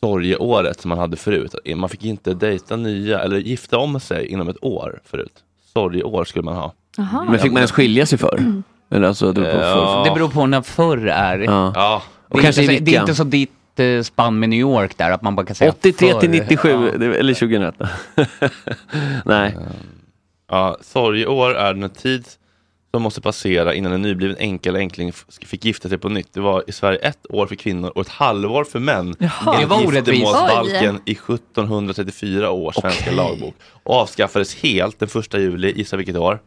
Speaker 2: sorgeåret som man hade förut. Man fick inte dejta nya eller gifta om sig inom ett år förut. Sorgeår skulle man ha.
Speaker 13: Aha.
Speaker 5: Men fick man ens skilja sig för? Eller alltså, det beror på
Speaker 2: Ja.
Speaker 5: för-
Speaker 6: Det beror på när förr är.
Speaker 5: Ja.
Speaker 2: Ja.
Speaker 6: Det, är
Speaker 5: kanske
Speaker 6: inte,
Speaker 5: i
Speaker 6: så- det är
Speaker 5: vilka.
Speaker 6: inte som ditt eh, spann med New York där, att man bara kan säga
Speaker 5: 83
Speaker 6: förr.
Speaker 5: till 97,
Speaker 6: Ja.
Speaker 5: det- eller 2001. *laughs* Nej.
Speaker 2: Ja, sorgeår är den tid som måste passera innan en nybliven änka eller änkling f- fick gifta sig på nytt. Det var i Sverige ett år för kvinnor och ett halvår för män.
Speaker 6: Jaha. Det
Speaker 2: enligt
Speaker 6: var orättvist.
Speaker 2: Giftermålsbalken i 1734 års svenska
Speaker 5: Okej.
Speaker 2: lagbok. Och avskaffades helt den 1 juli, gissa vilket år?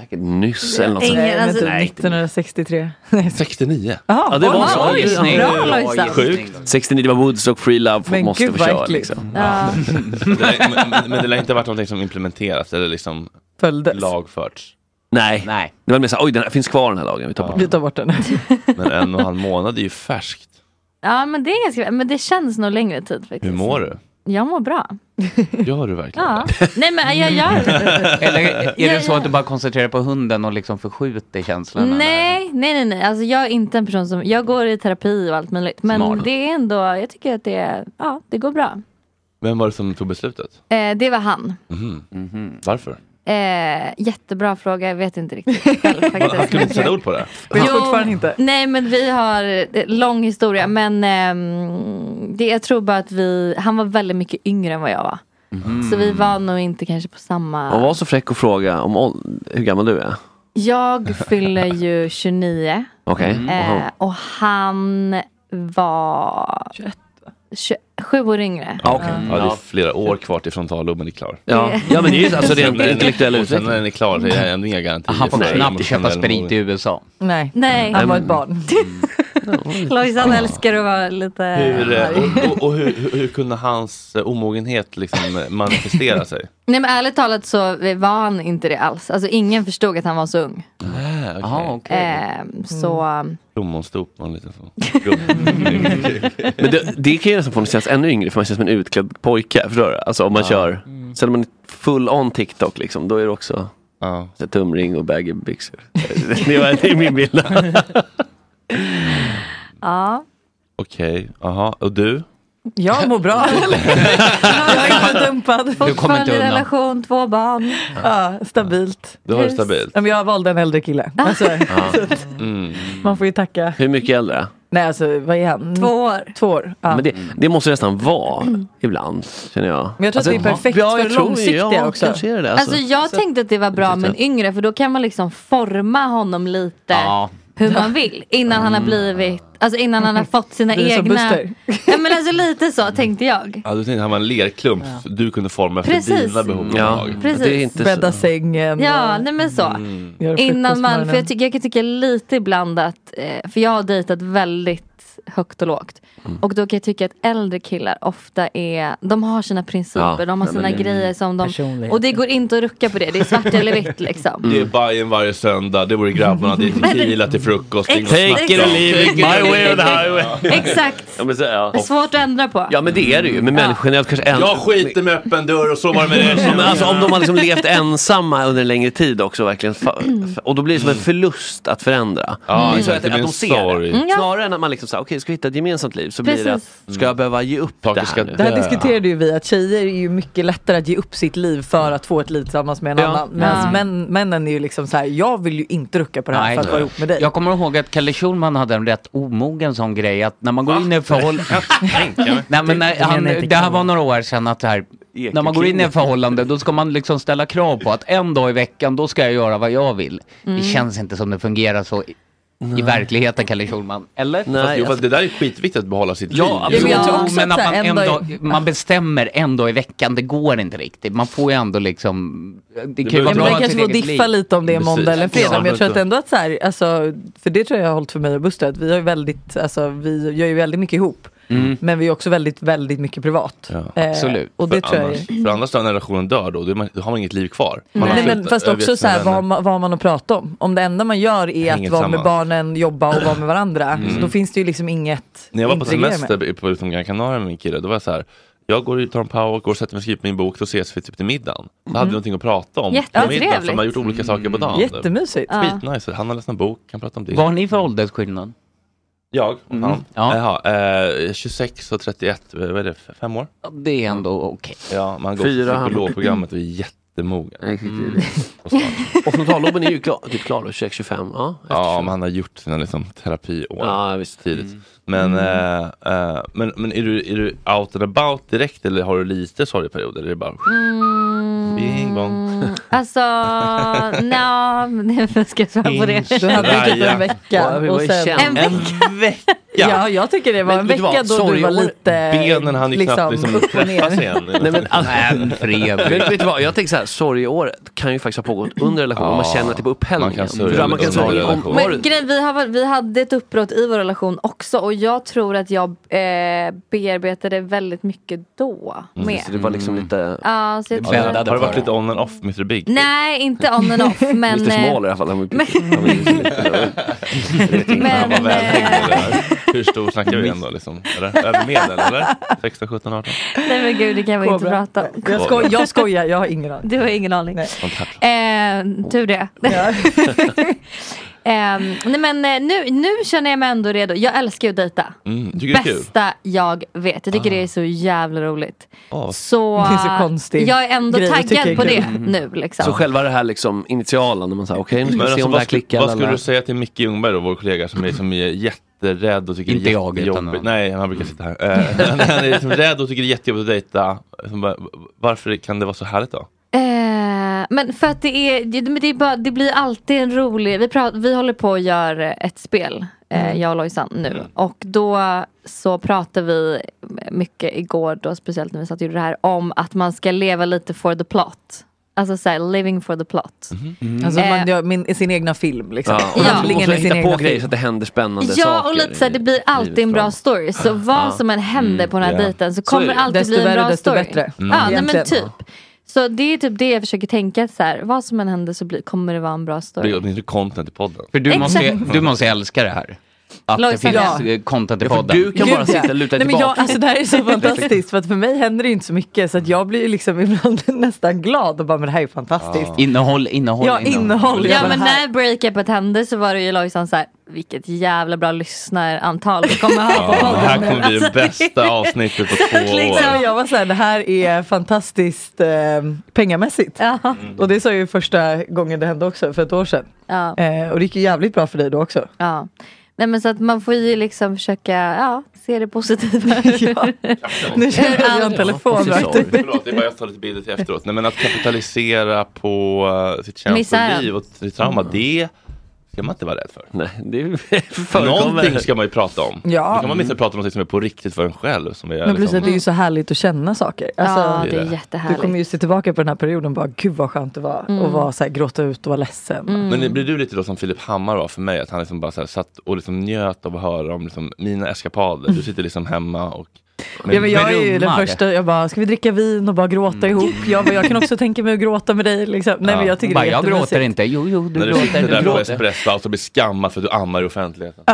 Speaker 5: Säkert nyss eller något
Speaker 12: Ingen, Nej, alltså- vänta,
Speaker 13: 1963.
Speaker 2: 69.
Speaker 12: Jaha,
Speaker 5: ja, det var
Speaker 12: oj,
Speaker 5: så.
Speaker 12: oj, Snyggt. bra, Lojsan.
Speaker 5: Sjukt. 69, det var Woodstock Free Love, folk
Speaker 12: Men
Speaker 5: måste
Speaker 12: gud,
Speaker 5: få
Speaker 12: vad
Speaker 5: köra
Speaker 12: äckligt.
Speaker 5: liksom.
Speaker 12: Ja.
Speaker 2: Det lär- men, men- men det lär inte ha varit någonting som implementerats eller liksom
Speaker 12: Följdes.
Speaker 2: lagförts.
Speaker 5: Nej. Nej. Det var mer såhär, oj den här finns kvar den här lagen, vi tar bort
Speaker 12: Vi
Speaker 5: den.
Speaker 12: tar bort
Speaker 13: *laughs*
Speaker 12: den.
Speaker 2: *laughs* Men en och en halv månad är ju färskt.
Speaker 13: Ja men det är ganska, men det känns nog längre tid faktiskt.
Speaker 2: Hur mår du?
Speaker 13: Jag mår bra.
Speaker 2: Gör du verkligen?
Speaker 13: Ja. Nej men jag
Speaker 12: *laughs*
Speaker 13: gör
Speaker 6: *laughs* Eller är
Speaker 13: Ja,
Speaker 6: det så att du bara koncentrerar på hunden och liksom förskjuter känslan? eller?
Speaker 13: Nej, nej, nej, nej. Alltså jag är inte en person som, jag går i terapi och allt möjligt. Men
Speaker 2: Smart.
Speaker 13: det är ändå, jag tycker att det, är- ja det går bra.
Speaker 2: Vem var det som tog beslutet?
Speaker 13: Eh, det var han.
Speaker 2: Mhm. Varför?
Speaker 13: Eh, jättebra fråga, jag vet inte *laughs* riktigt själv
Speaker 2: Han
Speaker 13: faktiskt.
Speaker 2: kunde inte sätta ord på det.
Speaker 12: Vet fortfarande inte.
Speaker 13: Nej men vi har eh, lång historia men ehm, det, jag tror bara att vi, han var väldigt mycket yngre än vad jag var. Så vi var nog inte kanske på samma.
Speaker 5: Och Mm. var så fräck och fråga om åld- hur gammal du är.
Speaker 2: *laughs*
Speaker 13: Jag fyller ju 29
Speaker 5: Okej.
Speaker 12: Mm.
Speaker 13: eh,
Speaker 5: Aha.
Speaker 13: och han var 21. 27 år yngre.
Speaker 2: Ja, Ah, okej.
Speaker 13: Mm.
Speaker 2: ja, det är flera år kvar till frontalloben är klar.
Speaker 5: Ja. Ja, men det är ju alltså rent
Speaker 2: Sen när den är-
Speaker 5: intellektuell
Speaker 2: och Sen när den är klar så är det ändå inga garantier.
Speaker 6: Han får
Speaker 2: för
Speaker 6: knappt
Speaker 2: det.
Speaker 6: köpa sprit i USA.
Speaker 12: Nej.
Speaker 13: Nej.
Speaker 12: Han var
Speaker 2: Mm.
Speaker 12: ett barn.
Speaker 13: *laughs* Lojsan älskar att vara lite
Speaker 2: Hur, eh,
Speaker 13: arg.
Speaker 2: och och, och hur, hur- hur kunde hans eh, omogenhet liksom eh, manifestera
Speaker 5: *laughs*
Speaker 2: sig?
Speaker 13: Nej men ärligt talat så var han inte det alls. Alltså ingen förstod att han var så ung.
Speaker 5: Ah,
Speaker 2: Jaha,
Speaker 13: Ehm, så
Speaker 12: Mm.
Speaker 2: Plommonstop var lite så.
Speaker 5: *laughs* Men det, det kan ju nästan få en att kännas ännu yngre för man känns som en utklädd pojke. Förstår du? Alltså om man kör,
Speaker 12: Mm.
Speaker 5: sen om man är full on TikTok liksom, då är det också så här, tumring och baggy byxor. *laughs* det, var, det är min bild.
Speaker 13: ja.
Speaker 2: Okej, aha. Och du?
Speaker 12: Jag mår bra. jag är
Speaker 13: *laughs*
Speaker 12: inte dumpad.
Speaker 13: Fortfarande relation, två barn.
Speaker 12: Ja, stabilt.
Speaker 5: Du har det stabilt. Ah.
Speaker 12: Ja, men jag valde en äldre kille.
Speaker 5: *laughs*
Speaker 12: Alltså, *laughs* så att
Speaker 5: Mm.
Speaker 12: man får ju tacka.
Speaker 5: Hur mycket äldre?
Speaker 12: Nej alltså vad är han? Två
Speaker 13: år.
Speaker 12: Två år. Ja.
Speaker 5: Men det, det måste nästan vara ibland, känner jag. Alltså,
Speaker 12: Men jag tror att det är perfekt
Speaker 5: ja,
Speaker 12: för
Speaker 5: jag tror-
Speaker 12: långsiktiga
Speaker 5: ja,
Speaker 12: också.
Speaker 5: Kanske är det det,
Speaker 13: Alltså,
Speaker 5: alltså.
Speaker 13: jag tänkte att det var bra med en yngre för då kan man liksom forma honom lite hur man vill. Innan han har blivit, alltså innan han har fått sina
Speaker 12: Det är som
Speaker 13: egna.
Speaker 12: Buster.
Speaker 13: Ja men alltså lite så tänkte jag.
Speaker 2: Ja, du tänkte han var en lerklump du kunde forma efter
Speaker 13: Precis.
Speaker 2: dina behov och
Speaker 5: Ja,
Speaker 2: behag.
Speaker 13: precis. det är inte så-
Speaker 12: Bädda sängen.
Speaker 13: Ja nej men så.
Speaker 12: Göra frukost
Speaker 13: Innan
Speaker 12: på
Speaker 13: man, för
Speaker 12: morgonen.
Speaker 13: jag, tycker, jag kan tycka lite ibland att, eh, för jag har dejtat väldigt högt och lågt. Och då kan jag tycka att äldre killar ofta är, de har sina principer,
Speaker 2: Ja,
Speaker 13: de har
Speaker 2: nej,
Speaker 13: sina
Speaker 2: men det-
Speaker 13: grejer som de,
Speaker 2: Personligheter.
Speaker 13: och det går inte att rucka på det, det är svart eller vitt liksom.
Speaker 5: Mm.
Speaker 2: Det är Bajen varje söndag, det vore grabbarna,
Speaker 6: *laughs*
Speaker 2: det är tequila till frukost. det är inget
Speaker 5: Take
Speaker 2: snack
Speaker 5: it or
Speaker 2: om.
Speaker 5: leave it, my way or the
Speaker 6: *laughs*
Speaker 5: highway.
Speaker 13: Exakt,
Speaker 5: Ja, men, så, ja.
Speaker 13: det är svårt att ändra på.
Speaker 5: ja men det är det ju, men människor generellt kanske en...
Speaker 2: Jag skiter med öppen dörr och så var det med det.
Speaker 5: Ja, men alltså, om de har liksom levt ensamma under en längre tid också verkligen. fa- Och då blir det som en förlust att förändra. det är så
Speaker 2: exakt,
Speaker 5: att,
Speaker 2: det
Speaker 5: att
Speaker 2: blir
Speaker 5: de
Speaker 2: en
Speaker 5: ser
Speaker 2: sorg.
Speaker 5: det.
Speaker 2: Mm,
Speaker 12: ja.
Speaker 5: Snarare än att man liksom säger okej, ska vi hitta ett gemensamt liv? Så blir det
Speaker 12: Precis.
Speaker 5: att, ska jag behöva ge upp det här nu?
Speaker 12: Det här diskuterade ju vi att tjejer är ju mycket lättare att ge upp sitt liv för att få ett liv tillsammans med en
Speaker 6: Ja.
Speaker 12: annan.
Speaker 6: Mm.
Speaker 12: Medan
Speaker 6: Ja.
Speaker 12: män, männen är ju liksom så här, jag vill ju inte rucka på det här för att vara ihop med dig.
Speaker 6: Jag kommer ihåg att Kalle Schulman hade en rätt omogen sån grej att när man går in i ett
Speaker 13: *laughs*
Speaker 6: förhållande... Nej, men när
Speaker 12: Du menar
Speaker 6: han,
Speaker 12: inte
Speaker 6: det här var några år sedan att det här, när man går in i ett förhållande då ska man liksom ställa krav på att en dag i veckan då ska jag göra vad jag vill.
Speaker 2: Mm.
Speaker 6: Det känns inte som det fungerar så i, i verkligheten Kalle Schulman. Eller?
Speaker 2: Fast, jo,
Speaker 5: alltså-
Speaker 2: fast alltså, det där är skitviktigt att behålla sitt liv.
Speaker 6: Ja, absolut. men att man, en dag, man bestämmer en dag i veckan, det går inte riktigt. Man får ju ändå liksom... Det kan ju
Speaker 12: Ja,
Speaker 6: vara
Speaker 12: men
Speaker 6: bra
Speaker 12: man
Speaker 6: att
Speaker 12: kanske får diffa lite om det är måndag eller fredag. Men jag tror att ändå att så här, alltså, för det tror jag har hållit för mig och Buster, att vi, har ju väldigt, alltså, vi gör ju väldigt mycket ihop.
Speaker 2: Mm.
Speaker 12: Men vi är också väldigt, väldigt mycket privat. Eh, Och det
Speaker 2: för
Speaker 12: tror jag
Speaker 2: annars, För annars när relationen dör då, då, är man, då har man inget liv kvar. Man har
Speaker 12: Nej, men
Speaker 2: slut-
Speaker 12: fast också
Speaker 2: övergett
Speaker 12: så här,
Speaker 2: sina
Speaker 12: vad, har
Speaker 2: vänner.
Speaker 12: man- vad har man att prata om? Om det enda man gör är
Speaker 2: Hänger
Speaker 12: att vara med
Speaker 2: tillsammans.
Speaker 12: barnen, jobba och vara med varandra.
Speaker 2: Mm.
Speaker 12: Så då finns det ju liksom inget
Speaker 2: När jag var på
Speaker 12: att integrera
Speaker 2: semester i- på utom Gran Canaria med min kille, då var jag så här. Jag går och tar en powerwalk, går och sätter mig och skriver på min bok, då ses vi typ till middagen. Då
Speaker 12: Mm.
Speaker 2: hade vi någonting att prata om på
Speaker 6: Jättetrevligt.
Speaker 2: middagen, för man har gjort olika saker på dagen.
Speaker 12: Jättemysigt. Ja.
Speaker 2: Skitnice, han har läst en bok, kan prata om det.
Speaker 6: Vad har ni för åldersskillnad?
Speaker 2: Jag och
Speaker 6: Mm.
Speaker 2: han. Jaha, eh, 26 och 31, eh, vad är det, f- fem år?
Speaker 6: Det är ändå okej.
Speaker 2: Ja, man går
Speaker 5: Fyra.
Speaker 2: på psykologprogrammet och är jättemogen.
Speaker 5: Mm. *laughs* Och frontalloben är ju klar, typ klar då, 26-25. Ja.
Speaker 2: Ja, men han har gjort sina liksom, terapiår
Speaker 5: Ja, visst.
Speaker 2: tidigt.
Speaker 5: Mm.
Speaker 2: Men, eh, eh, men, men är, du, är du out and about direkt eller har du lite sorgperioder? Eller är det bara bing bong?
Speaker 13: Mm. Alltså, nja, men jag ska svara på det.
Speaker 12: Du hade ju typ en vecka.
Speaker 2: Raja.
Speaker 12: Och sen,
Speaker 2: En vecka.
Speaker 12: Ja. jag tycker det var
Speaker 2: Men
Speaker 12: en
Speaker 2: vet du
Speaker 12: vecka
Speaker 2: vad?
Speaker 12: då du var
Speaker 2: Sorgeår-
Speaker 12: lite
Speaker 2: Benen hann ju knappt liksom,
Speaker 12: upp och ner.
Speaker 2: träffas
Speaker 12: *laughs*
Speaker 2: igen.
Speaker 5: Nej, men, alltså,
Speaker 2: Men Fredrik.
Speaker 5: Men vet du vad, jag tänker så här, sorgeåret kan ju faktiskt ha pågått under relationen,
Speaker 2: Ja.
Speaker 5: man känner typ
Speaker 2: Man
Speaker 5: upphällningen.
Speaker 2: kan sörja
Speaker 5: För man kan
Speaker 2: under
Speaker 5: sörja om,
Speaker 2: relationen.
Speaker 5: var
Speaker 13: Men grejen, vi, har, vi hade ett uppbrott i vår relation också och jag tror att jag eh, bearbetade väldigt mycket då
Speaker 2: Mm,
Speaker 13: med.
Speaker 2: så det var liksom lite...
Speaker 13: Ja, så jag tror
Speaker 2: Har
Speaker 13: att,
Speaker 2: det varit lite on and off Mr Big?
Speaker 13: nej, inte on
Speaker 2: *laughs*
Speaker 13: and off men,
Speaker 5: Mr
Speaker 13: eh,
Speaker 5: Small i alla fall. Han var ju
Speaker 13: men,
Speaker 2: typ- Han var
Speaker 13: men,
Speaker 2: väldigt
Speaker 13: eh,
Speaker 2: där. Hur stor snackar vi ändå liksom? Eller? Över medel eller? 16, 17, 18?
Speaker 13: *laughs* nej men gud det kan vi inte
Speaker 12: Kobra.
Speaker 13: prata om.
Speaker 12: Jag, sko jag skojar, jag har ingen
Speaker 2: *laughs*
Speaker 12: aning.
Speaker 13: Du har ingen aning. Eh, tur det. *laughs* Ehm, nej men eh, nu, nu känner jag mig ändå redo. Jag älskar ju att dejta.
Speaker 2: Mm, tycker det är kul?
Speaker 13: Bästa jag vet. Jag tycker det är så jävla roligt. Så,
Speaker 12: Det är så konstigt.
Speaker 13: jag är ändå
Speaker 12: Grejer tycker
Speaker 13: taggad
Speaker 12: jag
Speaker 13: på
Speaker 12: är
Speaker 13: det
Speaker 12: kul.
Speaker 13: nu. Liksom.
Speaker 5: Så själva det här liksom initialen, när man säger okej nu ska
Speaker 2: Men
Speaker 5: vi se
Speaker 2: alltså,
Speaker 5: om det
Speaker 2: vad,
Speaker 5: här
Speaker 2: skulle,
Speaker 5: klickar.
Speaker 2: vad skulle
Speaker 5: lalala.
Speaker 2: du säga till Micke Ljungberg då, vår kollega som är liksom är jätterädd och tycker
Speaker 5: Inte
Speaker 2: det är
Speaker 5: jag, utan Mm.
Speaker 2: jättejobbigt?
Speaker 5: någon.
Speaker 2: Nej, han brukar sitta här. Eh, han är liksom rädd och tycker det är jättejobbigt att dejta. Som bara, Varför kan det vara så härligt då?
Speaker 13: Eh, men för att det är, det, men det, är bara, det blir alltid en rolig, vi, pratar, vi håller på och gör ett spel, eh, jag och Lojsan nu. Och då så pratar vi mycket igår då, speciellt när vi satt och gjorde det här, om att man ska leva lite for the plot. Alltså såhär, living for the plot.
Speaker 12: Alltså
Speaker 13: Eh,
Speaker 12: man gör min, sin egna film liksom.
Speaker 5: Mm-hmm. Mm. Ja, och man
Speaker 12: Handlingen
Speaker 5: måste
Speaker 12: i sin
Speaker 5: hitta
Speaker 12: egna
Speaker 5: på
Speaker 12: film.
Speaker 5: grejer så att det händer spännande
Speaker 13: Ja
Speaker 5: saker.
Speaker 13: och lite såhär, det blir alltid en bra story. Så vad
Speaker 5: Ja.
Speaker 13: som än händer på den här
Speaker 5: Mm, ja.
Speaker 13: dejten så
Speaker 5: Så är
Speaker 13: kommer det
Speaker 5: det.
Speaker 13: alltid
Speaker 5: Desto
Speaker 13: bli en
Speaker 5: värre,
Speaker 13: bra
Speaker 5: desto
Speaker 13: story.
Speaker 5: bättre. Mm.
Speaker 13: Ja, nej, men
Speaker 5: Egentligen.
Speaker 13: typ. Så det är typ det jag försöker tänka, så här, vad som än händer så blir, kommer det vara en bra
Speaker 2: Det är
Speaker 13: story.
Speaker 2: åtminstone content i podden.
Speaker 6: För du måste,
Speaker 13: Exakt.
Speaker 6: du måste älska det här. Att det
Speaker 12: Lojsan,
Speaker 6: finns
Speaker 12: ja.
Speaker 6: eh, content i
Speaker 5: Ja, för
Speaker 6: podden.
Speaker 5: du kan bara sitta och
Speaker 12: Nej, men jag, alltså, det här
Speaker 2: *laughs*
Speaker 5: *laughs*
Speaker 12: är så fantastiskt för att för mig händer det ju inte så mycket så att jag blir ju liksom *laughs* ibland nästan glad och bara men det här är ju fantastiskt.
Speaker 6: Innehåll, innehåll,
Speaker 12: Ja, innehåll.
Speaker 13: Ja
Speaker 12: Jag
Speaker 13: men
Speaker 12: bara, här-
Speaker 13: när breakupet hände så var det ju Lojsan såhär, vilket jävla bra lyssnarantal vi kommer ha
Speaker 5: *laughs*
Speaker 2: Ja,
Speaker 13: på
Speaker 2: det
Speaker 13: podden.
Speaker 2: här kommer bli det bästa avsnittet på två
Speaker 12: *laughs* Liksom,
Speaker 2: år.
Speaker 12: jag var såhär, det här är fantastiskt eh, pengamässigt. Och det sa jag ju första gången det hände också, för ett år sedan.
Speaker 13: Ja.
Speaker 12: Eh, och det gick ju jävligt bra för dig då också.
Speaker 13: Ja. Nej men så att man får ju liksom försöka, ja, se
Speaker 5: *laughs*
Speaker 13: det positiva.
Speaker 12: Nu känner jag en telefon rakt ut.
Speaker 2: Förlåt, det är bara jag tar lite bilder till efteråt. Nej men att kapitalisera på eh, sitt känsloliv
Speaker 13: Misären.
Speaker 2: och sitt trauma, det ska
Speaker 6: Mm.
Speaker 2: man inte vara rädd för.
Speaker 5: Nej,
Speaker 6: *laughs*
Speaker 5: det förekommer.
Speaker 2: Någonting ska man ju prata om.
Speaker 12: Ja.
Speaker 2: Då kan man inte prata om någonting som är på riktigt för en själv. Som är,
Speaker 12: Men plus
Speaker 2: liksom-
Speaker 12: att det är ju så härligt att känna saker. Alltså,
Speaker 2: Ja, det är
Speaker 12: Du
Speaker 2: jättehärligt.
Speaker 12: kommer ju se tillbaka på den här perioden och bara, gud vad skönt det var.
Speaker 2: Mm.
Speaker 12: Och vara så här, gråta ut och vara ledsen.
Speaker 2: Men blir du lite då som Filip Hammar var för mig? Att han liksom bara så här satt och liksom njöt av att höra om liksom mina eskapader. Du sitter liksom hemma och
Speaker 12: ja, men jag är ju den första, jag bara, ska vi dricka vin och bara gråta ihop? Jag, bara, jag kan också tänka mig att gråta med dig. Liksom. Nej, men jag tycker
Speaker 6: bara,
Speaker 12: det är
Speaker 6: jag gråter
Speaker 12: *laughs* jättemysigt.
Speaker 6: inte. Jo, jo, du
Speaker 2: När du
Speaker 6: gråter.
Speaker 2: sitter
Speaker 6: Du
Speaker 2: där på
Speaker 6: gråter.
Speaker 2: Espresso House och alltså blir skammad för att du ammar i offentligheten.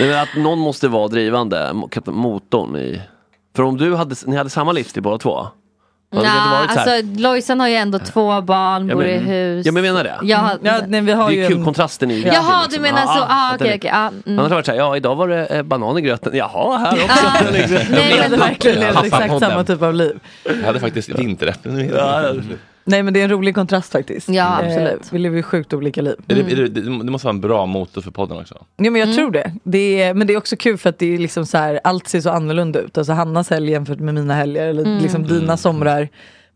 Speaker 5: Nej, men att någon måste vara drivande, mo- kap- motorn i... För om du hade, ni hade samma livsstil båda två? då hade
Speaker 13: Nja,
Speaker 5: det inte varit så här-
Speaker 13: alltså Lojsan har ju ändå två barn,
Speaker 5: Ja,
Speaker 13: bor i
Speaker 5: men-
Speaker 13: hus.
Speaker 5: Ja men jag menar det.
Speaker 13: Ja, Ja, nej, vi har
Speaker 5: det är
Speaker 13: ju
Speaker 5: kul,
Speaker 13: en-
Speaker 5: kontrasten är ju viktig,
Speaker 13: Jaha, du
Speaker 5: liksom.
Speaker 13: menar så, ah,
Speaker 5: att
Speaker 13: okej
Speaker 5: det-
Speaker 13: okej. ah, mm.
Speaker 5: Annars har det varit såhär, ja idag var det eh, banan i gröten, jaha här
Speaker 13: *laughs*
Speaker 5: också. liksom.
Speaker 12: Nej, men verkligen levde exakt samma typ av liv.
Speaker 2: Jag hade faktiskt vinteräpplen i middagen.
Speaker 12: Nej men det är en rolig kontrast faktiskt.
Speaker 13: Ja,
Speaker 12: Eh,
Speaker 13: absolut.
Speaker 12: Vi lever ju sjukt olika liv.
Speaker 2: Är det, är det, det det måste vara en bra motor för podden också.
Speaker 12: Ja men jag
Speaker 13: Mm.
Speaker 12: tror det. det är, men det är också kul för att det är liksom så här, allt ser så annorlunda ut. Alltså Hannas helg jämfört med mina helger, eller
Speaker 13: Mm.
Speaker 12: liksom dina somrar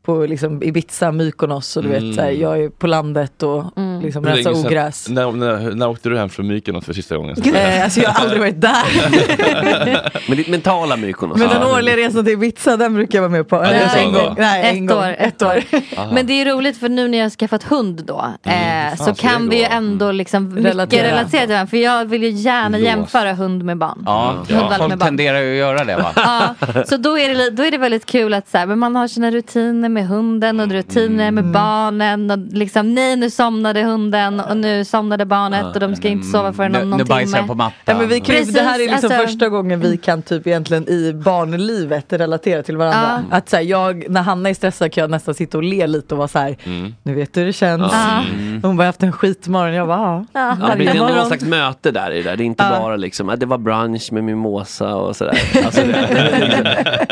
Speaker 12: på liksom Ibiza, Mykonos och du
Speaker 2: Mm.
Speaker 12: vet, så här, jag är på landet och
Speaker 13: Mm.
Speaker 12: liksom
Speaker 2: Hur länge
Speaker 12: rensar
Speaker 2: sedan-
Speaker 12: ogräs.
Speaker 2: När, när, när åkte du hem från Mykonos för sista gången?
Speaker 12: Eh, alltså jag har aldrig
Speaker 2: *laughs*
Speaker 12: varit
Speaker 5: *laughs*
Speaker 12: där.
Speaker 5: Men ditt mentala Mykonos.
Speaker 12: Men den årliga resan till Ibiza, den brukar jag vara med på.
Speaker 5: det är så
Speaker 12: en
Speaker 5: då.
Speaker 12: gång. Nej, en
Speaker 13: Ett
Speaker 12: gång.
Speaker 13: år,
Speaker 12: Ett år. *laughs*
Speaker 13: Men det är ju roligt för nu när jag har skaffat hund då
Speaker 12: Mm,
Speaker 13: eh,
Speaker 12: fan,
Speaker 13: så
Speaker 12: så det
Speaker 13: kan vi ju
Speaker 12: går.
Speaker 13: ändå liksom
Speaker 12: Relatera.
Speaker 13: mycket relatera till varandra. För jag vill ju gärna
Speaker 6: Lås.
Speaker 13: jämföra hund med barn.
Speaker 6: Ja,
Speaker 13: Hundvalp
Speaker 6: ja.
Speaker 13: med
Speaker 6: folk
Speaker 13: barn.
Speaker 6: tenderar ju att göra det
Speaker 12: *laughs*
Speaker 6: va?
Speaker 13: Ja, så då är, det, li- då är det väldigt kul att så här, men man har sina rutiner med hunden och rutiner med barnen. Och liksom, nej nu somnade hunden och nu somnade barnet och de ska inte sova förrän om någon timme.
Speaker 12: Ja, men vi kan, ju-
Speaker 13: Precis,
Speaker 12: det här är liksom
Speaker 13: alltså-
Speaker 12: första gången vi kan typ egentligen i barnlivet relatera till varandra. Att så här, jag, när Hanna är stressad kan jag nästan sitta och le lite och vara så här,
Speaker 2: Mm.
Speaker 12: nu vet du hur det känns.
Speaker 5: Ja.
Speaker 13: Ah.
Speaker 12: Hon bara, jag har haft en skitmorgon. Jag bara, ja.
Speaker 5: Ja, men det
Speaker 12: varje
Speaker 5: är ändå någon
Speaker 12: morgon.
Speaker 5: slags möte där i det där. Det är inte
Speaker 12: Ja.
Speaker 5: bara liksom, att det var brunch med mimosa och sådär.
Speaker 12: *laughs*
Speaker 5: Alltså, det,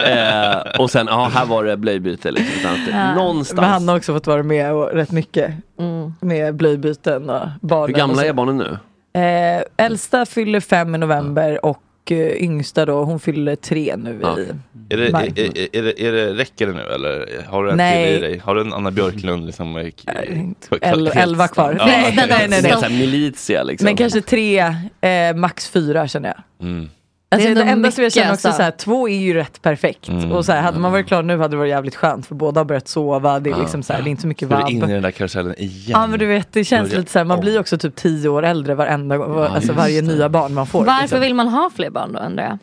Speaker 5: eh, och sen, ja här var det blöjbyte liksom. Utan att,
Speaker 12: Ja. Men
Speaker 5: Någonstans.
Speaker 12: Hanna har också fått vara med och rätt mycket. Med blöjbyten och barnen.
Speaker 5: Hur
Speaker 12: och
Speaker 5: gamla
Speaker 12: så.
Speaker 5: är barnen nu?
Speaker 12: Eh, äldsta fyller fem i november och eh, yngsta då, hon fyller tre nu i
Speaker 2: Är det,
Speaker 12: maj.
Speaker 2: är, är, är det, är det, räcker det nu eller har du en
Speaker 12: Nej.
Speaker 2: till i dig? Har du en Anna Björklund? Liksom, eh,
Speaker 12: el- elva kvar.
Speaker 2: Ja,
Speaker 12: Nej, nej, nej, nej, nej.
Speaker 5: Så här militia liksom.
Speaker 12: Men kanske tre, eh, max fyra känner jag.
Speaker 2: Mm.
Speaker 12: Alltså,
Speaker 13: Det är
Speaker 12: det,
Speaker 13: ändå
Speaker 12: enda som jag
Speaker 13: mycket,
Speaker 12: känner också
Speaker 13: alltså.
Speaker 12: så här, två är ju rätt perfekt.
Speaker 2: Mm.
Speaker 12: Och så här, hade man varit klar nu hade det varit jävligt skönt för båda har börjat sova, det är
Speaker 2: Ja.
Speaker 12: liksom så här, det är inte så mycket
Speaker 2: Ska du in i
Speaker 12: vabb.
Speaker 2: den där karusellen igen?
Speaker 12: Ja men du vet, det känns
Speaker 2: Börja
Speaker 12: lite så här, man blir också typ tio år äldre varenda gång, alltså
Speaker 2: just
Speaker 12: varje nya barn man får.
Speaker 13: Varför
Speaker 12: liksom.
Speaker 13: vill man ha fler barn då undrar jag?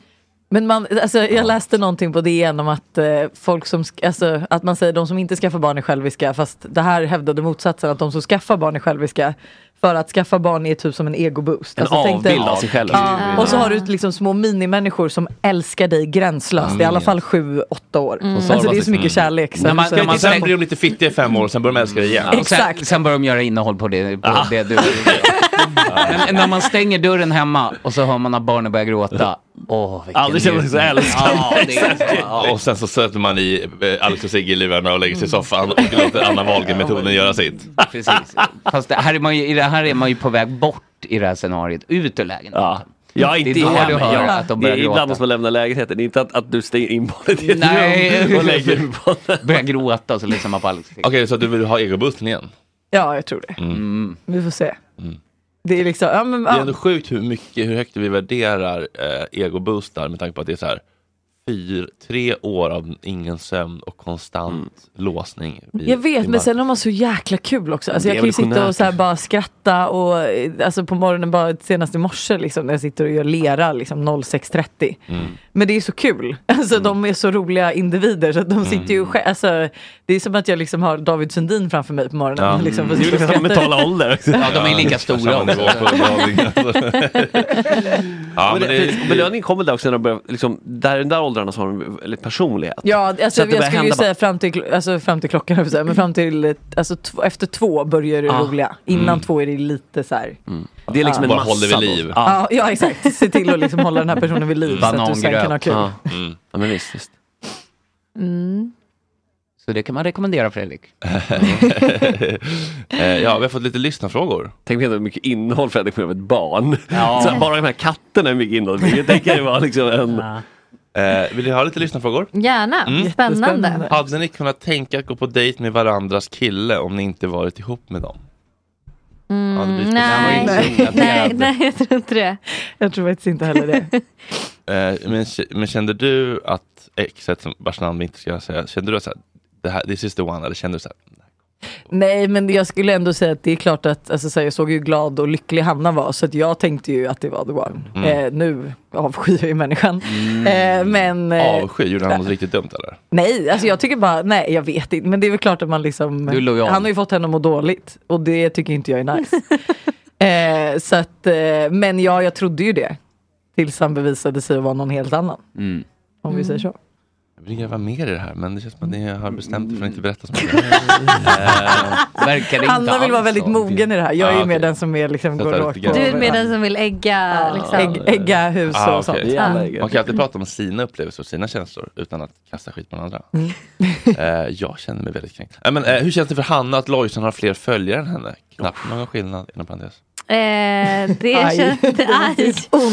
Speaker 12: Men man, alltså, jag läste någonting på DN om att eh, folk som, sk- alltså, att man säger de som inte skaffar barn är själviska fast det här hävdade motsatsen att de som skaffar barn är själviska För att skaffa barn är typ som en egoboost.
Speaker 5: En
Speaker 12: tänk dig-
Speaker 5: avbild av sig själv.
Speaker 12: Ja. Och så har du liksom små minimänniskor som älskar dig gränslöst. I alla fall sju, åtta år. Alltså det är så mycket kärlek. Så
Speaker 2: När man,
Speaker 12: så-
Speaker 2: när man, sen blir de lite fittiga i fem år, sen börjar de älska dig igen.
Speaker 6: Ja, och Sen, sen börjar de göra innehåll på det, på det du... Men när man stänger dörren hemma och så hör man att barnen börjar gråta. Åh, vilken
Speaker 2: Aldrig känner man sig så
Speaker 6: njutning.
Speaker 2: älskad.
Speaker 6: Ja, det är så- ja.
Speaker 2: Och sen så sätter man i eh, Alex och Sigge i lurarna och lägger sig i soffan och låter Anna Wahlgren-metoden göra sitt.
Speaker 6: *laughs* Precis. Fast det här, är man ju, i det här är man ju på väg bort i det här scenariot, ut ur lägenheten. Ja.
Speaker 5: Ja, inte
Speaker 6: det är då
Speaker 5: hem.
Speaker 6: du hör
Speaker 5: Ja,
Speaker 6: att de
Speaker 5: det är
Speaker 6: börjar gråta.
Speaker 5: ibland måste man lämna lägenheten. Det är inte att, att du stänger in barnet i ett rum
Speaker 6: Nej,
Speaker 12: *laughs*
Speaker 5: och lägger
Speaker 6: Eh, börjar gråta och så lyssnar man på Alex. Okej,
Speaker 2: så du vill ha egobussen igen?
Speaker 12: Ja, jag tror det.
Speaker 2: Mm.
Speaker 12: Vi får se. Det är liksom, ja men
Speaker 2: Det är ändå
Speaker 12: ja.
Speaker 2: sjukt hur, mycket, hur högt vi värderar eh, egoboostar med tanke på att det är så här fyra, tre år av ingen sömn och konstant låsning. vid-
Speaker 12: Jag vet,
Speaker 2: i
Speaker 12: men
Speaker 2: marken.
Speaker 12: sen har man så jäkla kul också. Alltså,
Speaker 2: Det är
Speaker 12: jag kan ju sitta och
Speaker 2: evolutionärt
Speaker 12: så här bara skratta och eh, alltså, på morgonen, bara senast i morse liksom, när jag sitter och gör lera liksom 06.30. Men det är så kul. *laughs* Alltså,
Speaker 5: Mm.
Speaker 12: De är så roliga individer så att de sitter ju själv, alltså, Det är som att jag liksom har David Sundin framför mig på morgonen.
Speaker 5: Ja.
Speaker 12: Liksom,
Speaker 5: Det är ju liksom mentala ålder också. Ja, de är lika stora
Speaker 2: samma nivå
Speaker 5: också.
Speaker 2: på
Speaker 12: *laughs*
Speaker 2: underhållning, alltså. Ja, men
Speaker 5: men det,
Speaker 2: det-
Speaker 5: precis, belöningen kommer där också när de börjar, liksom, där i den där åldrarna så har de väldigt personlighet.
Speaker 12: Ja,
Speaker 5: Så
Speaker 12: alltså,
Speaker 5: att det
Speaker 12: jag
Speaker 5: börjar
Speaker 12: skulle ju
Speaker 5: hända bara-
Speaker 12: säga fram till, kl- alltså, fram till klockan, höll jag på att säga, men fram till eh, alltså, tv- efter två börjar det
Speaker 5: Ah.
Speaker 12: roliga. Innan
Speaker 5: Mm.
Speaker 12: två är det lite så här.
Speaker 5: Det är liksom en
Speaker 2: Bara
Speaker 5: massa
Speaker 2: håller vid
Speaker 5: då.
Speaker 2: liv.
Speaker 5: Ah.
Speaker 12: Ja, ja exakt, se till att liksom hålla den här personen vid liv så att du sen kan ha kul.
Speaker 5: Ja. ja, men visst. visst.
Speaker 12: Mm.
Speaker 6: Så det kan man rekommendera Fredrik.
Speaker 2: *laughs* Eh, ja, vi har fått lite lyssnarfrågor.
Speaker 5: Tänk på hur mycket innehåll Fredrik får av ett barn.
Speaker 2: Ja.
Speaker 5: *laughs* Så bara de här katterna är mycket innehåll. Jag tänker det var liksom en...
Speaker 2: Eh, vill ni ha lite lyssnarfrågor?
Speaker 13: Gärna,
Speaker 2: Mm.
Speaker 13: spännande.
Speaker 2: Hade ni kunnat tänka att gå på dejt med varandras kille om ni inte varit ihop med dem? Ja, det blir
Speaker 13: Mm,
Speaker 2: spännande.
Speaker 13: nej, nej, nej, jag tror inte det.
Speaker 12: Jag tror faktiskt inte heller det.
Speaker 2: Eh, men, k- men kände du att exet, som- vars namn vi inte ska säga, kände du att så här, det här, this is the one, eller kände du så här,
Speaker 12: *laughs* Nej men jag skulle ändå säga att det är klart att, alltså, så här, jag såg ju hur glad och lycklig Hanna var så att jag tänkte ju att det var the one.
Speaker 2: Mm.
Speaker 12: Eh, nu avskyr jag ju människan. Eh, men, eh,
Speaker 2: avsky, gjorde han något riktigt dumt eller?
Speaker 12: Nej, alltså jag tycker bara, nej jag vet inte. Men det är väl klart att man liksom,
Speaker 2: Du är lojal.
Speaker 12: han har ju fått henne att må dåligt och det tycker inte jag är
Speaker 2: *laughs*
Speaker 12: nice. eh, så att, eh, men ja, jag trodde ju det. Tills han bevisade sig vara någon helt annan.
Speaker 2: Mm.
Speaker 12: Om vi säger så.
Speaker 2: Jag vill gräva mer i det här, men det känns som att ni har bestämt er för att inte berätta så mycket.
Speaker 6: Verkar
Speaker 12: Hanna vill vara väldigt mogen i det här. Jag är
Speaker 2: Ah,
Speaker 5: Ah,
Speaker 12: ju mer den som är liksom,
Speaker 2: Så
Speaker 12: går
Speaker 2: där
Speaker 12: rakt
Speaker 2: lite
Speaker 12: på.
Speaker 2: grann.
Speaker 13: Du är med den som vill ägga, liksom.
Speaker 12: Ägg, ägga hus och
Speaker 2: Ah, okej.
Speaker 12: sånt.
Speaker 2: Man kan alltid prata om sina upplevelser och sina känslor utan att kasta skit på den andra.
Speaker 12: Mm.
Speaker 2: *laughs* Eh, jag känner mig väldigt kränkt. Nej, men, eh, hur känns det för Hanna att Lojsan har fler följare än henne? Knappt någon skillnad inom parentes.
Speaker 13: Eh, det
Speaker 2: Aj.
Speaker 12: *laughs*
Speaker 13: känns... Aj.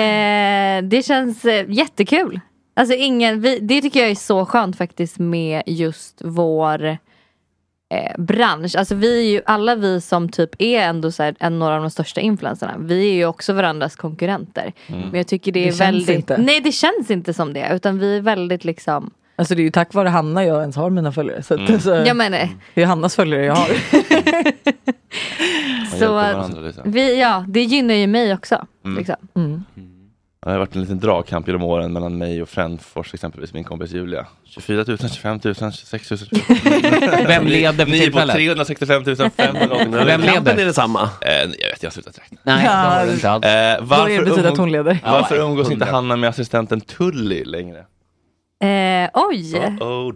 Speaker 13: Eh, det känns eh, jättekul. Alltså ingen, vi, det tycker jag är så skönt faktiskt med just vår eh, bransch. Alltså vi är ju, alla vi som typ är ändå så här, en, några av de största influencerna. Vi är ju också varandras konkurrenter.
Speaker 12: Mm.
Speaker 13: Men jag tycker det
Speaker 12: Det
Speaker 13: är
Speaker 12: känns
Speaker 13: väldigt...
Speaker 12: inte.
Speaker 13: Nej det känns inte som det. Utan vi är väldigt liksom...
Speaker 12: Alltså det är ju tack vare Hanna jag ens har mina följare. Så att,
Speaker 13: Mm.
Speaker 12: alltså,
Speaker 13: Jag menar-
Speaker 12: det är Hannas följare jag har.
Speaker 13: Så
Speaker 2: hjälper
Speaker 13: att
Speaker 2: varandra lite.
Speaker 13: vi, ja, det gynnar ju mig också.
Speaker 2: Mm.
Speaker 13: Liksom.
Speaker 2: Det har varit en liten dragkamp genom åren mellan mig och Frändfors, exempelvis min kompis Julia. 24 000, 25 000, 26 000.
Speaker 6: *laughs* Vem leder för
Speaker 2: Ni är på
Speaker 6: tillfället?
Speaker 2: 365 500
Speaker 6: Vem leder?
Speaker 5: Är det samma?
Speaker 2: Eh, jag vet, jag har slutat räkna.
Speaker 6: Nej, det har
Speaker 2: Eh,
Speaker 6: du inte alls.
Speaker 2: varför,
Speaker 12: det betyder att hon leder.
Speaker 2: varför umgås inte
Speaker 12: Hundra.
Speaker 2: Hanna med assistenten Tully längre?
Speaker 13: Eh, oj!
Speaker 12: *laughs*
Speaker 2: Oh,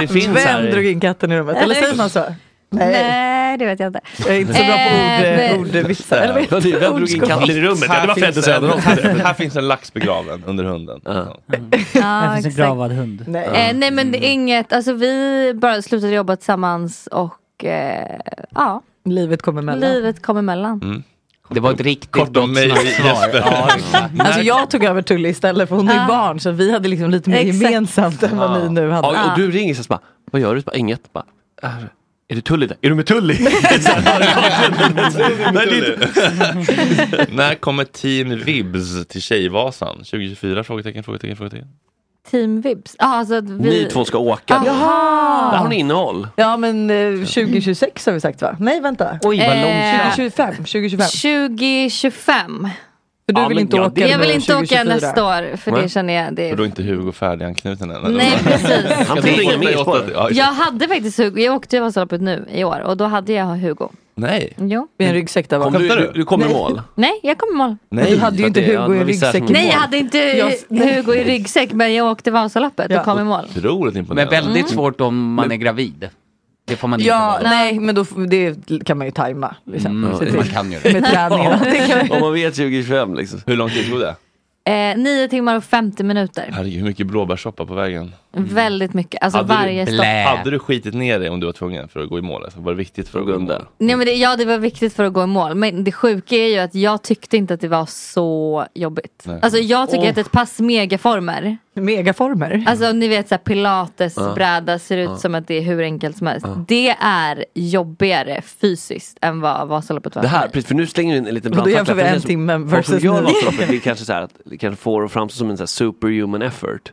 Speaker 5: det finns
Speaker 12: Vem
Speaker 5: här i-
Speaker 12: drog in katten i rummet? Eller säger man så?
Speaker 13: Nej. det vet jag inte.
Speaker 12: Jag är inte så bra på
Speaker 13: Eh,
Speaker 12: ord,
Speaker 13: men-
Speaker 12: ordvitsar. Eller vad heter det? Ordskåp.
Speaker 2: Här
Speaker 5: det var
Speaker 2: finns
Speaker 5: Fredde
Speaker 2: en-
Speaker 5: Söderholm.
Speaker 2: Här, här finns en lax begraven under hunden.
Speaker 12: *laughs*
Speaker 13: Ja,
Speaker 1: finns en
Speaker 13: exakt.
Speaker 1: gravad hund.
Speaker 12: Nej.
Speaker 13: Eh, nej men det är inget, alltså vi bara slutade jobba tillsammans och eh, ja,
Speaker 12: Livet kommer emellan.
Speaker 13: livet kom emellan.
Speaker 6: Det var ett riktigt
Speaker 2: Mm. Kort om
Speaker 6: gott
Speaker 2: mig,
Speaker 6: snacksvar.
Speaker 2: Jesper.
Speaker 6: Ja,
Speaker 2: *laughs*
Speaker 6: exakt.
Speaker 12: Alltså jag tog över Tully istället för hon är ju barn så vi hade liksom lite mer
Speaker 13: Exakt.
Speaker 12: gemensamt än vad ni nu hade.
Speaker 5: Ah.
Speaker 12: Ah.
Speaker 5: Ja, och du ringer så bara, vad gör du? Så Bara, inget. Bara, är, är du Tully där? Är du med Tully? *laughs* Så här,
Speaker 2: *laughs*
Speaker 5: bara, Nej, det är inte-
Speaker 2: När kommer Team Vibs till Tjejvasan? 2024? Frågetecken, frågetecken, frågetecken.
Speaker 13: Team Vibs. Ja, alltså att vi...
Speaker 5: Ni två ska åka.
Speaker 12: Ah.
Speaker 13: Jaha.
Speaker 5: Där har ni innehåll.
Speaker 12: Ja men eh, 2026 har vi sagt va? Nej vänta.
Speaker 5: Oj,
Speaker 13: vad långt.
Speaker 12: 2025. 2025.
Speaker 13: 2025.
Speaker 12: För du
Speaker 2: Ja,
Speaker 12: vill
Speaker 2: men
Speaker 12: inte
Speaker 2: ja,
Speaker 12: åka
Speaker 2: det-
Speaker 13: Jag vill inte åka
Speaker 12: 2024.
Speaker 13: nästa år för
Speaker 2: Nej.
Speaker 13: det känner jag. Det
Speaker 2: Och då är inte Hugo färdiganknuten än? eller?
Speaker 13: Nej, precis.
Speaker 2: Ska
Speaker 13: Han
Speaker 2: du
Speaker 13: fick
Speaker 2: ringa
Speaker 13: inte
Speaker 2: mig
Speaker 13: med
Speaker 2: åt att- Ja,
Speaker 13: Jag hade faktiskt Hugo, jag åkte ju Vasaloppet nu i år och då hade jag Hugo.
Speaker 2: Nej.
Speaker 13: Jo.
Speaker 12: Med en ryggsäck där
Speaker 5: Kom du, du, du kom i
Speaker 13: Nej.
Speaker 5: mål.
Speaker 13: Nej, jag kom i mål.
Speaker 5: Nej, Du hade ju för inte det- Hugo ja, det i var vissa ryggsäck. som-
Speaker 13: Nej, jag hade inte
Speaker 5: Jag-
Speaker 13: *laughs* Hugo i ryggsäck men jag åkte Vasaloppet och kom i mål.
Speaker 2: Otroligt
Speaker 6: Men
Speaker 2: imponerande.
Speaker 6: väldigt
Speaker 13: Mm.
Speaker 6: svårt om man är gravid. Det får man inte
Speaker 12: Ja,
Speaker 6: vara.
Speaker 12: nej, men då, f- det kan man ju tajma. Liksom.
Speaker 6: Mm,
Speaker 12: Se till.
Speaker 6: man kan ju
Speaker 12: Med träningarna. Det kan-
Speaker 2: Om man vet 2025 liksom. Hur lång tid tog det?
Speaker 13: Eh, nio timmar och 50 minuter.
Speaker 2: Herregud, hur mycket blåbärssoppa på vägen?
Speaker 5: Mm.
Speaker 13: Väldigt mycket, alltså varje
Speaker 2: du,
Speaker 13: stopp.
Speaker 2: Hade du skitit ner dig om du var tvungen för att gå i mål? Alltså, var det viktigt för att gå i mål?
Speaker 13: Nej, men det, ja, det var viktigt för att gå i mål. Men det sjuka är ju att jag tyckte inte att det var så jobbigt.
Speaker 2: Nej.
Speaker 13: Alltså jag tycker
Speaker 2: Åh.
Speaker 13: att ett pass megaformer.
Speaker 12: Megaformer?
Speaker 13: Alltså ni vet såhär pilates
Speaker 12: Ja.
Speaker 13: bräda ser ut
Speaker 12: Ja.
Speaker 13: som att det är hur enkelt som helst.
Speaker 5: Ja.
Speaker 13: Det är jobbigare fysiskt än vad Vasaloppet var
Speaker 5: Det
Speaker 13: för
Speaker 5: här,
Speaker 13: mig.
Speaker 5: precis, för nu slänger du in en liten
Speaker 13: Vadå,
Speaker 5: brandfackla.
Speaker 13: jämför vi
Speaker 5: för det
Speaker 13: en
Speaker 5: som-
Speaker 13: timme
Speaker 5: Folk
Speaker 13: versus
Speaker 5: som gör
Speaker 13: nio?
Speaker 5: Vasaloppet
Speaker 13: *laughs*
Speaker 5: vill kanske, så här, att- kanske får det att framstå som en så här superhuman effort.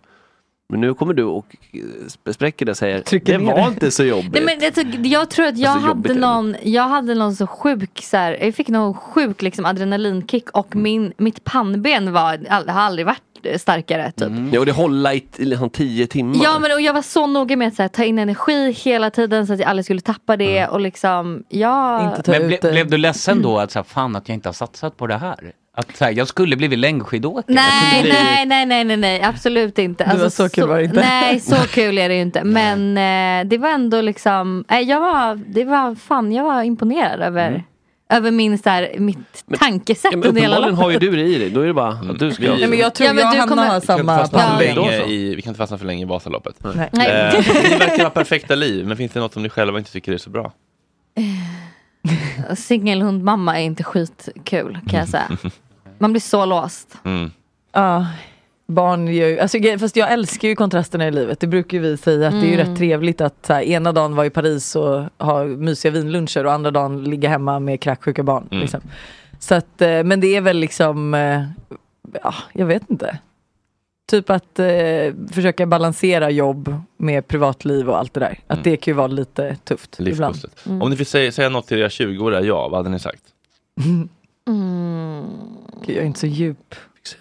Speaker 5: Men nu kommer du och eh, sp- spräcker det och säger, det
Speaker 13: ner
Speaker 5: var
Speaker 13: det."
Speaker 5: inte så jobbigt.
Speaker 13: Nej, men alltså, jag tror att jag
Speaker 5: Alltså, jobbigt
Speaker 13: hade
Speaker 5: är det.
Speaker 13: någon, jag hade någon så sjuk så här, jag fick någon sjuk liksom adrenalinkick och
Speaker 5: Mm.
Speaker 13: min, mitt pannben var, all- har aldrig varit eh, starkare typ.
Speaker 5: Mm. Ja, och det hålla i t- liksom tio timmar.
Speaker 13: Ja men och jag var så noga med att så här, ta in energi hela tiden så att jag aldrig skulle tappa det
Speaker 5: Mm.
Speaker 13: och liksom, ja.
Speaker 6: Men
Speaker 12: eh.
Speaker 6: ble, blev du ledsen då att så här, fan att jag inte har satsat på det här? Att så här, jag skulle blivit längdskidåkare.
Speaker 13: Nej,
Speaker 6: Jag kunde bli-
Speaker 13: nej, nej, nej, nej, nej, absolut inte. Alltså,
Speaker 6: var så kul var det inte. *laughs*
Speaker 13: Nej, så kul är det ju inte. Men eh, det var ändå liksom, nej, jag var, det var, fan jag var imponerad över, över min, så här, mitt tankesätt
Speaker 5: Mm. men
Speaker 13: under hela
Speaker 5: uppenbarligen har ju
Speaker 13: loppet.
Speaker 5: du det i dig, då är det bara att du ska
Speaker 2: Mm. Nej, men jag tror Ja, men jag och du Hanna kommer- har
Speaker 13: samma
Speaker 2: Vi kan inte fastna för
Speaker 13: Ja.
Speaker 2: länge i- vi kan inte fastna för länge i Vasaloppet.
Speaker 13: Nej.
Speaker 2: Eh,
Speaker 13: Nej.
Speaker 2: *laughs* ni verkar ha perfekta liv, men finns det något som ni själva inte tycker är så bra?
Speaker 13: Singelhundmamma är inte skitkul kan jag säga. Man blir så låst.
Speaker 15: *laughs*
Speaker 12: Ja, barn gör ju, alltså, grejen- fast jag älskar ju kontrasterna i livet. Det brukar ju vi säga att det är ju
Speaker 13: Mm.
Speaker 12: rätt trevligt att så här, ena dagen vara i Paris och ha mysiga vinluncher och andra dagen ligga hemma med kräksjuka barn.
Speaker 3: Mm.
Speaker 12: Liksom. Så att, eh, men det är väl liksom, eh, ja, jag vet inte. Typ att eh, försöka balansera jobb med privatliv och allt det där. Att
Speaker 2: Mm.
Speaker 12: det kan ju vara lite tufft ibland. Mm.
Speaker 2: Livspusslet. Om ni fick säga, säga något till era 20-åriga jag, vad hade ni sagt?
Speaker 12: Gud, jag är inte så djup.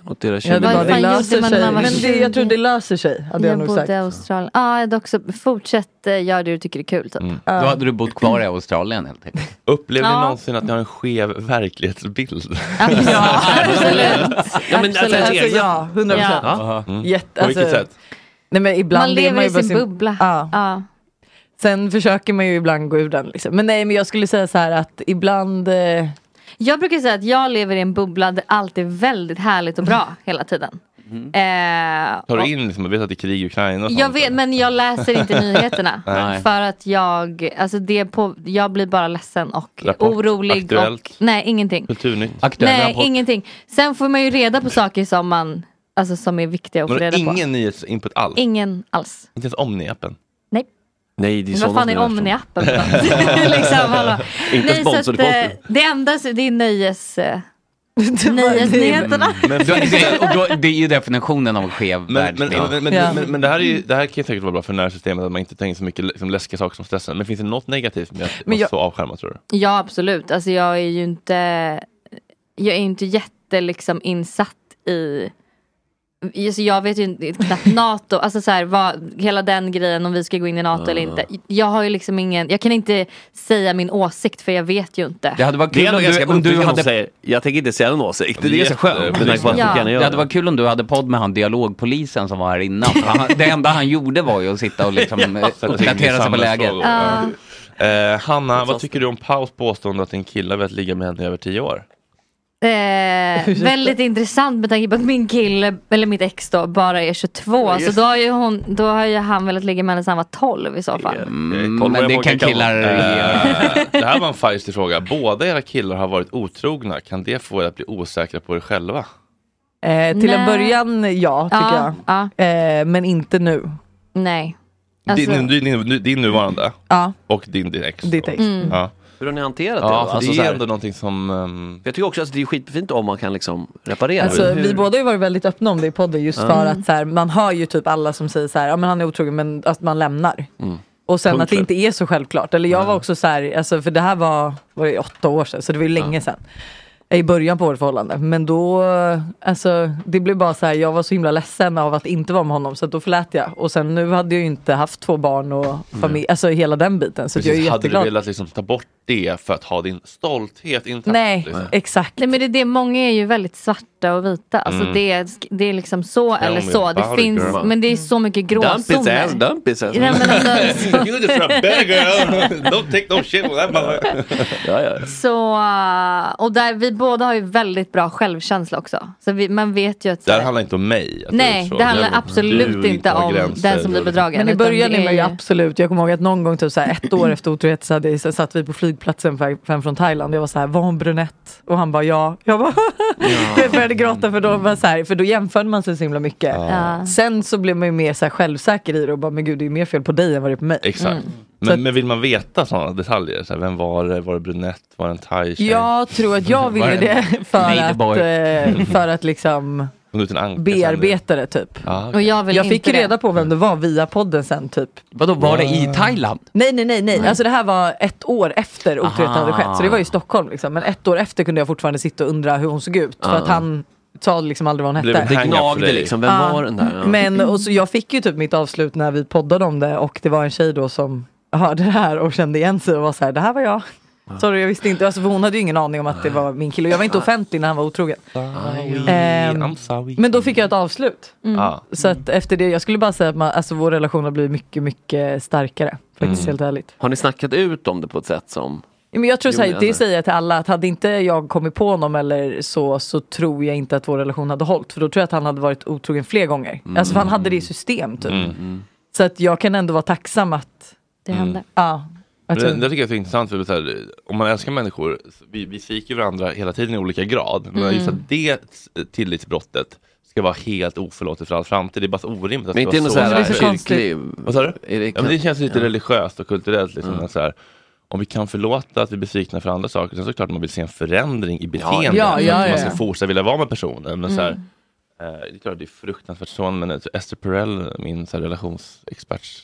Speaker 5: Åt deras
Speaker 12: Jag hade
Speaker 13: Mm. Vad
Speaker 12: bara, det
Speaker 13: fan gjorde
Speaker 12: löser
Speaker 13: man
Speaker 12: sig.
Speaker 13: när man var
Speaker 12: Men det, jag
Speaker 13: 20?
Speaker 12: tror det löser sig, hade jag,
Speaker 13: jag
Speaker 12: nog
Speaker 13: bodde
Speaker 12: sagt.
Speaker 13: i Australien. Ja, jag hade också, fortsätt eh, gör det du tycker är kul typ.
Speaker 12: Mm.
Speaker 6: Då hade du bott kvar i Australien helt enkelt.
Speaker 2: Upplever
Speaker 13: Ja.
Speaker 2: ni någonsin att ni har en skev verklighetsbild?
Speaker 12: Ja, men alltså, Absolut. alltså, ja, 100%.
Speaker 2: Ja. Mm.
Speaker 12: Jätte-
Speaker 2: På vilket
Speaker 12: alltså-
Speaker 2: sätt?
Speaker 12: Nej, men ibland
Speaker 13: Man
Speaker 12: är
Speaker 13: lever
Speaker 12: ju
Speaker 13: i
Speaker 12: bara
Speaker 13: sin bubbla.
Speaker 12: Ja.
Speaker 13: Ja.
Speaker 12: Sen försöker man ju ibland gå ur den. Liksom. Men nej, men jag skulle säga så här att ibland... Eh,
Speaker 13: Jag brukar säga att jag lever i en bubbla där allt är väldigt härligt och
Speaker 12: Mm.
Speaker 13: bra hela tiden. Eh,
Speaker 2: Tar
Speaker 13: och-
Speaker 2: du in liksom, jag vet att det är krig i Ukraina och sånt?
Speaker 13: Jag vet, men jag läser
Speaker 2: *laughs*
Speaker 13: inte nyheterna.
Speaker 2: Nej.
Speaker 13: För att jag, alltså det på, jag blir bara ledsen och
Speaker 2: Rapport,
Speaker 13: orolig.
Speaker 2: Aktuellt.
Speaker 13: Och, nej, ingenting.
Speaker 2: Kulturnytt.
Speaker 13: nej, ingenting. Sen får man ju reda på saker som man, alltså som är viktiga att få
Speaker 2: Men
Speaker 13: reda på.
Speaker 2: ingen nyhetsinput alls?
Speaker 13: Ingen alls.
Speaker 2: Inte ens Omni-appen?
Speaker 13: Nej.
Speaker 5: Nej, det
Speaker 13: Men vad fan är Omni-appen för
Speaker 6: *laughs*
Speaker 13: något? *laughs*
Speaker 2: *laughs*
Speaker 13: liksom, hallå. Nej, så att, eh, det enda, så- det är nöjes... eh, Nöjesnyheterna.
Speaker 6: Men, då, det, och då, det är ju definitionen av skev
Speaker 2: Men, men,
Speaker 6: världsbild.
Speaker 2: men, men,
Speaker 13: Ja.
Speaker 2: men, men det, här är ju, det här kan ju säkert vara bra för nervsystemet, att man inte tänker så mycket liksom, läskiga saker som stressen. Men finns det något negativt med att
Speaker 13: Men
Speaker 2: vara
Speaker 13: jag-
Speaker 2: så avskärmad tror du?
Speaker 13: Ja absolut, alltså jag är ju inte Jag är ju inte jätte liksom insatt i Alltså jag vet ju inte knappt NATO, alltså så här, vad, hela den grejen om vi ska gå in i NATO
Speaker 6: Ah.
Speaker 13: eller inte. Jag har ju liksom ingen, jag kan inte säga min åsikt för jag vet ju inte.
Speaker 6: Det hade varit kul
Speaker 5: ändå
Speaker 6: om du,
Speaker 5: ganska
Speaker 6: om du
Speaker 5: uppbyggande
Speaker 6: hade...
Speaker 5: att säga, jag tänker inte säga någon åsikt. Det är ganska skönt. med tanke på att folk gärna gör
Speaker 6: Det hade varit kul om du hade podd med han dialogpolisen som var här innan. För Han, det enda han gjorde var ju
Speaker 5: *laughs*
Speaker 6: att sitta och liksom eh, uppdatera sig på läget.
Speaker 2: Ja. Eh, Hanna, vad tycker du om Paus påstående att en kille har velat ligga med henne i över tio år?
Speaker 13: Eh, väldigt intressant med tanke på att min kille, eller mitt ex då, bara är 22.
Speaker 6: Ja,
Speaker 13: så
Speaker 6: just
Speaker 13: då har ju, hon, då har ju han velat ligga med henne sedan han var 12 i så fall.
Speaker 6: Mm,
Speaker 2: Kolla vad
Speaker 6: men det
Speaker 2: jag vågar
Speaker 6: kan killar
Speaker 2: kalla- Eh, Det här var en feisty fråga. Båda era killar har varit otrogna. Kan det få er att bli osäkra på er själva?
Speaker 12: eh, till en
Speaker 13: Nej.
Speaker 12: början ja, tycker
Speaker 13: Ja, jag.
Speaker 12: Eh, men inte nu.
Speaker 13: Nej. Alltså-
Speaker 2: Din, din, din, din nuvarande
Speaker 12: Alltså- Ja.
Speaker 2: och din, din ex.
Speaker 12: Ditt ex. Mm.
Speaker 2: Ja.
Speaker 5: Hur har ni hanterat det?
Speaker 2: Ja, för det är
Speaker 5: alltså, så här-
Speaker 2: ändå någonting som... ehm,
Speaker 5: Jag tycker också att det är skitfint om man kan liksom reparera.
Speaker 12: Alltså,
Speaker 5: Hur-
Speaker 12: Vi båda har ju varit väldigt öppna om det i podden just
Speaker 5: Ja.
Speaker 12: för
Speaker 5: Mm.
Speaker 12: att så här, man hör ju typ alla som säger så här, ja men han är otrogen men att man lämnar. Och sen
Speaker 5: Punkt
Speaker 12: att det
Speaker 5: slut.
Speaker 12: inte är så självklart. Eller jag var också så här, alltså, för det här var, var det åtta år sedan, så det var ju länge sedan. i början på vårt förhållande. Men då, alltså det blev bara så här, jag var så himla ledsen av att inte vara med honom så att då förlät jag. Och sen nu hade jag ju inte haft två barn och familj,
Speaker 2: Mm.
Speaker 12: alltså hela den biten. Så att jag är
Speaker 2: Precis, hade du
Speaker 12: jätteglad.
Speaker 2: velat liksom ta bort det för att ha din stolthet intakt?
Speaker 13: Nej,
Speaker 2: liksom?
Speaker 12: exakt.
Speaker 13: Nej, men det är det, många är ju väldigt svarta och vita. Alltså
Speaker 2: Mm.
Speaker 13: det, är, det är liksom så
Speaker 2: Tell
Speaker 13: eller
Speaker 2: me
Speaker 13: så. Det
Speaker 2: about it,
Speaker 13: finns,
Speaker 2: girl.
Speaker 13: men det är så mycket
Speaker 5: Dump his
Speaker 13: gråzoner.
Speaker 5: ass, dump his ass.
Speaker 13: Nej, men
Speaker 2: *laughs*
Speaker 5: *laughs*
Speaker 13: alltså,
Speaker 2: you just a better girl! Don't take no shit with that mother.
Speaker 5: ja, ja.
Speaker 13: Så, eh, och där, vi båda har ju väldigt bra självkänsla också. Så vi, man vet ju att...
Speaker 2: Det här handlar inte om mig. att du är
Speaker 13: Nej,
Speaker 2: så.
Speaker 13: det handlar
Speaker 2: men
Speaker 13: absolut
Speaker 2: du
Speaker 13: inte
Speaker 2: har
Speaker 13: om
Speaker 2: gränser
Speaker 13: den som blir
Speaker 2: och-
Speaker 13: bedragen.
Speaker 12: Men i
Speaker 13: utan
Speaker 12: början
Speaker 13: det
Speaker 12: är man ju
Speaker 13: ju-
Speaker 12: absolut, jag kommer ihåg att någon gång typ så här ett år efter otrohet så, hade, jag- så satt vi på flygplatsen fram fram från Thailand och jag var så här, var hon brunett? Och han bara ja. Jag bara *laughs* jag började gråta för då, var så här, för då jämförde man sig så himla mycket.
Speaker 2: Ja.
Speaker 12: Sen så blev man ju mer så här självsäker i det och bara men gud det är ju mer fel på dig än vad det är på mig.
Speaker 2: Exakt.
Speaker 12: Så att-
Speaker 2: Men, men vill man veta sådana detaljer? Så här, vem var det? Var det brunett? Var det en thai-tjej?
Speaker 12: Jag tror att jag
Speaker 2: Var
Speaker 12: ville
Speaker 2: det-
Speaker 12: det för
Speaker 2: Made
Speaker 12: att,
Speaker 2: boy.
Speaker 12: eh, för att liksom
Speaker 2: Kom du till en anka sen?
Speaker 12: bearbeta det typ.
Speaker 2: Ja,
Speaker 12: Och jag,
Speaker 13: vill
Speaker 12: fick
Speaker 13: inte
Speaker 12: ju
Speaker 13: det.
Speaker 12: reda på vem det var via podden sen typ.
Speaker 6: Vadå, var det i Thailand?
Speaker 12: Nej, nej, nej, nej. Alltså det här var ett år efter otroheten
Speaker 6: Aha.
Speaker 12: hade skett. Så det var ju i Stockholm liksom. Men ett år efter kunde jag fortfarande sitta och undra hur hon såg ut. För
Speaker 5: Ah.
Speaker 12: att han sa liksom aldrig vad hon
Speaker 5: Blev
Speaker 12: hette.
Speaker 5: det Det hang-up gnagde för dig? liksom. Vem var den där? Ja.
Speaker 12: Men och så jag fick ju typ mitt avslut när vi poddade om det och det var en tjej då som hörde det här och kände igen sig och var så här, det här var jag. Sorry, jag visste inte. Alltså, för hon hade ju ingen aning om att det var min kille. Och jag var inte offentlig när han var otrogen. Ehm,
Speaker 2: I'm sorry.
Speaker 12: men då fick jag ett avslut.
Speaker 2: Mm. Ja.
Speaker 12: Så att efter det, jag skulle bara säga att man, alltså, vår relation har blivit mycket, mycket starkare. Faktiskt
Speaker 2: Mm.
Speaker 12: helt ärligt.
Speaker 5: Har ni snackat ut om det på ett sätt som...
Speaker 12: Ja, Men jag tror
Speaker 5: Jo,
Speaker 12: så här,
Speaker 5: men
Speaker 12: det
Speaker 5: alltså-
Speaker 12: säger jag till alla att hade inte jag kommit på honom eller så så tror jag inte att vår relation hade hållit för då tror jag att han hade varit otrogen fler gånger.
Speaker 5: Mm.
Speaker 12: Alltså för han hade det i system typ.
Speaker 2: Mm.
Speaker 12: Så att jag kan ändå vara tacksam att
Speaker 13: det
Speaker 2: hände. Mm.
Speaker 12: Ja.
Speaker 2: Men
Speaker 12: Att
Speaker 2: det,
Speaker 12: jag,
Speaker 2: det tycker jag är så intressant, för det är så här, om man älskar människor, så vi, vi sviker varandra hela tiden i olika grad. Men
Speaker 5: Mm.
Speaker 2: just att det tillitsbrottet ska vara helt oförlåtligt för all framtid, det är bara så orimligt. Att
Speaker 5: Men inte
Speaker 2: det
Speaker 5: i någon
Speaker 2: ska
Speaker 5: sån
Speaker 2: vara
Speaker 5: här
Speaker 2: så
Speaker 5: kyrklig...
Speaker 2: Vad sa du?
Speaker 5: det-
Speaker 2: ja, men det känns lite
Speaker 5: Ja. Mm.
Speaker 2: religiöst och kulturellt. Liksom,
Speaker 5: Ja.
Speaker 2: att så här, om vi kan förlåta att vi är besvikna för andra saker, sen såklart man vill se en förändring i beteendet.
Speaker 5: ja,
Speaker 2: att
Speaker 5: ja,
Speaker 2: man ska
Speaker 5: ja.
Speaker 2: fortsätta vilja vara med personen. Men så här,
Speaker 5: Mm.
Speaker 2: eh, det är klart det är fruktansvärt så, men eh, Esther Perel, min så här, relationsexperts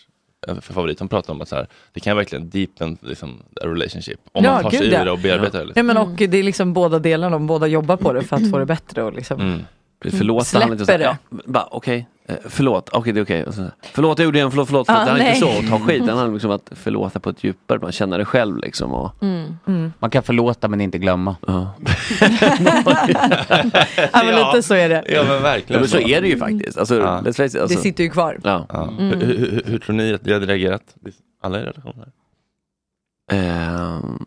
Speaker 2: eh, för favorit, hon pratar om att så här, det kan verkligen deepen liksom, a relationship. Om
Speaker 12: Ja,
Speaker 2: man tar sig
Speaker 12: gud,
Speaker 2: ur
Speaker 12: ja.
Speaker 2: det och bearbetar det.
Speaker 12: ja,
Speaker 2: Liksom.
Speaker 12: men och det är liksom båda delarna, om båda jobbar på det för att få det bättre och liksom
Speaker 5: Mm. Förlåt, det handlar inte om så här,
Speaker 12: släpper det.
Speaker 5: Ja, bara, okej, eh, förlåt, okej det är okej. Och så- Förlåt jag gjorde igen, förlåt, förlåt. förlåt.
Speaker 12: Ah,
Speaker 5: det handlar inte
Speaker 12: nej.
Speaker 5: så att ta skit, det handlar liksom om att förlåta på ett djupare man känner det själv liksom. Och...
Speaker 6: Mm.
Speaker 12: Mm.
Speaker 6: Man kan förlåta men inte glömma.
Speaker 12: Ja, men lite så är det.
Speaker 2: *laughs* Ja, men verkligen.
Speaker 5: Ja, men så är det ju faktiskt. Alltså, let's face it, alltså.
Speaker 12: Det sitter ju kvar.
Speaker 5: Ja.
Speaker 12: Mm.
Speaker 2: Hur, hur, hur- hur tror ni att vi hade reagerat? Alla i relationer?
Speaker 5: *laughs* Ehm,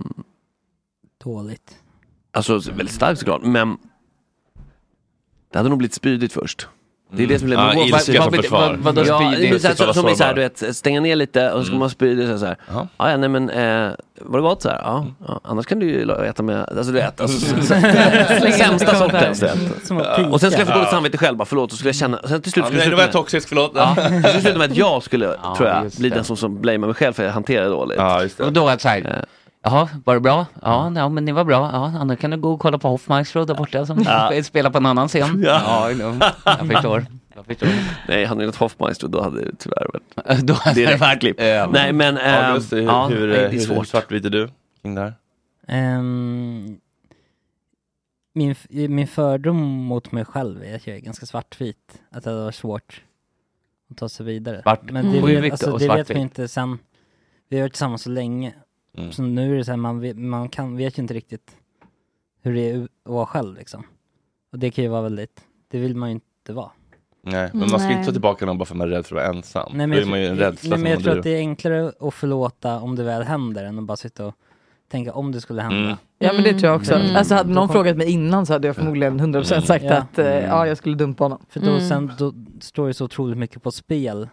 Speaker 1: Dåligt.
Speaker 5: Alltså väldigt stark såklart, men det hade nog blivit spydigt först. Det är det som blev
Speaker 2: Mm.
Speaker 5: men
Speaker 2: Ja,
Speaker 5: vad-
Speaker 2: ilska
Speaker 5: vad-
Speaker 2: som
Speaker 5: vad-
Speaker 2: försvar.
Speaker 5: vad- vad-
Speaker 2: Mm.
Speaker 5: Ja,
Speaker 2: Spydigt.
Speaker 5: men så här-
Speaker 2: Precis, vara
Speaker 5: så- Som är såhär, du
Speaker 2: sårbar.
Speaker 5: vet, stänga ner lite och så ska man spydigt så här, så här.
Speaker 2: Mm. Ja, Mm.
Speaker 5: ja, nej men eh, var det gott så här? Ja, ja, annars kan du ju äta med, alltså du vet, *laughs* alltså,
Speaker 2: *laughs*
Speaker 1: Mm. *laughs*
Speaker 5: så- så-
Speaker 2: Släng
Speaker 5: sämsta
Speaker 2: in
Speaker 5: sorten.
Speaker 2: kommentar. Som att
Speaker 5: Ja, Och sen skulle jag få dåligt
Speaker 2: Ja.
Speaker 5: samvete själv, bara, förlåt, och skulle jag känna, sen till slut
Speaker 2: Ja,
Speaker 5: skulle
Speaker 2: nej,
Speaker 5: jag
Speaker 2: det var jag toxisk, förlåt. *laughs*
Speaker 5: Ja, det skulle sluta med att jag skulle,
Speaker 6: Ja,
Speaker 5: tror jag,
Speaker 6: just
Speaker 5: bli
Speaker 6: det.
Speaker 5: den som, som blamear mig själv för att jag hanterar det dåligt. Eh.
Speaker 6: Och då att såhär, jaha, var det bra? Ja, ja men det var bra. Ja, annars kan du gå och kolla på Hoffmeister där borta som
Speaker 5: Ja.
Speaker 6: *laughs* spelar på en annan scen.
Speaker 5: Ja.
Speaker 6: Ja, ja jag förstår. Jag förstår.
Speaker 5: Nej, hade ni något Hoffmeister då hade det tyvärr
Speaker 6: varit *laughs* då hade
Speaker 5: direkt
Speaker 6: det varit-
Speaker 5: klipp.
Speaker 6: Ja.
Speaker 5: Nej men, ehm,
Speaker 2: August, hur,
Speaker 5: ja,
Speaker 2: hur,
Speaker 5: nej,
Speaker 6: eh,
Speaker 5: det är
Speaker 2: hur
Speaker 5: svårt.
Speaker 2: svartvit är du kring det här?
Speaker 1: Ehm, min, f- min fördom mot mig själv är att jag är ganska svartvit. Att det var svårt att ta sig vidare.
Speaker 6: Svart.
Speaker 1: Men det,
Speaker 6: Mm.
Speaker 1: vet,
Speaker 6: Ovikt
Speaker 1: alltså,
Speaker 6: och
Speaker 1: det vet
Speaker 6: svartvit.
Speaker 1: vi inte sen. Vi har varit tillsammans så länge.
Speaker 2: Mm.
Speaker 1: Så nu är det så här, man, vet, man kan, vet ju inte riktigt hur det är att vara själv liksom. Och det kan ju vara väldigt, det vill man ju inte vara.
Speaker 2: Nej, men man ska ju
Speaker 1: Nej.
Speaker 2: inte ta tillbaka någon bara för att man är rädd för att vara ensam.
Speaker 1: Nej, men
Speaker 2: då
Speaker 1: jag,
Speaker 2: är man ju en
Speaker 1: tror-
Speaker 2: rädsla
Speaker 1: nej,
Speaker 2: som
Speaker 1: men jag
Speaker 2: man
Speaker 1: tror
Speaker 2: driver.
Speaker 1: att det är enklare att förlåta om det väl händer än att bara sitta och tänka om det skulle hända.
Speaker 2: Mm.
Speaker 12: Ja men det tror jag också.
Speaker 1: Mm.
Speaker 12: Alltså hade
Speaker 1: Då
Speaker 12: någon
Speaker 1: kom- Mm.
Speaker 12: frågat mig innan så hade jag förmodligen 100% sagt
Speaker 1: Ja.
Speaker 12: att eh,
Speaker 2: Mm.
Speaker 12: ja, jag skulle dumpa honom. Mm.
Speaker 1: För då, sen, då står det så otroligt mycket på spel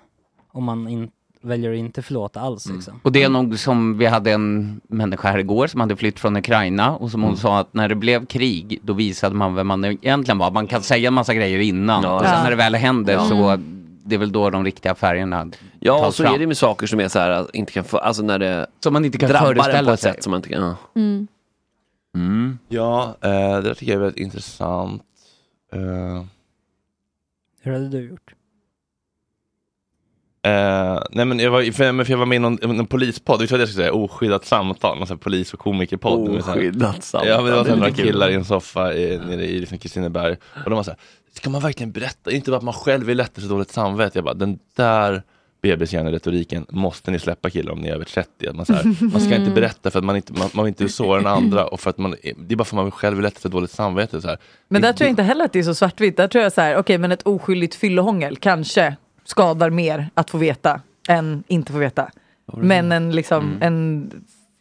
Speaker 1: om man in, väljer att inte förlåta alls
Speaker 2: Mm.
Speaker 1: liksom.
Speaker 6: Och det är nog som vi hade en människa här igår som hade flytt från Ukraina och
Speaker 5: Mm.
Speaker 6: som hon sa att när det blev krig då visade man vem man egentligen var. Man kan säga en massa grejer innan
Speaker 5: Ja.
Speaker 6: och sen
Speaker 5: Ja.
Speaker 6: när det väl händer
Speaker 5: Ja.
Speaker 6: så det är väl då de riktiga färgerna
Speaker 5: Ja, och
Speaker 6: tas
Speaker 5: så
Speaker 6: fram.
Speaker 5: är det med saker som är så här, att inte kan få, alltså när det
Speaker 6: som man inte kan
Speaker 5: drabbar en på
Speaker 6: föreställa
Speaker 5: ett
Speaker 6: sig.
Speaker 5: sätt som man inte kan, ja.
Speaker 1: Mm.
Speaker 5: Mm.
Speaker 2: Ja, eh, det där tycker jag är väldigt intressant. Eh,
Speaker 1: Hur hade du gjort?
Speaker 2: Eh, Eh, nej men jag, var, för, men för jag var med i någon, någon polispodd, visst var det jag skulle säga? Oskyddat samtal, någon sån här polis och komikerpodd. Med så här-
Speaker 5: Oskyddat samtal,
Speaker 2: Ja men det var
Speaker 5: det är
Speaker 2: så här några
Speaker 5: lite kul.
Speaker 2: killar i en soffa i, nere i liksom Kristineberg. Och de var så här, ska man verkligen berätta? Inte bara att man själv är lättare så dåligt samvete. Jag bara, den där bebishjärneretoriken måste ni släppa killar om ni är över 30. Att man, så här, man ska inte
Speaker 5: Mm.
Speaker 2: berätta för att man inte man, man vill inte såra den andra. Och för att man, det är bara för att man själv är lättare så dåligt samvete. Så här.
Speaker 12: Men där tror jag inte heller att det är så svartvitt. Där tror jag så här, okej men ett oskyldigt fyllehångel kanske skadar mer att få veta än inte få veta. Men en, liksom,
Speaker 2: Mm.
Speaker 12: en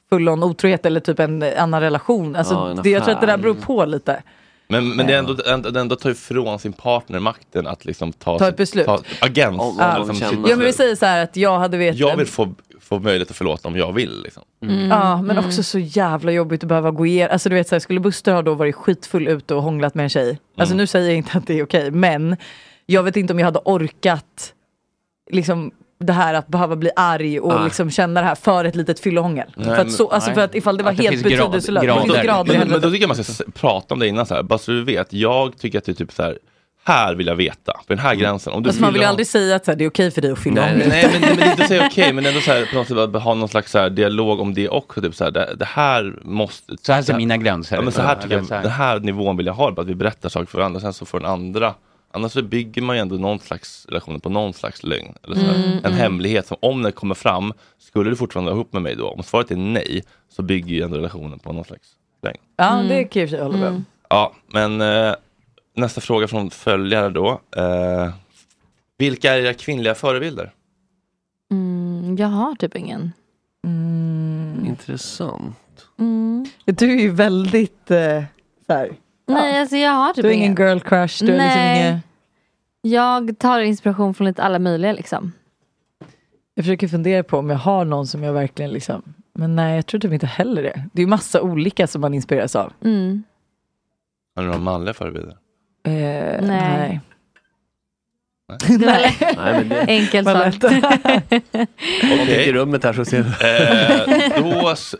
Speaker 12: full-on otrohet eller typ en annan relation. Alltså,
Speaker 2: Ja, en
Speaker 12: det, jag tror att det där
Speaker 2: affär.
Speaker 12: beror på lite.
Speaker 2: Men, men det är ändå, ändå, ändå tar ifrån sin partner makten att liksom ta,
Speaker 12: Ta ett
Speaker 2: sitt-
Speaker 12: beslut.
Speaker 2: Ta, agens.
Speaker 12: Ja. ja men vi säger så här att jag hade vetat.
Speaker 2: Jag vill få, få möjlighet att förlåta om jag vill. Liksom.
Speaker 12: Ja, men
Speaker 2: Mm.
Speaker 12: också så jävla jobbigt att behöva gå igenom. Alltså du vet, så här, skulle Buster ha då varit skitfull ute och hånglat med en tjej. Alltså
Speaker 2: Mm.
Speaker 12: nu säger jag inte att det är okej, men jag vet inte om jag hade orkat liksom det här att behöva bli arg och
Speaker 5: Nej.
Speaker 12: liksom känna det här för ett litet fyllehångel.
Speaker 2: Ah. Nej,
Speaker 12: För, att så,
Speaker 2: men-
Speaker 12: alltså
Speaker 2: nej.
Speaker 12: för att ifall det var
Speaker 2: Att
Speaker 12: helt
Speaker 2: finns grad-
Speaker 12: betydelselöst. Det finns grader i
Speaker 2: Men, men
Speaker 12: helvetet.
Speaker 2: då tycker jag man ska s- prata om det innan, så här, bara så du vet. Jag tycker att det är typ så här, här vill jag veta, på den här gränsen. Om du
Speaker 12: Mm. Fast Alltså, man vill ju
Speaker 2: ha-
Speaker 12: aldrig säga att så här, det är okej för dig att
Speaker 2: Nej,
Speaker 12: fyllehångla.
Speaker 2: nej, nej, men, nej, men det är inte att säga okej, men ändå så här, på något sätt att ha någon slags så här, dialog om det också. Typ så här, det, det här måste... Så här ser mina gränser ja, men så här
Speaker 6: Ja,
Speaker 2: tycker jag,
Speaker 6: eller så här.
Speaker 2: Den här nivån vill jag ha, bara att vi berättar saker för varandra, sen så får den andra Annars så bygger man ju ändå någon slags relation på någon slags lögn. Eller så här.
Speaker 5: Mm,
Speaker 2: en
Speaker 5: mm.
Speaker 2: hemlighet som om den kommer fram, skulle du fortfarande vara ihop med mig då? Om svaret är nej, så bygger ju ändå relationen på någon slags lögn.
Speaker 12: *laughs* Ja, det kan jag i och för sig hålla med om.
Speaker 2: Ja, men eh, nästa fråga från följare då. Eh, vilka är era kvinnliga förebilder?
Speaker 13: Mm, jag har typ ingen.
Speaker 5: Intressant.
Speaker 13: Mm.
Speaker 12: Du är ju väldigt eh, så här.
Speaker 13: Nej, alltså jag har typ
Speaker 12: Du har ingen girl crush, du har liksom
Speaker 13: Nej.
Speaker 12: ingen...
Speaker 13: Jag tar inspiration från lite alla möjliga liksom.
Speaker 12: Jag försöker fundera på om jag har någon som jag verkligen liksom... Men nej, jag tror typ inte heller det. Det är ju massa olika som man inspireras av.
Speaker 13: Mm.
Speaker 2: Har du några manliga förebilder?
Speaker 12: Eh, nej.
Speaker 13: *laughs*
Speaker 12: nej.
Speaker 5: *laughs*
Speaker 13: Nej.
Speaker 12: *laughs*
Speaker 5: men det-
Speaker 13: Enkel
Speaker 5: Vad
Speaker 13: sak. *laughs* Eh,
Speaker 2: Okej.
Speaker 5: Om du är i rummet här så ser du.
Speaker 2: Eh, då... s-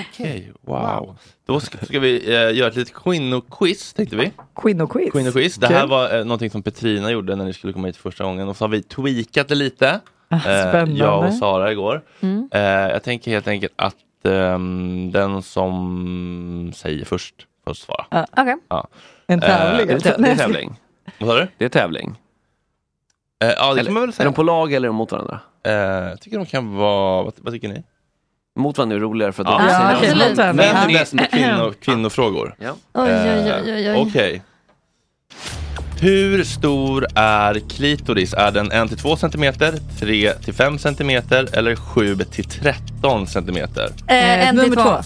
Speaker 2: Okej, wow. Då ska, ska vi eh, göra ett litet kvinnoquiz, tänkte vi.
Speaker 12: Kvinnoquiz.
Speaker 2: Kvinnoquiz. Det här
Speaker 12: Kul.
Speaker 2: var eh, någonting som Petrina gjorde när ni skulle komma hit första gången och så har vi tweakat det lite. eh,
Speaker 12: Ah, spännande.
Speaker 2: jag och Sara igår.
Speaker 12: Mm.
Speaker 2: Eh, jag tänker helt enkelt att ehm, den som säger först får svara.
Speaker 12: Ja, okej.
Speaker 2: Ja.
Speaker 12: Ah. En tävling,
Speaker 2: Eh,
Speaker 12: alltså.
Speaker 2: det, är tävling. Vad sa du?
Speaker 5: Det är tävling.
Speaker 2: Eh, ja, det
Speaker 5: Eller-
Speaker 2: kan man väl säga.
Speaker 5: Är de på lag eller är de mot varandra?
Speaker 2: Eh, tycker de kan vara, vad, vad tycker ni?
Speaker 5: Mot varandra är roligare för att
Speaker 2: Ja,
Speaker 5: de-
Speaker 2: ja,
Speaker 5: de-
Speaker 2: absolut.
Speaker 5: de- de-
Speaker 2: Vem är bäst på kvinno, kvinnofrågor?
Speaker 5: Ja.
Speaker 13: Oj, oj, oj, oj, oj.
Speaker 2: Eh, Okej. Hur stor är klitoris? Är den 1-2 cm, 3-5 cm eller 7-13 cm?
Speaker 13: Eh, en till
Speaker 12: nummer
Speaker 13: två.
Speaker 12: två.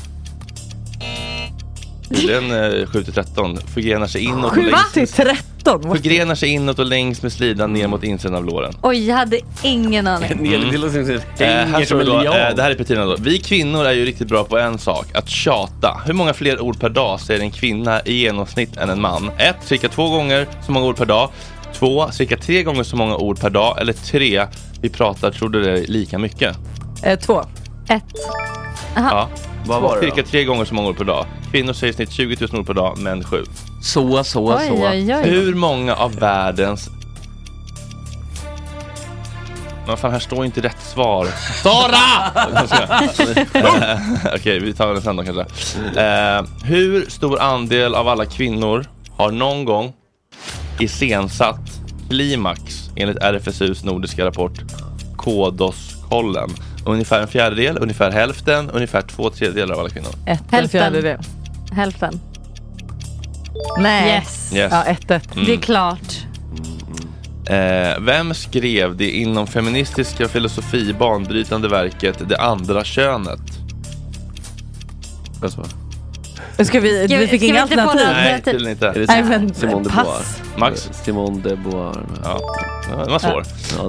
Speaker 2: Den eh, 7-13 förgrenar sig inåt och,
Speaker 12: 7
Speaker 2: längs,
Speaker 12: till 13? What?
Speaker 2: förgrenar sig inåt och längs med slidan ner mot insidan av låren.
Speaker 13: Oj, jag hade ingen aning.
Speaker 2: Eh, här står det, då,
Speaker 5: lian.
Speaker 2: eh, det här är Petrina då. Vi kvinnor är ju riktigt bra på en sak, att tjata. Hur många fler ord per dag säger en kvinna i genomsnitt än en man? 1. Cirka två gånger så många ord per dag. 2. Cirka tre gånger så många ord per dag. Eller 3. Vi pratar, tror du det är lika mycket?
Speaker 12: Eh, två.
Speaker 13: Ett.
Speaker 2: Ja.
Speaker 5: Vad var det då?
Speaker 2: Cirka tre gånger så många ord per dag. Kvinnor säger i snitt 20 000 ord per dag, män 7. Så, så,
Speaker 13: Oj, så. oj, oj.
Speaker 2: Hur många av världens... Men fan, här står ju inte rätt svar. Sara! Eh, *laughs* Okej, vi tar den sen då kanske. Eh, hur stor andel av alla kvinnor har någon gång iscensatt klimax enligt RFSUs nordiska rapport Kodoskollen? Ungefär en fjärdedel, ungefär hälften, ungefär två tredjedelar av alla kvinnor.
Speaker 12: Ett, en
Speaker 13: Hälften.
Speaker 12: fjärdedel.
Speaker 13: Hälften.
Speaker 12: Nej.
Speaker 13: Yes.
Speaker 2: Yes.
Speaker 12: Ja, ett, ett.
Speaker 2: Mm.
Speaker 13: Det är klart.
Speaker 2: Eh, vem skrev det inom feministiska filosofi banbrytande verket Det andra könet? Vad svarar
Speaker 12: Ska vi,
Speaker 13: Ska vi-
Speaker 12: vi fick
Speaker 13: ska vi
Speaker 12: inga
Speaker 13: inte få
Speaker 12: alternativ?
Speaker 13: några
Speaker 2: Nej, tydligen inte.
Speaker 5: Är det
Speaker 12: Nej, men
Speaker 5: Simone de Beauvoir?
Speaker 12: pass.
Speaker 2: Max?
Speaker 5: Simone de Beauvoir.
Speaker 2: Ja, den var svår.
Speaker 5: Ja, det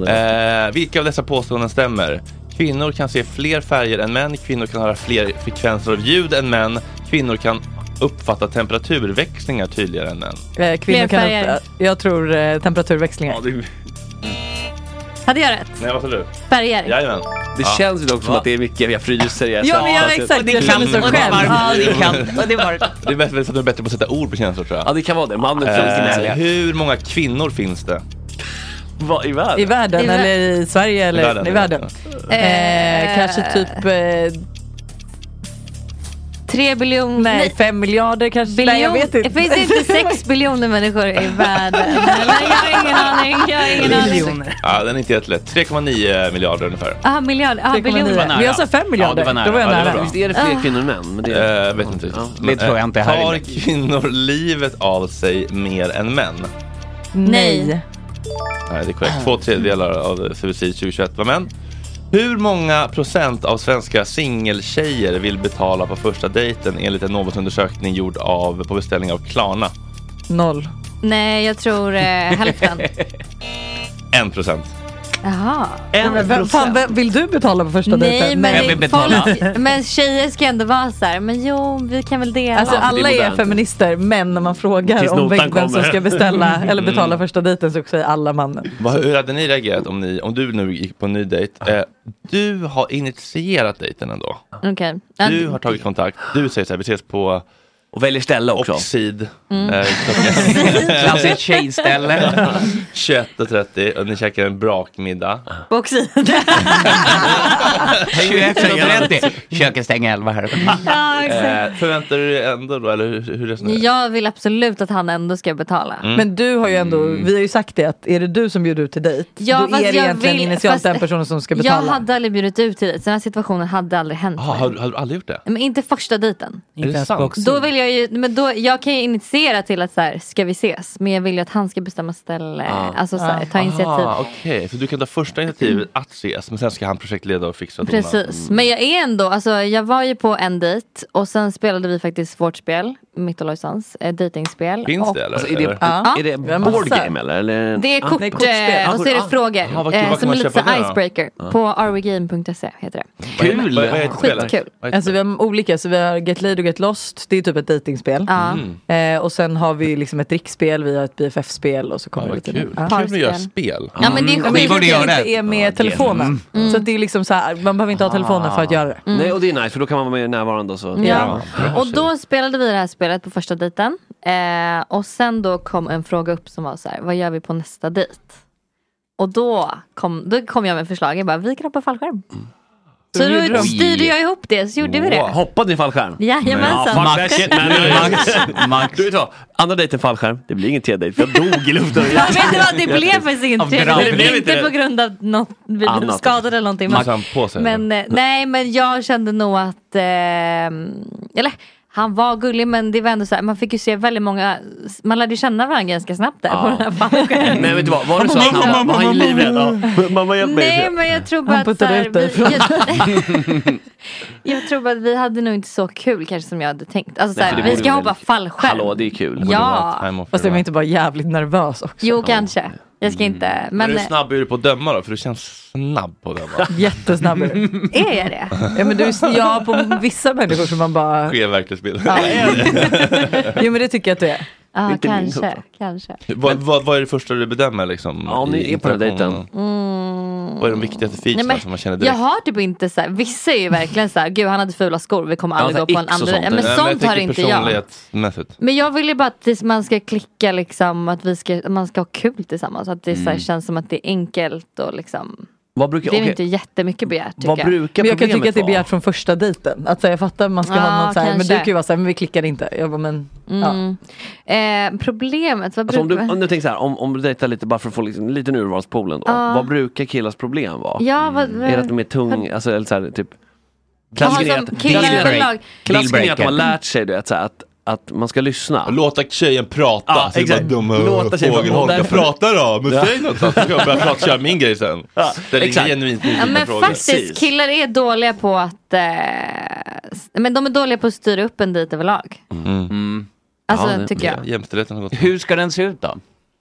Speaker 5: var-
Speaker 2: Eh, vilka av dessa påståenden stämmer? Kvinnor kan se fler färger än män, kvinnor kan höra fler frekvenser av ljud än män, kvinnor kan uppfatta temperaturväxlingar tydligare än män.
Speaker 12: Eh, kvinnor kan
Speaker 13: Flerfärger.
Speaker 12: upp, jag tror eh, temperaturväxlingar.
Speaker 13: Hade jag rätt?
Speaker 2: Nej, vad sa du?
Speaker 13: Färger.
Speaker 2: Jajamän.
Speaker 5: Det känns ju dock som att det är mycket, jag fryser. Jag
Speaker 13: Ja, men jag- exakt, jag känner så själv. Ja, det är
Speaker 5: kallt.
Speaker 13: Och det var det.
Speaker 2: Det är bättre att du är bättre på att sätta ord på känslor tror jag.
Speaker 5: Ja, det kan vara det. Mannen
Speaker 2: Eh,
Speaker 5: fryser med sig.
Speaker 2: hur många kvinnor finns det?
Speaker 5: Vad, I världen?
Speaker 12: I världen
Speaker 5: I vär-
Speaker 12: eller i Sverige eller i
Speaker 5: världen,
Speaker 12: världen.
Speaker 5: i världen.
Speaker 12: Eh,
Speaker 13: Eh.
Speaker 12: kanske typ eh,
Speaker 13: Tre biljoner.
Speaker 12: nej, fem miljarder kanske. nej, jag
Speaker 13: Biljon,
Speaker 12: vet
Speaker 13: det
Speaker 12: inte.
Speaker 13: finns *laughs* inte sex biljoner människor i världen. *laughs* Eller, jag har ingen aning. Jag har ingen aning.
Speaker 2: Ja, den är inte jättelätt. 3,9 miljarder ungefär.
Speaker 13: Aha, miljarder. Aha,
Speaker 12: 3,9.
Speaker 13: biljoner.
Speaker 12: Men jag sa fem miljarder.
Speaker 2: Ja, det var nära.
Speaker 12: Då var jag
Speaker 2: Ja, det
Speaker 12: nära.
Speaker 2: bra.
Speaker 5: Visst är det
Speaker 13: Ah.
Speaker 5: fler kvinnor än män? Men det,
Speaker 2: Eh, vet inte riktigt. eh,
Speaker 5: det tror jag inte här
Speaker 2: Tar
Speaker 5: inne.
Speaker 2: kvinnor livet av sig mer än män?
Speaker 12: Nej.
Speaker 2: Nej, det är korrekt. Två tredjedelar av suicid 2021 var män. Hur många procent av svenska singeltjejer vill betala på första dejten enligt en Novusundersökning gjord av, på beställning av Klarna?
Speaker 12: Noll.
Speaker 13: Nej, jag tror eh,
Speaker 2: *laughs*
Speaker 13: hälften.
Speaker 2: En procent.
Speaker 13: Jaha.
Speaker 12: Men vem, fan, vem, vill du betala på första
Speaker 13: Nej
Speaker 12: dejten?
Speaker 2: Jag vill
Speaker 13: men,
Speaker 2: betala.
Speaker 13: folk, *laughs* men tjejer ska ändå vara så här, men jo vi kan väl dela.
Speaker 12: Alltså alla är feminister, men när man
Speaker 2: Tills
Speaker 12: frågar om
Speaker 2: notan
Speaker 12: vem vem som
Speaker 2: kommer. *laughs*
Speaker 12: ska beställa eller betala
Speaker 2: Mm.
Speaker 12: första dejten så säger alla mannen.
Speaker 2: Vad- Hur hade ni reagerat om, ni, om du nu gick på en ny dejt? Eh, du har initierat dejten ändå.
Speaker 13: Okej.
Speaker 2: Du har tagit kontakt. Du säger så här, vi ses på...
Speaker 5: Och väljer ställe också.
Speaker 2: Oxid.
Speaker 13: Mm.
Speaker 2: Eh,
Speaker 13: *laughs*
Speaker 2: *laughs* klockan-
Speaker 6: Klassiskt tjejställe.
Speaker 2: *laughs* 21.30 och ni käkar en brakmiddag.
Speaker 13: Boxid.
Speaker 6: 21.30. Köket stänger 11 här.
Speaker 13: Ja, exakt.
Speaker 2: Eh, förväntar du dig ändå då, eller hur, hur resonerar du?
Speaker 13: Jag vill absolut att han ändå ska betala.
Speaker 2: Mm.
Speaker 12: Men du har ju ändå, vi har ju sagt det att är det du som bjuder ut till dejt,
Speaker 13: Ja,
Speaker 12: då
Speaker 13: fast
Speaker 12: är det
Speaker 13: jag
Speaker 12: egentligen
Speaker 13: vill-
Speaker 12: initialt
Speaker 13: fast-
Speaker 12: den personen som ska
Speaker 13: Jag
Speaker 12: betala.
Speaker 13: hade aldrig bjudit ut till dig, så den här situationen hade aldrig hänt
Speaker 2: Ah,
Speaker 13: mig.
Speaker 2: har, du- har du aldrig gjort det?
Speaker 13: Men inte första dejten.
Speaker 2: Inte det ens på sant? Oxid.
Speaker 13: Då vill jag ju, men då, jag kan ju initiera till att så här, ska vi ses? Men jag vill ju att han ska bestämma ställe, alltså så här, ta initiativ. Mm.
Speaker 2: Ah, Okej, så du kan ta första initiativet att ses, men sen ska han projektleda och fixa Mm. och dona.
Speaker 13: Precis, men jag är ändå, alltså jag var ju på en dejt och sen spelade vi faktiskt vårt spel, mitt och Lojsans, eh, dejtingspel.
Speaker 2: Finns
Speaker 13: och,
Speaker 2: det eller?
Speaker 5: Alltså, är det-
Speaker 13: Ja.
Speaker 5: Är det
Speaker 13: Vi har massa.
Speaker 5: board game eller? eller?
Speaker 13: Det är kort, eh, och så är det frågor. eh, som är lite så här icebreaker. På rwgame.se heter det.
Speaker 5: Kul!
Speaker 2: Vad- vad heter spelet?
Speaker 13: Skitkul.
Speaker 2: Vad heter
Speaker 12: Alltså vi har olika, så vi har Get Laid och Get Lost, det är typ ett dejtingspel.
Speaker 13: Ja.
Speaker 2: Mm.
Speaker 12: Eh, och sen har vi ju liksom ett drickspel, vi har ett BFF-spel och så kommer det lite...
Speaker 2: Kul. Kul att göra spel.
Speaker 13: Ja, men det är
Speaker 12: Mm.
Speaker 13: skit-
Speaker 12: Vi borde göra det. är
Speaker 5: Ja,
Speaker 12: med telefonen. Så att det är liksom så här, man behöver inte ha telefonen för att göra det.
Speaker 5: Nej, och det är nice för då kan man vara mer närvarande och så.
Speaker 13: Ja. Och då spelade vi det här spelet på första dejten. Eh, och sen då kom en fråga upp som var så här, vad gör vi på nästa dejt? Och då kom, då kom jag med förslag, jag bara, vi kan hoppa fallskärm. Så
Speaker 5: Så Mm. gjorde
Speaker 13: då
Speaker 5: de.
Speaker 13: styrde jag ihop det, så gjorde
Speaker 5: Wow.
Speaker 13: vi *laughs* det.
Speaker 5: Hoppade ni fallskärm?
Speaker 13: Jajamensan.
Speaker 5: Ja,
Speaker 13: Max,
Speaker 5: fuck that shit, man. *laughs* Max, Max. Du vet vad? Andra dejten fallskärm, det blir ingen tredje dejt. Jag dog i
Speaker 13: *laughs*
Speaker 5: luften.
Speaker 13: Ja, vet du vad, det blev faktiskt ingen
Speaker 5: Av brand. Det blev
Speaker 13: tredje
Speaker 5: inte
Speaker 13: Inte
Speaker 5: det.
Speaker 13: på grund av något, vi blev
Speaker 5: Annat.
Speaker 13: skadade eller någonting.
Speaker 5: Max hann på sig,
Speaker 13: men, eh, nej, men jag kände nog att, eh, eller han var gullig men det var ändå så här, man fick ju se väldigt många, man lärde ju känna varandra ganska snabbt där på den här fallskärmen.
Speaker 5: Nej vet du vad, var det så att han var han livrädd? Ja. Mamma hjälp mig.
Speaker 13: Nej men jag tror bara
Speaker 5: Han
Speaker 13: att så
Speaker 5: puttade
Speaker 13: här,
Speaker 5: ut dig
Speaker 13: vi,
Speaker 5: *laughs*
Speaker 13: jag, *laughs* jag tror bara att vi hade nog inte så kul kanske som jag hade tänkt. Alltså, så
Speaker 5: Nej, för det
Speaker 13: här, vi
Speaker 5: borde
Speaker 13: ska
Speaker 5: väl-
Speaker 13: hoppa fallskärm.
Speaker 5: Hallå det är kul.
Speaker 13: Ja.
Speaker 12: Fast jag var inte bara jävligt nervös också.
Speaker 13: Jo kanske, jag ska
Speaker 5: Mm.
Speaker 13: inte. Men
Speaker 2: Men hur snabb är du på att döma då? För du känns snabb på att döma.
Speaker 5: *laughs*
Speaker 13: *laughs*
Speaker 12: Jättesnabb.
Speaker 13: är jag det?
Speaker 12: Ja, men du, ja, på vissa människor som man bara...
Speaker 2: Skev verklighetsbild. *laughs*
Speaker 12: Jo men det tycker jag att du är.
Speaker 13: Ja,
Speaker 2: Inte min
Speaker 13: kanske.
Speaker 2: uppfattning.
Speaker 13: kanske.
Speaker 2: vad, vad, vad är det första du bedömer liksom? Ja,
Speaker 5: om ni är på den här dejten.
Speaker 13: Mm.
Speaker 2: Vad är de viktigaste featuresen
Speaker 13: Nej, men
Speaker 2: som man känner
Speaker 13: Jag
Speaker 2: direkt?
Speaker 13: har typ inte så här, vissa är ju verkligen så här, gud han hade fula skor, vi kommer
Speaker 2: Ja,
Speaker 13: aldrig
Speaker 2: så här
Speaker 13: gå på en
Speaker 5: alltså
Speaker 2: x och
Speaker 13: andra. Ja,
Speaker 2: Nej,
Speaker 13: men
Speaker 2: jag
Speaker 13: sånt har
Speaker 2: tänker
Speaker 13: inte jag.
Speaker 2: Personlighetsmässigt.
Speaker 13: Men jag vill ju bara att det- man ska klicka liksom, att vi ska, att man ska ha kul tillsammans. Att det så här,
Speaker 5: Mm.
Speaker 13: känns som att det är enkelt och liksom.
Speaker 5: Vad
Speaker 13: Det
Speaker 5: brukar,
Speaker 13: är väl
Speaker 5: okej.
Speaker 13: inte jättemycket begärt tycker
Speaker 5: Vad
Speaker 13: jag.
Speaker 5: brukar
Speaker 12: Men jag kan
Speaker 5: problemet
Speaker 12: tycka att det är
Speaker 5: vara?
Speaker 12: begärt från första dejten. Att så här, jag fattar man ska ha
Speaker 13: Ja,
Speaker 12: något så här, men du
Speaker 13: kanske.
Speaker 12: kan ju vara så här, men vi klickar inte. Jag bara, men, ja.
Speaker 13: Mm. Eh, problemet, vad
Speaker 5: Alltså om,
Speaker 13: brukar
Speaker 5: du, om du tänker så här, om, om du dejtar lite bara för att få liksom, en liten urvalspoolen då.
Speaker 13: Ja.
Speaker 5: Vad brukar killars problem vara? Mm.
Speaker 13: Ja, vad-
Speaker 5: Är det att de är tung, alltså eller så här, typ Klassiken
Speaker 13: Jaha,
Speaker 5: är
Speaker 13: som
Speaker 5: att-
Speaker 13: killar
Speaker 5: klassiken är
Speaker 13: överlag.
Speaker 5: att- klassiken är att de har
Speaker 13: Dealbreaker.
Speaker 5: lärt sig du vet, så här, att, att man ska lyssna.
Speaker 2: Låta tjejen prata.
Speaker 5: Ja,
Speaker 2: så Alltså, det är
Speaker 5: exakt.
Speaker 2: bara dumma
Speaker 5: Låta tjejen
Speaker 2: fågelholkar.
Speaker 5: prata.
Speaker 2: Prata då, men
Speaker 5: Ja.
Speaker 2: säg något. Så ska jag börja prata, köra min grej sen. Ställ inga
Speaker 5: exakt.
Speaker 2: genuint
Speaker 13: Ja,
Speaker 2: nyfikna
Speaker 13: men
Speaker 2: frågor.
Speaker 13: faktiskt, killar är dåliga på att... Eh, s- men de är dåliga på att styra upp en dit överlag. Alltså, tycker jag.
Speaker 2: Mm. Jämställdheten har gått
Speaker 6: Mm. Hur ska den se ut då?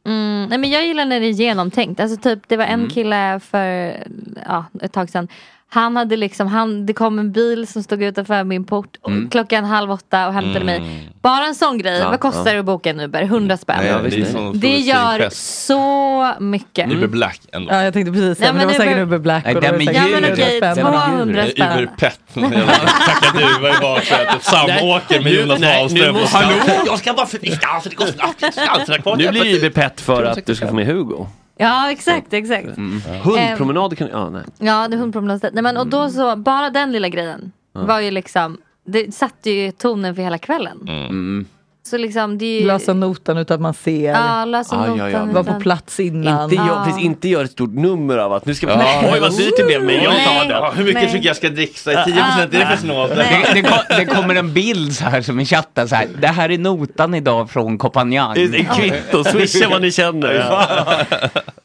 Speaker 13: Mm, nej men jag gillar när det är genomtänkt. Alltså typ det var en kille för ja, ett tag sedan. Han hade liksom, han, det kom en bil som stod utanför min port och
Speaker 5: Mm.
Speaker 13: klockan halv åtta och hämtade mig. Bara en sån grej,
Speaker 5: Ja,
Speaker 13: vad kostar
Speaker 5: ja.
Speaker 13: det att boka en Uber? 100 spänn.
Speaker 2: Nej, det är sån Mm.
Speaker 13: det gör
Speaker 2: press.
Speaker 13: så mycket.
Speaker 5: Mm.
Speaker 2: Uber Black ändå.
Speaker 12: ja, jag tänkte precis
Speaker 13: Ja,
Speaker 12: säga, men det
Speaker 13: men
Speaker 12: var
Speaker 13: det
Speaker 12: säkert
Speaker 13: bör-
Speaker 12: Uber Black.
Speaker 2: Nej,
Speaker 12: och det
Speaker 2: den
Speaker 12: var
Speaker 2: med
Speaker 13: Ja
Speaker 12: säkert
Speaker 13: men okej, 200
Speaker 2: Uber
Speaker 13: spänn.
Speaker 2: Pet. Tackaduva i baksätet. Samåker Typ med Jonas Wahlström. och Stan.
Speaker 5: alltså, Nu blir det Uber pet för att du ska få med Hugo.
Speaker 13: Ja exakt, exakt.
Speaker 5: Mm. Hundpromenad kan... Ja, nej.
Speaker 13: Ja, det är hundpromenadsstället. Nej men och då så, bara den lilla grejen
Speaker 5: Ja.
Speaker 13: var ju liksom, det satte ju tonen för hela kvällen.
Speaker 2: Mm.
Speaker 12: Mm.
Speaker 13: Så liksom det är ju...
Speaker 12: Lösa notan utan att man ser.
Speaker 13: Ja, lösa Ah, ja, notan ja. utan-
Speaker 12: Var på plats innan.
Speaker 5: Inte,
Speaker 13: Ja.
Speaker 5: gör, precis, inte gör ett stort nummer av att nu ska vi...
Speaker 2: Ja.
Speaker 5: Oj vad dyrt det blev men jag tar
Speaker 2: Nej.
Speaker 5: det.
Speaker 2: Hur mycket Nej. fick jag ska dricksa? 10% är det för snålt?
Speaker 6: Det, det, kom, det kommer en bild så här som i chatten så här. Det här är notan idag från Copenhagen.
Speaker 5: Det är ett kvitto, swisha vad ni känner.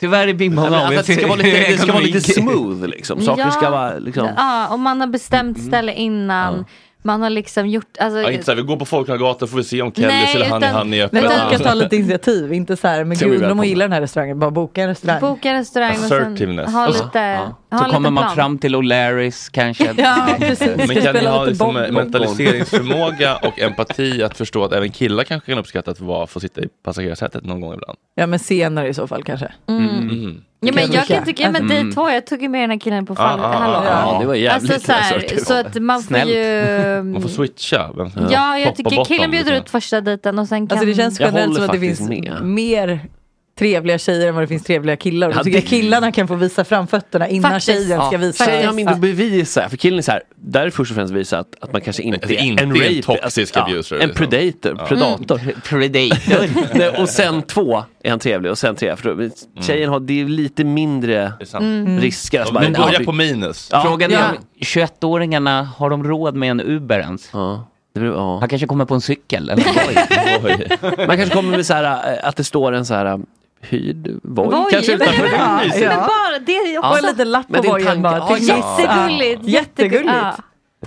Speaker 6: Tyvärr är
Speaker 5: Ja,
Speaker 6: Bimbo
Speaker 5: men
Speaker 6: av
Speaker 5: alltså, det ska vara lite, det ska vara lite smooth liksom. Saker
Speaker 13: Ja.
Speaker 5: ska vara liksom...
Speaker 13: Ja, och man har bestämt ställe innan. Man har liksom gjort, alltså,
Speaker 2: Ja, inte såhär, vi går på Folkungagatan får vi se om Kellys
Speaker 13: Nej,
Speaker 2: eller Honey
Speaker 13: utan-
Speaker 2: Honey är
Speaker 12: Men
Speaker 2: öppet.
Speaker 12: man kan ta lite initiativ, inte så här, men
Speaker 2: Sen är vi
Speaker 12: gud, om
Speaker 2: välkomna.
Speaker 12: de gillar den här restaurangen, bara boka en restaurang.
Speaker 13: boka en restaurang och sen
Speaker 2: Assertiveness.
Speaker 13: ha
Speaker 2: Alltså,
Speaker 13: lite, ha
Speaker 6: Så
Speaker 13: lite
Speaker 6: kommer man
Speaker 13: plan.
Speaker 6: fram till O'Larrys kanske.
Speaker 13: Ja, precis.
Speaker 2: Men kan ni ha liksom
Speaker 6: boll-
Speaker 2: mentaliseringsförmåga och empati att förstå att även killar kanske kan uppskatta att vara, få sitta i passagerarsätet någon gång ibland?
Speaker 12: Ja men senare i så fall kanske.
Speaker 5: Mm.
Speaker 13: Mm. Ja, men jag kan tycka, ja, men
Speaker 2: Mm.
Speaker 13: ni två, jag tog ju med den här killen på fall,
Speaker 2: Ah, ah, ah,
Speaker 13: hallå.
Speaker 2: ah, det var jävligt
Speaker 13: alltså, så, här,
Speaker 2: assertivt.
Speaker 13: så att man får
Speaker 2: Snällt.
Speaker 13: ju...
Speaker 2: Man får switcha. Vem som-
Speaker 13: Ja, jag
Speaker 2: topp och
Speaker 13: tycker
Speaker 2: bottom,
Speaker 13: killen bjuder
Speaker 2: liksom.
Speaker 13: ut första dejten och sen kan...
Speaker 12: Alltså det känns generellt som att det finns mer trevliga tjejer än vad det finns trevliga killar. Och
Speaker 5: Ja,
Speaker 12: Då tycker
Speaker 5: det-
Speaker 12: jag killarna kan få visa framfötterna innan tjejen ska visa.
Speaker 5: Tjejen har mindre att bevisa. För killen är så här, där är först och främst visa att, att man kanske inte,
Speaker 2: Alltså, inte
Speaker 5: en
Speaker 2: en
Speaker 5: rape,
Speaker 2: toxic
Speaker 5: ja,
Speaker 2: abuser,
Speaker 5: En
Speaker 2: liksom.
Speaker 5: predator.
Speaker 2: Ja.
Speaker 5: predator.
Speaker 6: Mm.
Speaker 5: Mm.
Speaker 6: Predator.
Speaker 5: *laughs* Nej, och sen två är han trevlig och sen tre. För då, tjejen
Speaker 2: Mm.
Speaker 5: har, det är lite mindre
Speaker 6: Mm.
Speaker 5: risker. att
Speaker 6: Mm.
Speaker 5: bara-
Speaker 6: Men börja
Speaker 5: vi-
Speaker 6: på minus.
Speaker 5: Ja.
Speaker 6: Frågan är om 21-åringarna, har de råd med en Uber ens? Han kanske kommer på en cykel. *laughs* Eller
Speaker 5: Man kanske kommer med så här, eh, att det står en så här eh, hyrd voj,
Speaker 13: Voj,
Speaker 5: kanske
Speaker 13: men-
Speaker 5: utanför.
Speaker 13: ja,
Speaker 5: huset.
Speaker 13: Men bara det är ju
Speaker 5: Ja.
Speaker 13: också...
Speaker 5: Och en liten lapp på Men det är en vojen bara, tanke. till Ja, gissa.
Speaker 13: Jättegulligt.
Speaker 12: Jättegulligt.
Speaker 13: Ja.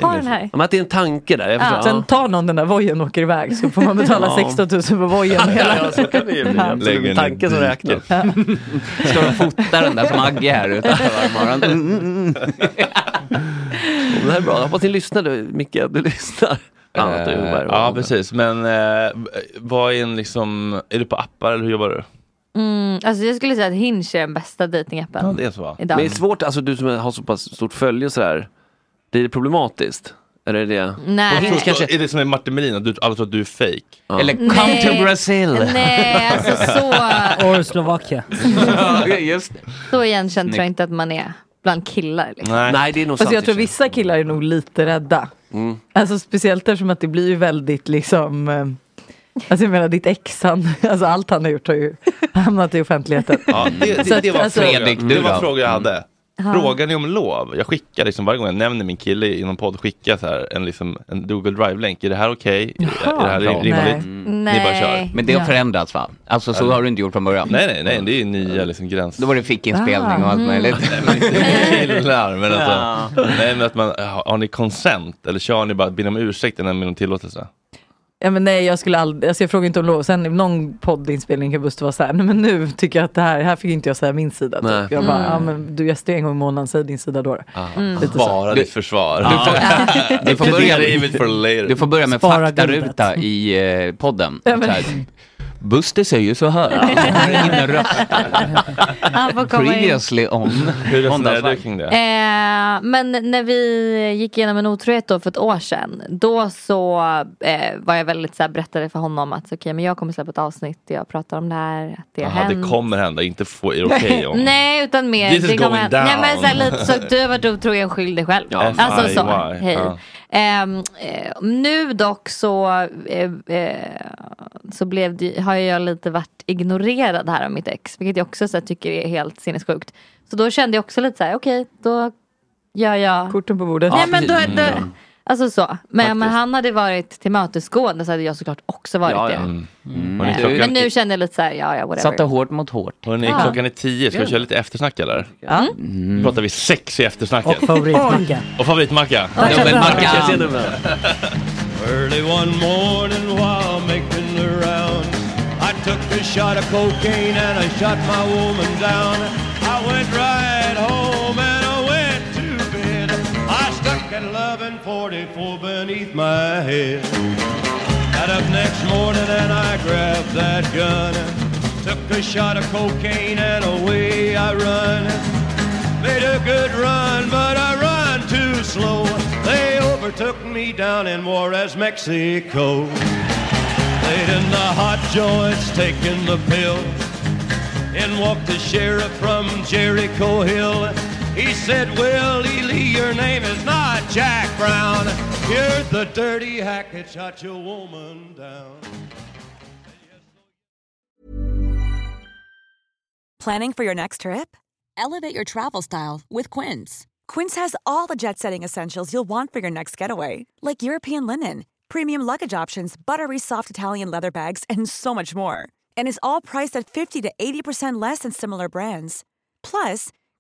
Speaker 13: Ha den här.
Speaker 5: Ja, Men att det är en tanke där. Jag förstår,
Speaker 12: Sen tar någon den där vojen och åker iväg så får man betala
Speaker 5: Ja.
Speaker 12: 16 000 för vojen.
Speaker 5: *laughs* *laughs* Ja, så kan det ju bli.
Speaker 12: Ja.
Speaker 5: Absolut. Lägger en Tanken som räknas.
Speaker 6: Står och fotar den där som Agge här utanför varje morgon. Mm, mm, mm.
Speaker 5: Det här är bra. Jag hoppas ni lyssnar du, Micke, att du lyssnar. Bland annat
Speaker 2: Eh,
Speaker 5: Uber.
Speaker 2: ja, precis. Men eh, vad är en liksom, är du på appar eller hur jobbar du?
Speaker 13: Mm, alltså jag skulle säga att Hinge är den bästa dejtingappen.
Speaker 5: Men
Speaker 13: Idag.
Speaker 5: det är svårt, alltså du som har så pass stort följe och sådär. Blir det problematiskt? Eller är det?
Speaker 13: Nej.
Speaker 2: Och så- Är det som med Martin Melin, att du, alla tror att du är fake?
Speaker 6: Eller come Nej. to Brazil.
Speaker 13: Nej, alltså så...
Speaker 1: Or
Speaker 2: *laughs*
Speaker 1: Slovakia.
Speaker 6: Just
Speaker 13: Så igenkänd tror jag inte att man är bland killar. Liksom.
Speaker 5: Nej. Nej, det är nog
Speaker 12: Fast jag
Speaker 5: sant,
Speaker 12: tror vissa killar är nog lite rädda.
Speaker 5: Mm.
Speaker 12: Alltså speciellt eftersom att det blir ju väldigt liksom eh, Alltså jag menar ditt ex, han, *laughs* alltså allt han har gjort har ju *laughs* hamnat i offentligheten.
Speaker 2: Ja, det,
Speaker 12: Så
Speaker 2: det,
Speaker 12: att,
Speaker 2: det var en
Speaker 12: alltså-
Speaker 2: fråga. det var en
Speaker 12: då?
Speaker 2: fråga jag hade.
Speaker 12: Ja.
Speaker 2: Frågan är om lov. Jag skickar liksom varje gång jag nämner min kille i någon podd, skickar jag så här en, liksom, en Google Drive-länk. Är det här okej? Är det här
Speaker 6: Jaha.
Speaker 2: rimligt? Mm.
Speaker 6: Nej.
Speaker 2: Ni bara kör.
Speaker 6: Men det har förändrats va? Alltså så
Speaker 2: Eller?
Speaker 6: har du inte gjort från början?
Speaker 2: Nej, nej, nej, det är nya liksom gränser. Då
Speaker 6: var det fickinspelning och allt Ah. möjligt.
Speaker 2: *laughs* Killar, men alltså.
Speaker 6: Ja.
Speaker 2: Nej, men att man, har har ni consent eller kör ni bara, ber ni om ursäkt innan ni om tillåtelse?
Speaker 12: Ja, men nej jag skulle aldrig, alltså jag frågar inte om lov. Sen i någon poddinspelning kan Buster vara såhär, nej men nu tycker jag att det här, här fick inte jag säga min sida.
Speaker 2: Nej.
Speaker 12: Typ. Jag bara,
Speaker 2: Mm.
Speaker 12: ja men du gästar ju en gång i månaden, säg din sida då. Mm. Lite så.
Speaker 2: Ah. Bara ditt försvar. *laughs*
Speaker 6: Du får börja,
Speaker 2: Leave it for later.
Speaker 6: du får börja med
Speaker 2: Spara
Speaker 6: faktaruta i eh, podden.
Speaker 13: Ja, men-
Speaker 6: Så här, Buster säger så här.
Speaker 13: Han får komma in.
Speaker 6: Previously on.
Speaker 2: Hur resonerar du kring det?
Speaker 13: Eh, men när vi gick igenom en otrohet då för ett år sedan. Då så eh, var jag väldigt så här, berättade för honom att okej men jag kommer släppa ett avsnitt där jag pratar om det här. Att det har
Speaker 2: Jaha, det
Speaker 13: hänt.
Speaker 2: kommer hända, inte få, är det okej om?
Speaker 13: *laughs* Nej utan mer.
Speaker 2: This is
Speaker 13: det kommer
Speaker 2: going
Speaker 13: att-
Speaker 2: down.
Speaker 13: Nej, men så här, lite så att du har varit otrogen, skyll dig själv.
Speaker 2: Ja,
Speaker 13: alltså
Speaker 2: FIY.
Speaker 13: så, hej.
Speaker 2: Ja.
Speaker 13: Ehm, eh, nu dock så, eh, eh, så blev det, har jag lite varit ignorerad här av mitt ex. Vilket jag också så här, tycker är helt sinnessjukt. Så då kände jag också lite så här: okej då gör jag...
Speaker 12: Korten på bordet.
Speaker 13: Nej,
Speaker 12: Ja,
Speaker 13: men då,
Speaker 12: precis.
Speaker 13: då,
Speaker 12: Mm.
Speaker 13: Alltså så. Men, men
Speaker 12: Faktiskt.
Speaker 13: han hade varit tillmötesgående så hade jag såklart också varit det.
Speaker 6: Mm.
Speaker 2: Hörrni,
Speaker 13: Eh,
Speaker 2: Mm. klockan-
Speaker 13: Men nu känner jag lite så här, ja ja whatever.
Speaker 6: hårt mot hårt.
Speaker 2: Hörrni,
Speaker 13: Ja.
Speaker 2: klockan är tio, ska vi köra lite eftersnack eller?
Speaker 13: Ja. Mm.
Speaker 2: Nu pratar vi sex i eftersnacket.
Speaker 1: Och favoritmacka.
Speaker 2: Och favoritmacka.
Speaker 1: Oj. Dubbelmacka.
Speaker 2: *laughs*
Speaker 10: Early one morning while making the round, I took a shot of cocaine and I shot my woman down. I went right home and I went to bed. I stuck at 11:44 beneath my head. Got up next morning and I grabbed that gun. Took a shot of cocaine and away I run. Made a good run, but I run too slow. They overtook me down in Juarez, Mexico. Laid in the hot joints, taking the pill. In walked the sheriff from Jericho Hill. He said, Willie Lee, your name is not Jack Brown. You're the dirty hack that shot your woman down.
Speaker 3: Planning for your next trip? Elevate your travel style with Quince. Quince has all the jet setting essentials you'll want for your next getaway, like European linen, premium luggage options, buttery soft Italian leather bags, and so much more. And is all priced at 50 to 80% less than similar brands. Plus,